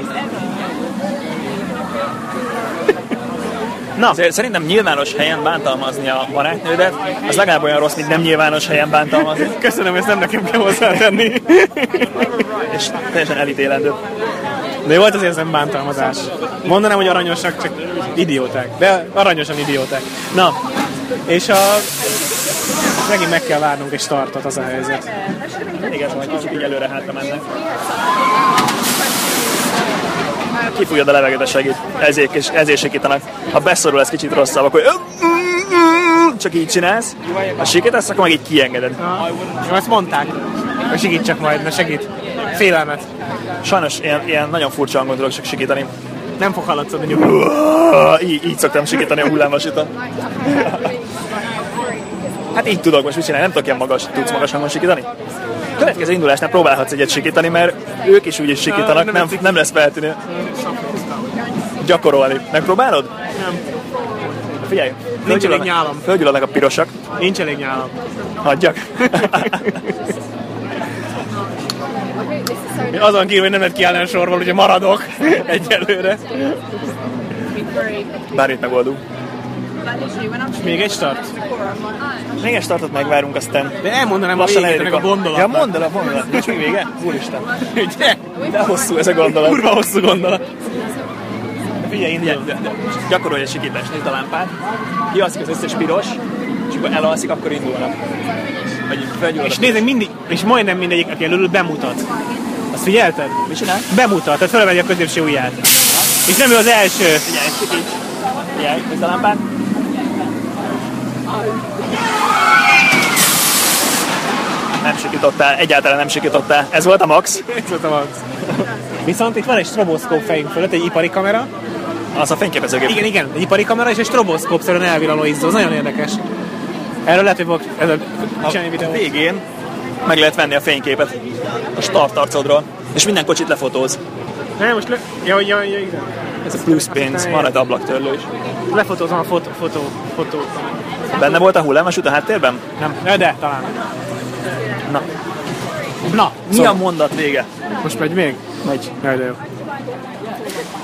Speaker 1: Szer- Szerintem nyilvános helyen bántalmazni a barátnődet, az legalább olyan rossz, mint nem nyilvános helyen bántalmazni.
Speaker 2: Köszönöm, ezt nem nekem kell hozzátenni.
Speaker 1: És teljesen elítélendő.
Speaker 2: De jó hát volt az érzem bántalmazás. Mondanám, hogy aranyosak, csak idióták. De aranyosan idióták. Na, és a... Megint meg kell várnunk egy startot az a helyzet.
Speaker 1: Igen, szóval kicsit így előre hátra mennek. kifújod a levegőt, segít. Ezért, és ezért segítenek. Ha beszorul, ez kicsit rosszabb, akkor csak így csinálsz. Ha sikítasz, akkor meg így kiengeded.
Speaker 2: Ja, Azt mondták, hogy segít csak majd, na segít. Félelmet.
Speaker 1: Sajnos ilyen, ilyen nagyon furcsa hangon tudok csak sikítani.
Speaker 2: Nem fog hallatszani nyugodtan.
Speaker 1: Így, így szoktam sikítani a hullámvasíton. Hát így tudok most mit csinálni, nem tudok ilyen magas, tudsz magas hangon sikítani? Következő indulásnál próbálhatsz egyet sikítani, mert ők is úgyis sikítanak, nem, nem lesz feltűnő. Gyakorolni. Megpróbálod?
Speaker 2: Nem.
Speaker 1: Figyelj,
Speaker 2: Nincs elég
Speaker 1: fölgyulladnak-
Speaker 2: nyálam.
Speaker 1: Fölgyulladnak a pirosak.
Speaker 2: Nincs elég nyálam.
Speaker 1: Hagyjak.
Speaker 14: Azon kívül, hogy nem lett kiállni a sorból, ugye maradok egyelőre.
Speaker 1: Bár itt megoldunk.
Speaker 14: Még egy start?
Speaker 1: Még egy startot megvárunk, aztán
Speaker 2: De elmondanám a
Speaker 1: lassan
Speaker 2: végét ennek a
Speaker 1: elérjük
Speaker 2: gondolatnak.
Speaker 1: Ja, mondd el a gondolat. Nincs még vége? Úristen.
Speaker 14: Ugye?
Speaker 1: De hosszú ez a gondolat.
Speaker 14: Kurva hosszú gondolat.
Speaker 1: Figyelj, indulj. Gyakorolj egy sikítást, nézd a lámpát. Kialszik az összes piros, és akkor elalszik, akkor indulnak. Vagy felgyullad.
Speaker 2: És nézzük mindig, és majdnem mindegyik, aki elől bemutat. Azt figyelted?
Speaker 1: Mit csinál?
Speaker 2: Bemutat, tehát felvedi a középső ujját. És nem ő az első.
Speaker 1: Figyelj, sikíts. Figyelj, nézd a lámpát. Nem sikítottál, egyáltalán nem sikítottál. Ez volt a max.
Speaker 2: Tudtam az. Viszont itt van egy stroboszkóp fejünk fölött, egy ipari kamera.
Speaker 1: Az a fényképezőgép.
Speaker 2: Igen, igen, egy ipari kamera és egy stroboszkóp szerűen elvillanó izzó. Ez nagyon érdekes. Erről lehet, hogy fogok ezzel csinálni
Speaker 1: A
Speaker 2: videót.
Speaker 1: végén meg lehet venni a fényképet a startarcodról, és minden kocsit lefotóz.
Speaker 2: Nem, most le... Ja, ja, ja, igen.
Speaker 1: Ez a plusz pénz, van egy ablaktörlő is.
Speaker 2: Lefotózom a fotó, fotó, fotó.
Speaker 1: Benne volt a hullámvasút a háttérben?
Speaker 2: Nem, de, de talán.
Speaker 1: Na.
Speaker 2: Na,
Speaker 1: Mi szóval. a mondat vége?
Speaker 2: Most megy még? Megy. Jaj, de jó.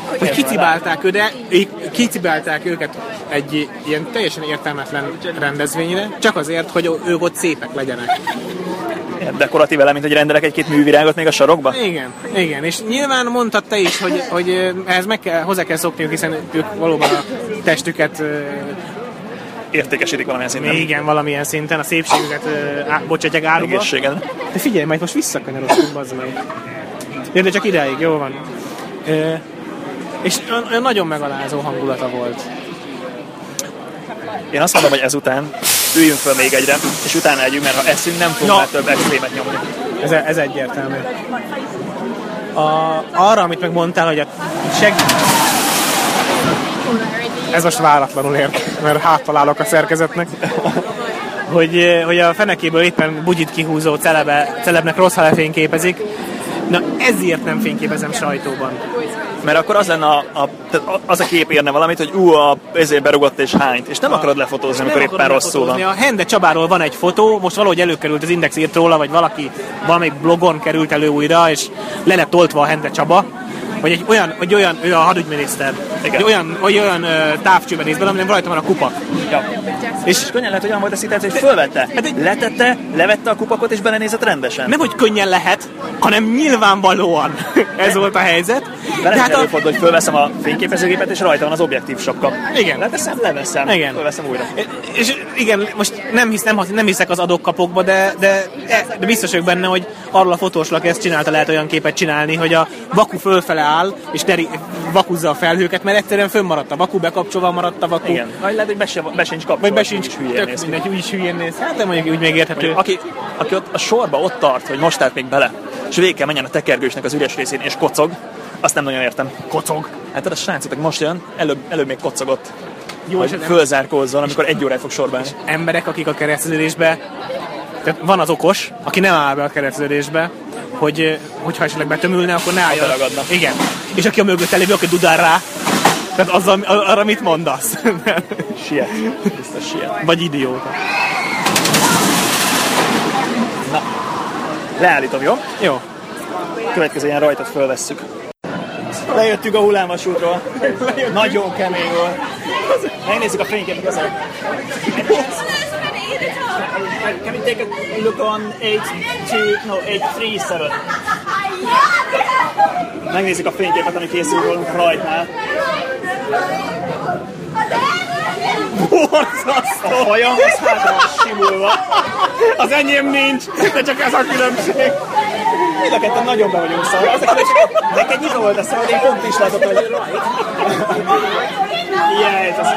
Speaker 2: Hogy
Speaker 1: Értem,
Speaker 2: kicibálták, ő, de í- kicibálták őket egy ilyen teljesen értelmetlen rendezvényre, csak azért, hogy ők ott szépek legyenek.
Speaker 1: Ilyen Dekoratív elem, mint hogy rendelek egy-két művirágot még a sarokba?
Speaker 2: Igen, igen, és nyilván mondtad te is, hogy, hogy ö, ehhez meg kell, hozzá kell szokniuk, hiszen ők valóban a testüket, eh, ö,
Speaker 1: Értékesítik valamilyen szinten.
Speaker 2: igen, valamilyen szinten, a szépségüket ö, á- bocsátják áruba.
Speaker 1: Egészségedre.
Speaker 2: De figyelj, majd most visszakanyarodtunk, bazd meg. Jó, de csak ideig, jó van. Ö, és olyan- olyan nagyon megalázó hangulata volt.
Speaker 1: Én azt mondom, hogy ezután üljünk föl még egyre, és utána együnk, mert ha eszünk, nem fogunk
Speaker 2: Na.
Speaker 1: már több extrémet nyomni.
Speaker 2: Ez, ez egyértelmű. A, arra, amit megmondtál, hogy a segít... Ez most váratlanul ért, mert háttalálok a szerkezetnek. Hogy, eh, hogy a fenekéből éppen bugyit kihúzó celebe, celebnek rossz hale fényképezik. Na ezért nem fényképezem sajtóban.
Speaker 1: Mert akkor az lenne a, a, tehát az a kép érne valamit, hogy ú, a, ezért berugott és hányt, és nem akarod lefotózni, amikor
Speaker 2: Nem
Speaker 1: éppen
Speaker 2: akarom
Speaker 1: rosszul van.
Speaker 2: lefotózni. A Hende Csabáról van egy fotó, most valahogy előkerült az Index írt róla, vagy valaki valamelyik blogon került elő újra, és le lett oltva a Hende Csaba, hogy egy olyan, hogy olyan, ő a hadügyminiszter,
Speaker 1: Igen.
Speaker 2: egy olyan, hogy olyan ö, távcsőben néz bele, aminek rajta van a kupak.
Speaker 1: Ja.
Speaker 2: És
Speaker 1: És könnyen lehet, hogy olyan volt a szituáció, hogy fölvette,
Speaker 2: Hát egy-
Speaker 1: letette, levette a kupakot és belenézett rendesen.
Speaker 2: nem, hogy könnyen lehet, hanem nyilvánvalóan ez volt a helyzet.
Speaker 1: De
Speaker 2: De hát a,
Speaker 1: előfordul, hogy fölveszem a fényképezőgépet, és rajta van az objektív sapka.
Speaker 2: Igen.
Speaker 1: Leteszem, leveszem,
Speaker 2: Igen.
Speaker 1: fölveszem újra.
Speaker 2: És igen, most nem, hisz, nem, nem hiszek az adokkapokba, de, de, de biztos vagyok benne, hogy arról a fotós, aki ezt csinálta, lehet olyan képet csinálni, hogy a vaku fölfele áll, és teri, vakuzza a felhőket, mert egyszerűen fönnmaradt a vaku, bekapcsolva maradt a vaku.
Speaker 1: Igen. Vagy lehet, hogy be, se, be sincs kapcsolva.
Speaker 2: Vagy be sincs
Speaker 1: és hülyén
Speaker 2: tök
Speaker 1: néz ki.
Speaker 2: mindegy, úgy is hülyén néz. Hát nem mondjuk úgy még érthető.
Speaker 1: Mondjuk, aki, aki ott a sorba ott tart, hogy most állt még bele, és végig kell menjen a tekergősnek az üres részén, és kocog, azt nem nagyon értem. Kocog? Hát tudod, a srácotok most jön, előbb, előbb még kocogott. Jó, hogy
Speaker 2: és hát nem-
Speaker 1: fölzárkózzon, amikor egy órát fog sorba állni.
Speaker 2: emberek, akik a kereszteződésbe, tehát van az okos, aki nem áll be a kereszteződésbe, hogy ö, hogyha esetleg betömülne, akkor ne álljon.
Speaker 1: beragadna.
Speaker 2: Igen. És aki a mögötte lévő, aki dudál rá, tehát azzal, ar- arra mit mondasz?
Speaker 1: Siet. Biztos siet.
Speaker 2: Vagy idióta.
Speaker 1: Leállítom, jó?
Speaker 2: Jó.
Speaker 1: Következő ilyen rajtot fölvesszük. Lejöttük a hullámvasútról. Nagyon kemény volt. Megnézzük a fényképet ezen. Can we take a look on 8, 2, no, 8, 3, 7? Megnézzük a fényképet, ami készül rólunk rajtnál. Borzasztó! A hajam az hátra van simulva.
Speaker 2: Az enyém nincs, de csak ez a különbség.
Speaker 15: Mind a ketten nagyon be vagyunk szarva. Az Neked neked nyitva volt a szemed, én pont is látott, hogy... Yeah, it was,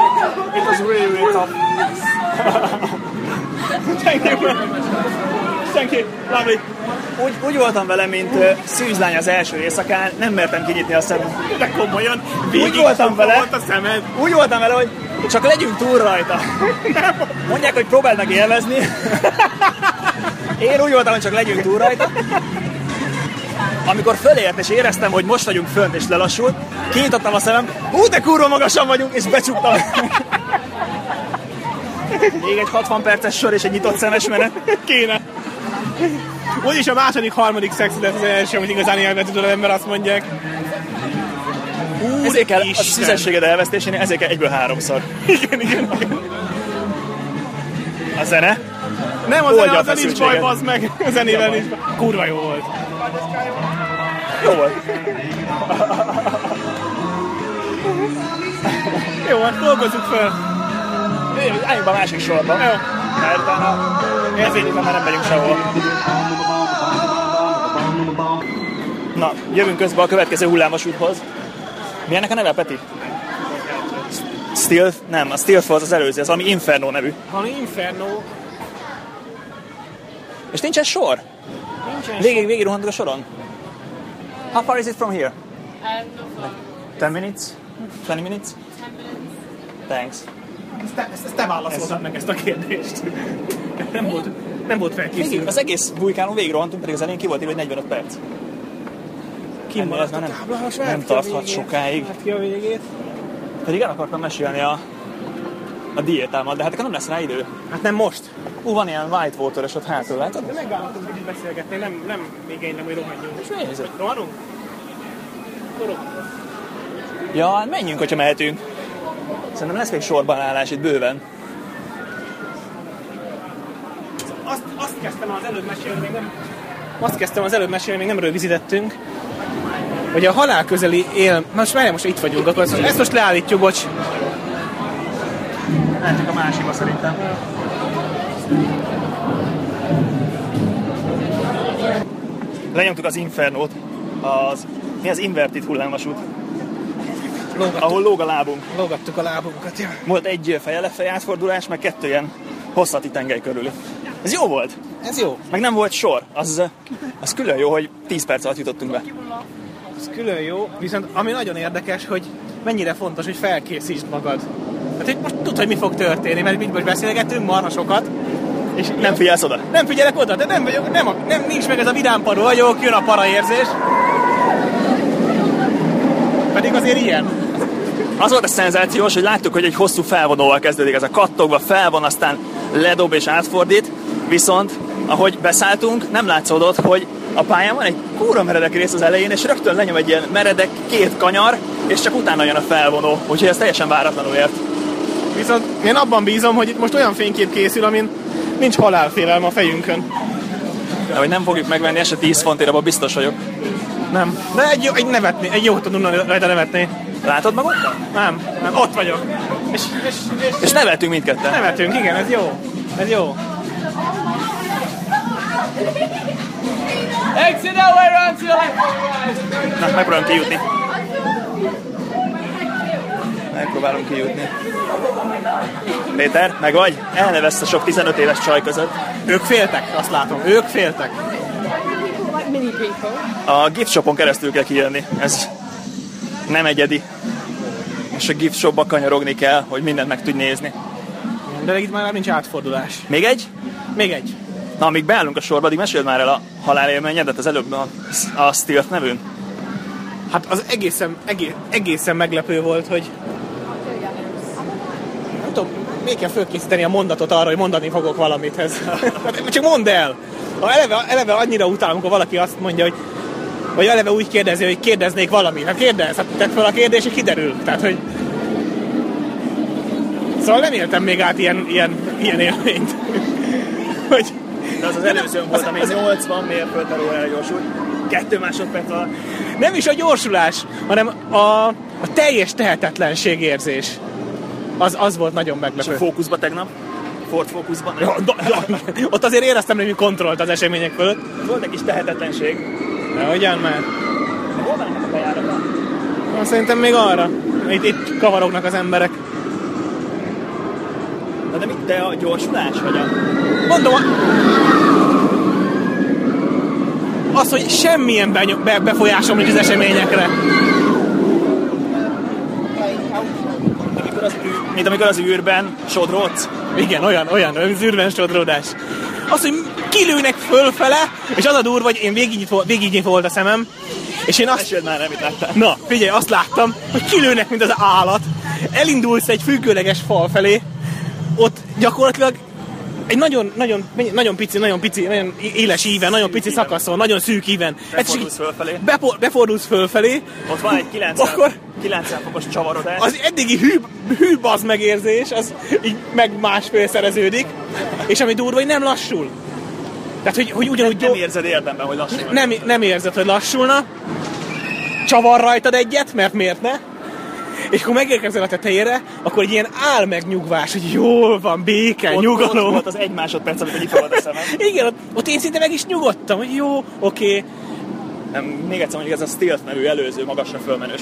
Speaker 15: it was really, really tough.
Speaker 1: Thank you. Thank you. Lovely. Úgy, úgy voltam vele, mint uh, szűzlány az első éjszakán, nem mertem kinyitni a szemem. De komolyan, úgy voltam vele, volt a szemed. úgy voltam vele, hogy csak legyünk túl rajta. Mondják, hogy próbáld meg élvezni. Én úgy voltam, hogy csak legyünk túl rajta. Amikor fölért és éreztem, hogy most vagyunk fönt és lelassult, kinyitottam a szemem, hú de kurva magasan vagyunk, és becsuktam. Még egy 60 perces sor és egy nyitott szemes menet.
Speaker 2: Kéne. Úgyis a második, harmadik szex lesz az első, amit igazán élve tudod, az ember azt mondják.
Speaker 1: Ezért kell a szüzességed elvesztésénél, ezért kell egyből háromszor.
Speaker 2: Igen, igen.
Speaker 1: A zene?
Speaker 2: Nem, az
Speaker 1: Oldja
Speaker 2: zene,
Speaker 1: a
Speaker 2: az zene nincs baj,
Speaker 1: feszültséget.
Speaker 2: bazd meg. A zenével nincs baj. Kurva jó volt.
Speaker 1: Jó volt.
Speaker 2: Jó, hát dolgozzuk fel.
Speaker 1: Jó, Álljunk be a másik sorba. Jó. Mert utána ezért már nem megyünk sehol. Na, jövünk közben a következő hullámos úthoz. Mi ennek a neve, Peti? Steel? Nem, a Steel Falls az előző, az valami Inferno nevű.
Speaker 2: Valami Inferno.
Speaker 1: És nincsen sor?
Speaker 2: Nincsen
Speaker 1: Végig, végig rohantunk a soron? How far is it from here? Ten minutes? Twenty minutes? Thanks.
Speaker 2: Ezt te, ezt, ezt te válaszoltad meg ezt a kérdést. Nem volt, nem volt
Speaker 1: Végig,
Speaker 2: felkészülve.
Speaker 1: az egész vulkánon végig rohantunk, pedig az elején ki volt írva, hogy 45 perc. Kim ez már nem,
Speaker 2: Tábla, most
Speaker 1: nem
Speaker 2: várt ki a
Speaker 1: tarthat
Speaker 2: végét.
Speaker 1: sokáig.
Speaker 2: Várt Hát ki a végét.
Speaker 1: Pedig el akartam mesélni a, a diétámat, de hát akkor nem lesz rá idő.
Speaker 2: Hát nem most.
Speaker 1: Ú, van ilyen white water ott hátul, látod?
Speaker 2: De megállapodunk, hogy így beszélgetni, nem, nem igénylem, hogy rohanjunk.
Speaker 1: És mi ez?
Speaker 2: Rohanunk?
Speaker 1: Ja, hát menjünk, hogyha mehetünk. Szerintem lesz még sorban állás itt bőven.
Speaker 2: Azt, azt kezdtem az előbb mesélni, még nem... Azt kezdtem az előbb mesélni, még nem rögzítettünk, hogy a halál közeli él... Most már most itt vagyunk, akkor ezt, ezt most leállítjuk, bocs.
Speaker 1: Mentek a másikba szerintem. Lenyomtuk az Infernót. Az, mi az invertit hullámvasút,
Speaker 2: Lógattuk,
Speaker 1: ahol lóg a lábunk.
Speaker 2: lógattuk a lábunkat, ja.
Speaker 1: Volt egy feje lefelé átfordulás, meg kettő ilyen hosszati tengely körül. Ez jó volt,
Speaker 2: Ez jó.
Speaker 1: meg nem volt sor. Az, az külön jó, hogy 10 perc alatt jutottunk be.
Speaker 2: Ez külön jó, viszont ami nagyon érdekes, hogy mennyire fontos, hogy felkészítsd magad. Hát hogy most tudod, hogy mi fog történni, mert így most beszélgetünk marha sokat, és
Speaker 1: Nem figyelsz oda?
Speaker 2: nem figyelek oda, de nem vagyok, nem, a, nem nincs meg ez a vidám paró, vagyok, jön a para érzés. Pedig azért ilyen.
Speaker 1: Az volt a szenzációs, hogy láttuk, hogy egy hosszú felvonóval kezdődik ez a kattogva, felvon, aztán ledob és átfordít, viszont ahogy beszálltunk, nem látszódott, hogy a pályán van egy kóra meredek rész az elején, és rögtön lenyom egy ilyen meredek két kanyar, és csak utána jön a felvonó, úgyhogy ez teljesen váratlanul ért.
Speaker 2: Viszont én abban bízom, hogy itt most olyan fénykép készül, amin nincs halálfélelme a fejünkön.
Speaker 1: De hogy nem fogjuk megvenni, ez se 10 fontért, abban biztos vagyok.
Speaker 2: Nem. De egy, jó, egy nevetni, egy jót tudunk rajta nevetni.
Speaker 1: Látod magadtad?
Speaker 2: Nem, nem, ott vagyok. És, és, és,
Speaker 1: És neveltünk mindketten.
Speaker 2: Nevetünk, igen, ez jó. Ez jó.
Speaker 1: Na, megpróbálom kijutni. Megpróbálom kijutni. Péter, meg vagy? Elnevesz a sok 15 éves csaj között.
Speaker 2: Ők féltek, azt látom. Ők féltek.
Speaker 13: Like mini people.
Speaker 1: A gift shopon keresztül kell kijönni. Ez nem egyedi. És a gift shopba kanyarogni kell, hogy mindent meg tudj nézni.
Speaker 2: De itt már nincs átfordulás.
Speaker 1: Még egy?
Speaker 2: Még egy.
Speaker 1: Na, amíg beállunk a sorba, addig meséld már el a halálélményedet az előbb a, a Stilt nevűn.
Speaker 2: Hát az egészen, egész, egészen meglepő volt, hogy nem tudom, még kell fölkészíteni a mondatot arra, hogy mondani fogok valamit ez. Hát Csak mondd el! Ha eleve, eleve annyira utálom, amikor valaki azt mondja, hogy vagy eleve úgy kérdezi, hogy kérdeznék valamit. Hát kérdez, hát tedd fel a kérdés, és kiderül. Tehát, hogy... Szóval nem éltem még át ilyen, ilyen, ilyen élményt. hogy...
Speaker 1: De az az előzőn volt, ami 80 mérföld alól elgyorsult. Kettő másodperc alatt.
Speaker 2: Nem is a gyorsulás, hanem a, a teljes tehetetlenség érzés. Az, az volt nagyon
Speaker 1: És a
Speaker 2: meglepő.
Speaker 1: fókuszba tegnap? Ford Focusban.
Speaker 2: Ja, da- ja, Ott azért éreztem némi kontrollt az események fölött.
Speaker 1: Volt egy kis tehetetlenség.
Speaker 2: De ugyan már.
Speaker 1: Hol vannak a bejárata?
Speaker 2: Na, Szerintem még arra. Itt, itt kavarognak az emberek.
Speaker 1: Na de mit te a gyorsulás vagy a...
Speaker 2: Mondom, a- az, hogy semmilyen beny- be- befolyásom nincs az eseményekre.
Speaker 1: Mint amikor az, ű- mint amikor az űrben sodrodsz?
Speaker 2: Igen, olyan, olyan, olyan zűrben sodródás. Az, hogy kilőnek fölfele, és az a durva, hogy én végignyitva, végignyitva volt a szemem, és én azt...
Speaker 1: Esélyed már nem, mit láttál.
Speaker 2: Na, figyelj, azt láttam, hogy kilőnek, mint az állat. Elindulsz egy függőleges fal felé, ott gyakorlatilag egy nagyon, nagyon, nagyon pici, nagyon pici, nagyon éles íven, nagyon pici szakaszon, nagyon szűk íven.
Speaker 1: Befordulsz fölfelé.
Speaker 2: Bepor, befordulsz fölfelé,
Speaker 1: Ott van egy 900,
Speaker 2: Akkor-
Speaker 1: 900 fokos csavarodás.
Speaker 2: az eddigi hű, hű bazd megérzés, az így meg másfél szereződik, és ami durva, hogy nem lassul. Tehát, hogy, hogy ugyanúgy
Speaker 1: nem
Speaker 2: gyors,
Speaker 1: érzed érdemben, hogy lassan vagy.
Speaker 2: nem, nem érzed, hogy lassulna, csavar rajtad egyet, mert miért ne? És akkor megérkezel a tetejére, akkor egy ilyen áll megnyugvás, hogy jól van, béke,
Speaker 1: Ott- Ott
Speaker 2: nyugalom.
Speaker 1: volt az egy másodperc, amikor nyitva a szemem.
Speaker 2: Igen, ott, ott én szinte meg is nyugodtam, hogy jó, oké,
Speaker 1: Nem, még egyszer mondjuk ez a Stealth nevű előző magasra fölmenős,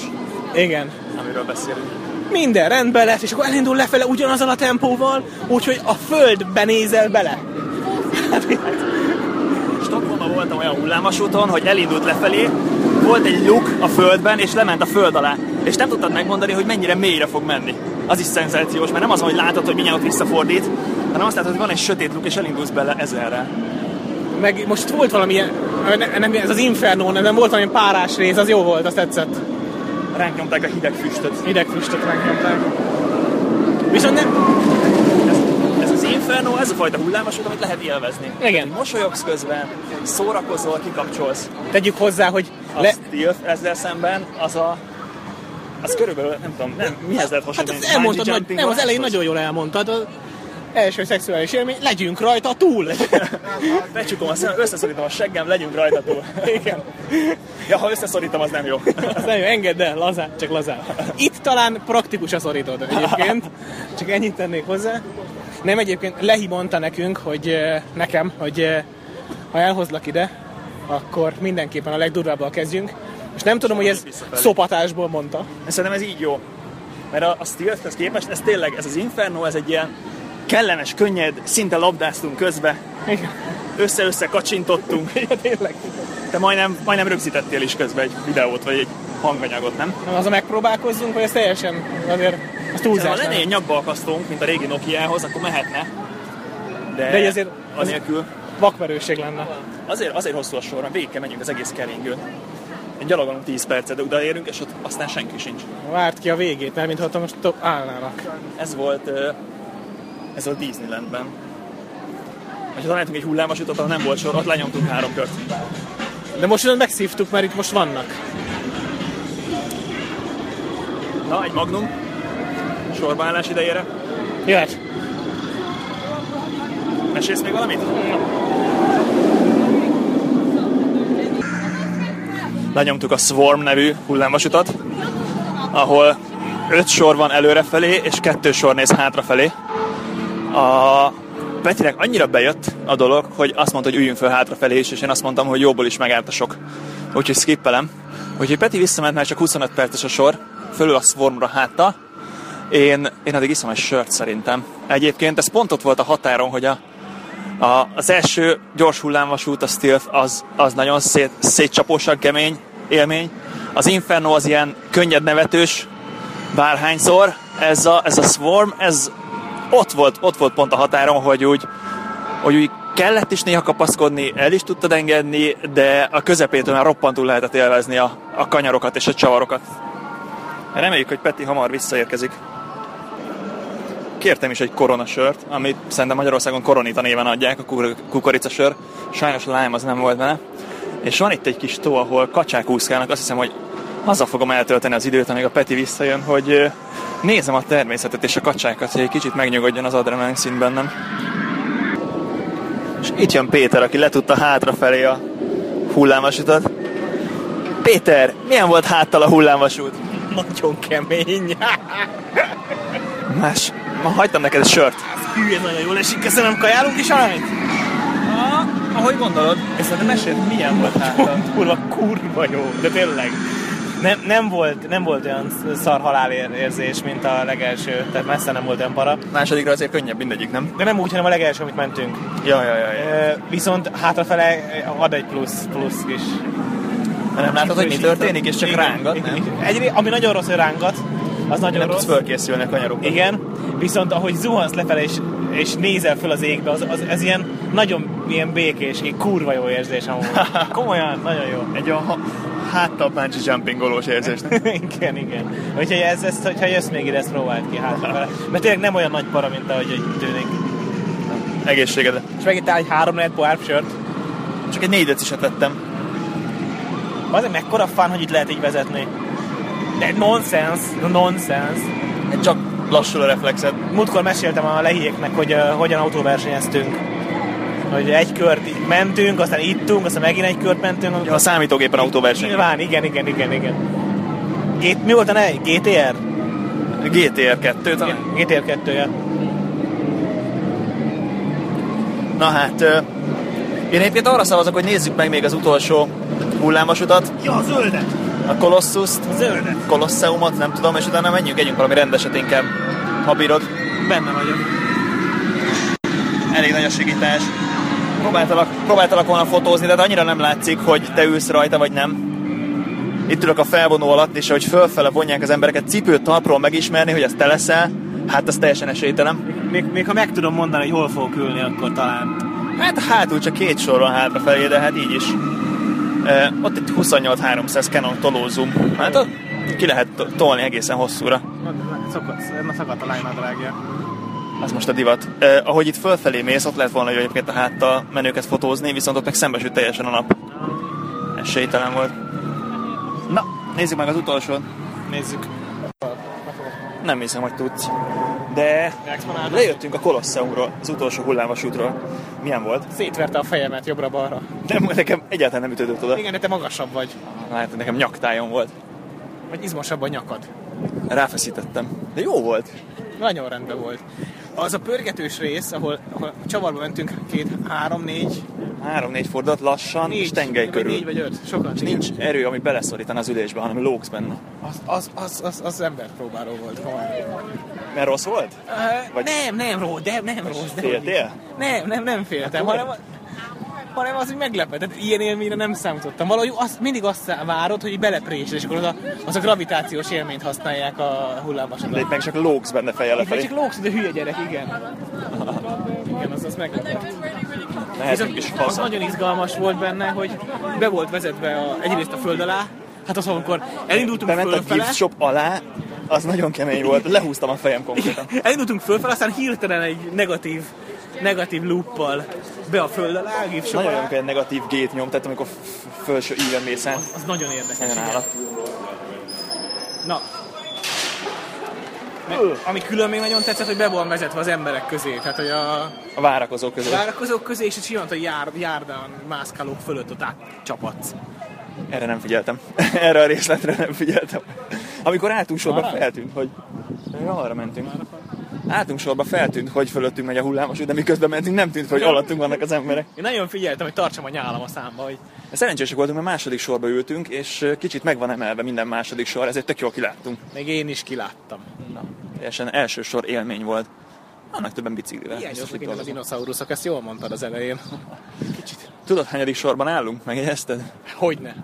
Speaker 2: igen.
Speaker 1: amiről beszélünk.
Speaker 2: minden rendben lesz, és akkor elindul lefele ugyanazon a tempóval, úgyhogy a földbe nézel bele.
Speaker 1: Stockholmban voltam olyan hullámos úton, hogy elindult lefelé, volt egy luk a földben, és lement a föld alá. És nem tudtad megmondani, hogy mennyire mélyre fog menni. Az is szenzációs, mert nem az, hogy látod, hogy mindjárt ott visszafordít, hanem azt látod, hogy van egy sötét luk, és elindulsz bele ezerre.
Speaker 2: Meg most volt valami ilyen, ne- nem, ez az Inferno, nem, nem volt valami párás rész, az jó volt, azt tetszett.
Speaker 1: Ránk nyomták a hideg füstöt.
Speaker 2: Hidegfüstöt megnyomták. Viszont nem,
Speaker 1: Ez, ez az inferno, ez a fajta hullámos út, amit lehet élvezni.
Speaker 2: Igen.
Speaker 1: Mosolyogsz közben, szórakozol, kikapcsolsz.
Speaker 2: tegyük hozzá, hogy
Speaker 1: A
Speaker 2: le,
Speaker 1: Le... Stealth ezzel szemben az a... Az körülbelül, nem tudom, nem, mihez lehet
Speaker 2: Hát
Speaker 1: hasonlítani?
Speaker 2: azt elmondtad,
Speaker 1: Bungee
Speaker 2: nagy,
Speaker 1: jumping
Speaker 2: nem, az
Speaker 1: máshoz?
Speaker 2: elején nagyon jól elmondtad, az első szexuális élmény, legyünk rajta túl.
Speaker 1: Becsukom a szemem, összeszorítom a seggem, legyünk rajta túl.
Speaker 2: Igen.
Speaker 1: Ja, ha összeszorítom, az nem jó.
Speaker 2: Azt nem jó, engedd el, lazán, csak lazán. Itt talán praktikus a szorítod egyébként, csak ennyit tennék hozzá. Nem egyébként Lehi mondta nekünk, hogy eh, nekem, hogy eh, ha elhozlak ide, akkor mindenképpen a legdurvábbal kezdjünk. És nem tudom, hogy ez
Speaker 1: visszafelé.
Speaker 2: szopatásból mondta.
Speaker 1: Szerintem ez így jó. Mert a, a Steelthhez képest, ez tényleg, ez az Inferno, ez egy ilyen kellemes, könnyed, szinte labdáztunk közbe. Össze-össze kacsintottunk.
Speaker 2: hát Tényleg.
Speaker 1: Te majdnem, majdnem rögzítettél is közben egy videót, vagy egy hanganyagot, nem?
Speaker 2: Nem az a megpróbálkozzunk, vagy ez teljesen azért az
Speaker 1: Ha
Speaker 2: túlzás.
Speaker 1: lenne
Speaker 2: nem?
Speaker 1: egy nyakba akasztónk, mint a régi Nokiához, akkor mehetne. De,
Speaker 2: De így azért-
Speaker 1: anélkül...
Speaker 2: Vakmerőség lenne.
Speaker 1: Azért, azért hosszú a sorra, végig kell menjünk az egész keringőn. Én gyalogolunk 10 percet, de odaérünk, és ott aztán senki sincs.
Speaker 2: Várt ki a végét, mert mintha most to- állnának.
Speaker 1: Ez volt, ö, ez volt Disneylandben. Ha találtunk egy hullámos utat, ahol nem volt sor, ott lenyomtunk három kört.
Speaker 2: De most viszont megszívtuk, mert itt most vannak.
Speaker 1: Na, egy magnum. Sorbaállás idejére.
Speaker 2: Jöhet.
Speaker 1: Mesélsz még valamit? Lenyomtuk a Swarm nevű hullámvasutat, ahol öt sor van előrefelé, és kettő sor néz hátrafelé. A Petinek annyira bejött a dolog, hogy azt mondta, hogy üljünk föl hátrafelé is, és én azt mondtam, hogy jóból is megállt a sok. Úgyhogy skippelem. Úgyhogy Peti visszament, mert csak 25 perces a sor, fölül a Swarmra háttal, én, én addig iszom egy sört szerintem. Egyébként ez pont ott volt a határon, hogy a, a, az első gyors hullámvasút, a Stealth, az, az nagyon szét, szétcsapósak kemény élmény. Az Inferno az ilyen könnyed nevetős bárhányszor. Ez a, ez a Swarm, ez ott volt, ott volt pont a határon, hogy úgy, hogy úgy kellett is néha kapaszkodni, el is tudtad engedni, de a közepétől már roppantul lehetett élvezni a, a kanyarokat és a csavarokat. Reméljük, hogy Peti hamar visszaérkezik. Kértem is egy koronasört, amit szerintem Magyarországon koronita néven adják, a kur- kukoricasör. Sajnos lime az nem volt benne. És van itt egy kis tó, ahol kacsák úszkálnak. Azt hiszem, hogy azzal fogom eltölteni az időt, amíg a Peti visszajön, hogy ö, nézem a természetet és a kacsákat, hogy egy kicsit megnyugodjon az adrenalin szint bennem. És itt jön Péter, aki letudta hátrafelé a hullámvasutat. Péter, milyen volt háttal a hullámvasút?
Speaker 2: Nagyon kemény.
Speaker 1: Más. Ma hagytam neked egy sört.
Speaker 2: Hű, ez nagyon jól esik, köszönöm, kajálunk is valamit?
Speaker 16: Ahogy gondolod, ez a mesét milyen volt hátra?
Speaker 2: Kurva, kurva jó, de tényleg. Nem, nem, volt, nem volt olyan szar halálérzés, mint a legelső, tehát messze nem volt olyan para.
Speaker 1: Másodikra azért könnyebb mindegyik, nem?
Speaker 2: De nem úgy, hanem a legelső, amit mentünk.
Speaker 1: Ja, ja, ja. ja.
Speaker 2: Ö, Viszont hátrafele ad egy plusz, plusz kis
Speaker 1: Mert nem látod, hogy mi történik, és csak
Speaker 2: Igen,
Speaker 1: rángat,
Speaker 2: igen,
Speaker 1: nem?
Speaker 2: igen. Egyré- ami nagyon rossz, hogy rángat, az nagyon
Speaker 1: Nem
Speaker 2: rossz.
Speaker 1: tudsz fölkészülni a kanyarokra.
Speaker 2: Igen, viszont ahogy zuhansz lefelé és, és nézel föl az égbe, az, az, ez ilyen nagyon ilyen békés, így kurva jó érzés amúgy. Komolyan, nagyon jó.
Speaker 1: Egy olyan ha- háttal bungee jumpingolós érzést.
Speaker 2: igen, igen. Úgyhogy ez, ezt, hogyha jössz még ide, ezt próbáld ki hátra. Mert tényleg nem olyan nagy para, mint ahogy így tűnik.
Speaker 1: Egészségedre.
Speaker 2: És megittál egy három lehet poárpsört.
Speaker 1: Csak egy négy deciset vettem.
Speaker 2: Azért mekkora fán, hogy itt lehet így vezetni. De nonsense, nonsense.
Speaker 1: Csak lassul a reflexed.
Speaker 2: Múltkor meséltem a lehiéknek, hogy uh, hogyan autóversenyeztünk. Hogy egy kört így mentünk, aztán ittunk, aztán megint egy kört mentünk.
Speaker 1: Ja, a számítógépen autóverseny.
Speaker 2: Nyilván, igen, igen, igen, igen. Gét, mi volt a neve? GTR?
Speaker 1: GTR 2 talán.
Speaker 2: GTR 2 -je.
Speaker 1: Na hát, ö, én egyébként arra szavazok, hogy nézzük meg még az utolsó hullámvasutat,
Speaker 2: Ja, zöldet!
Speaker 1: a Kolosszuszt,
Speaker 2: Zöldet!
Speaker 1: Kolosseumot, nem tudom, és utána menjünk, együnk valami rendeset inkább, ha bírod.
Speaker 2: Benne vagyok.
Speaker 1: Elég nagy a sigítás. Próbáltalak, próbáltalak volna fotózni, de hát annyira nem látszik, hogy te ülsz rajta, vagy nem. Itt ülök a felvonó alatt, és ahogy fölfele vonják az embereket, cipőt talpról megismerni, hogy az te leszel, hát az teljesen esélytelen.
Speaker 2: Még, még ha meg tudom mondani, hogy hol fogok ülni, akkor talán.
Speaker 1: Hát hátul csak két sor van hátrafelé, de hát így is. E, ott egy 28-300 Canon tolózum. Hát ott ki lehet to- tolni egészen hosszúra.
Speaker 2: Szokott, na szakadt a lánynadrágja.
Speaker 1: Az most a divat. E, ahogy itt fölfelé mész, ott lehet volna jó egyébként a háttal menőket fotózni, viszont ott meg szembesült teljesen a nap. Esélytelen volt. Na, nézzük meg az utolsót.
Speaker 2: Nézzük.
Speaker 1: Nem hiszem, hogy tudsz. De lejöttünk a Kolosseumról, az utolsó hullámvasútról. Milyen volt?
Speaker 2: Szétverte a fejemet jobbra-balra.
Speaker 1: Nem, nekem egyáltalán nem ütődött oda.
Speaker 2: Igen, de te magasabb vagy.
Speaker 1: Na, Hát nekem nyaktájon volt.
Speaker 2: Vagy izmosabb a nyakad.
Speaker 1: Ráfeszítettem. De jó volt.
Speaker 2: Nagyon rendben volt. Az a pörgetős rész, ahol, ahol csavarba mentünk két, három, négy,
Speaker 1: Három-négy fordulat lassan,
Speaker 2: négy,
Speaker 1: és tengely
Speaker 2: vagy
Speaker 1: körül.
Speaker 2: négy vagy öt, sokan.
Speaker 1: És nincs erő, ami beleszorítan az ülésbe, hanem lóksz benne.
Speaker 2: Az, az, az, az, az ember próbáló volt. komolyan.
Speaker 1: Mert rossz volt? Vagy-
Speaker 2: Vagy... Nem, nem, ró, de nem rossz. De
Speaker 1: Féltél?
Speaker 2: Nem, nem, nem féltem,
Speaker 1: Akkor
Speaker 2: hanem, hanem az, hogy meglepetett. Ilyen élményre nem számítottam. Valahogy azt, mindig azt várod, hogy így beleprésd, és akkor az a, az a gravitációs élményt használják a
Speaker 1: De
Speaker 2: hullámvasodra.
Speaker 1: itt meg csak lóksz benne feje
Speaker 2: Itt meg
Speaker 1: lefelé.
Speaker 2: csak lóksz, de hülye gyerek, igen. Igen, az, az meglepett.
Speaker 1: Mehetünk is
Speaker 2: Az
Speaker 1: haza.
Speaker 2: nagyon izgalmas volt benne, hogy be volt vezetve a, egyrészt a föld alá, hát az, amikor elindultunk
Speaker 1: Bement a
Speaker 2: fölfele,
Speaker 1: gift shop alá, az nagyon kemény volt. Lehúztam a fejem konkrétan.
Speaker 2: elindultunk fölfele, aztán hirtelen egy negatív, negatív looppal be a föld alá, a gift shop
Speaker 1: Nagyon
Speaker 2: alá.
Speaker 1: olyan negatív gét nyom, tehát amikor f- felső íven mész át.
Speaker 2: Az nagyon érdekes.
Speaker 1: Nagyon
Speaker 2: igen.
Speaker 1: állat.
Speaker 2: Na. Meg, ami külön még nagyon tetszett, hogy be van vezetve az emberek közé. Tehát, hogy a
Speaker 1: A várakozók között.
Speaker 2: várakozók közé, és simán, hogy jár, járdán mászkálók fölött ott átcsapatsz.
Speaker 1: Erre nem figyeltem. Erre a részletre nem figyeltem. Amikor álltunk sorba,
Speaker 2: Arra?
Speaker 1: feltűnt, hogy... Ja, arra mentünk. Álltunk sorba, feltűnt, hogy fölöttünk megy a hullámos, de miközben mentünk, nem tűnt fel, hogy alattunk vannak az emberek.
Speaker 2: Én nagyon figyeltem, hogy tartsam a nyálam a számba, hogy
Speaker 1: Szerencsések voltunk, mert második sorba ültünk, és ö, kicsit meg van emelve minden második sor, ezért tök jól kiláttunk.
Speaker 2: még én is kiláttam.
Speaker 1: Teljesen első sor élmény volt. Annak többen biciklivel. Biztos,
Speaker 2: Hiányoznak
Speaker 1: hogy
Speaker 2: innen a
Speaker 1: dolgozom.
Speaker 2: dinoszauruszok, ezt jól mondtad az elején.
Speaker 1: Tudod, hányadik sorban állunk? Megjegyezted?
Speaker 2: Hogyne.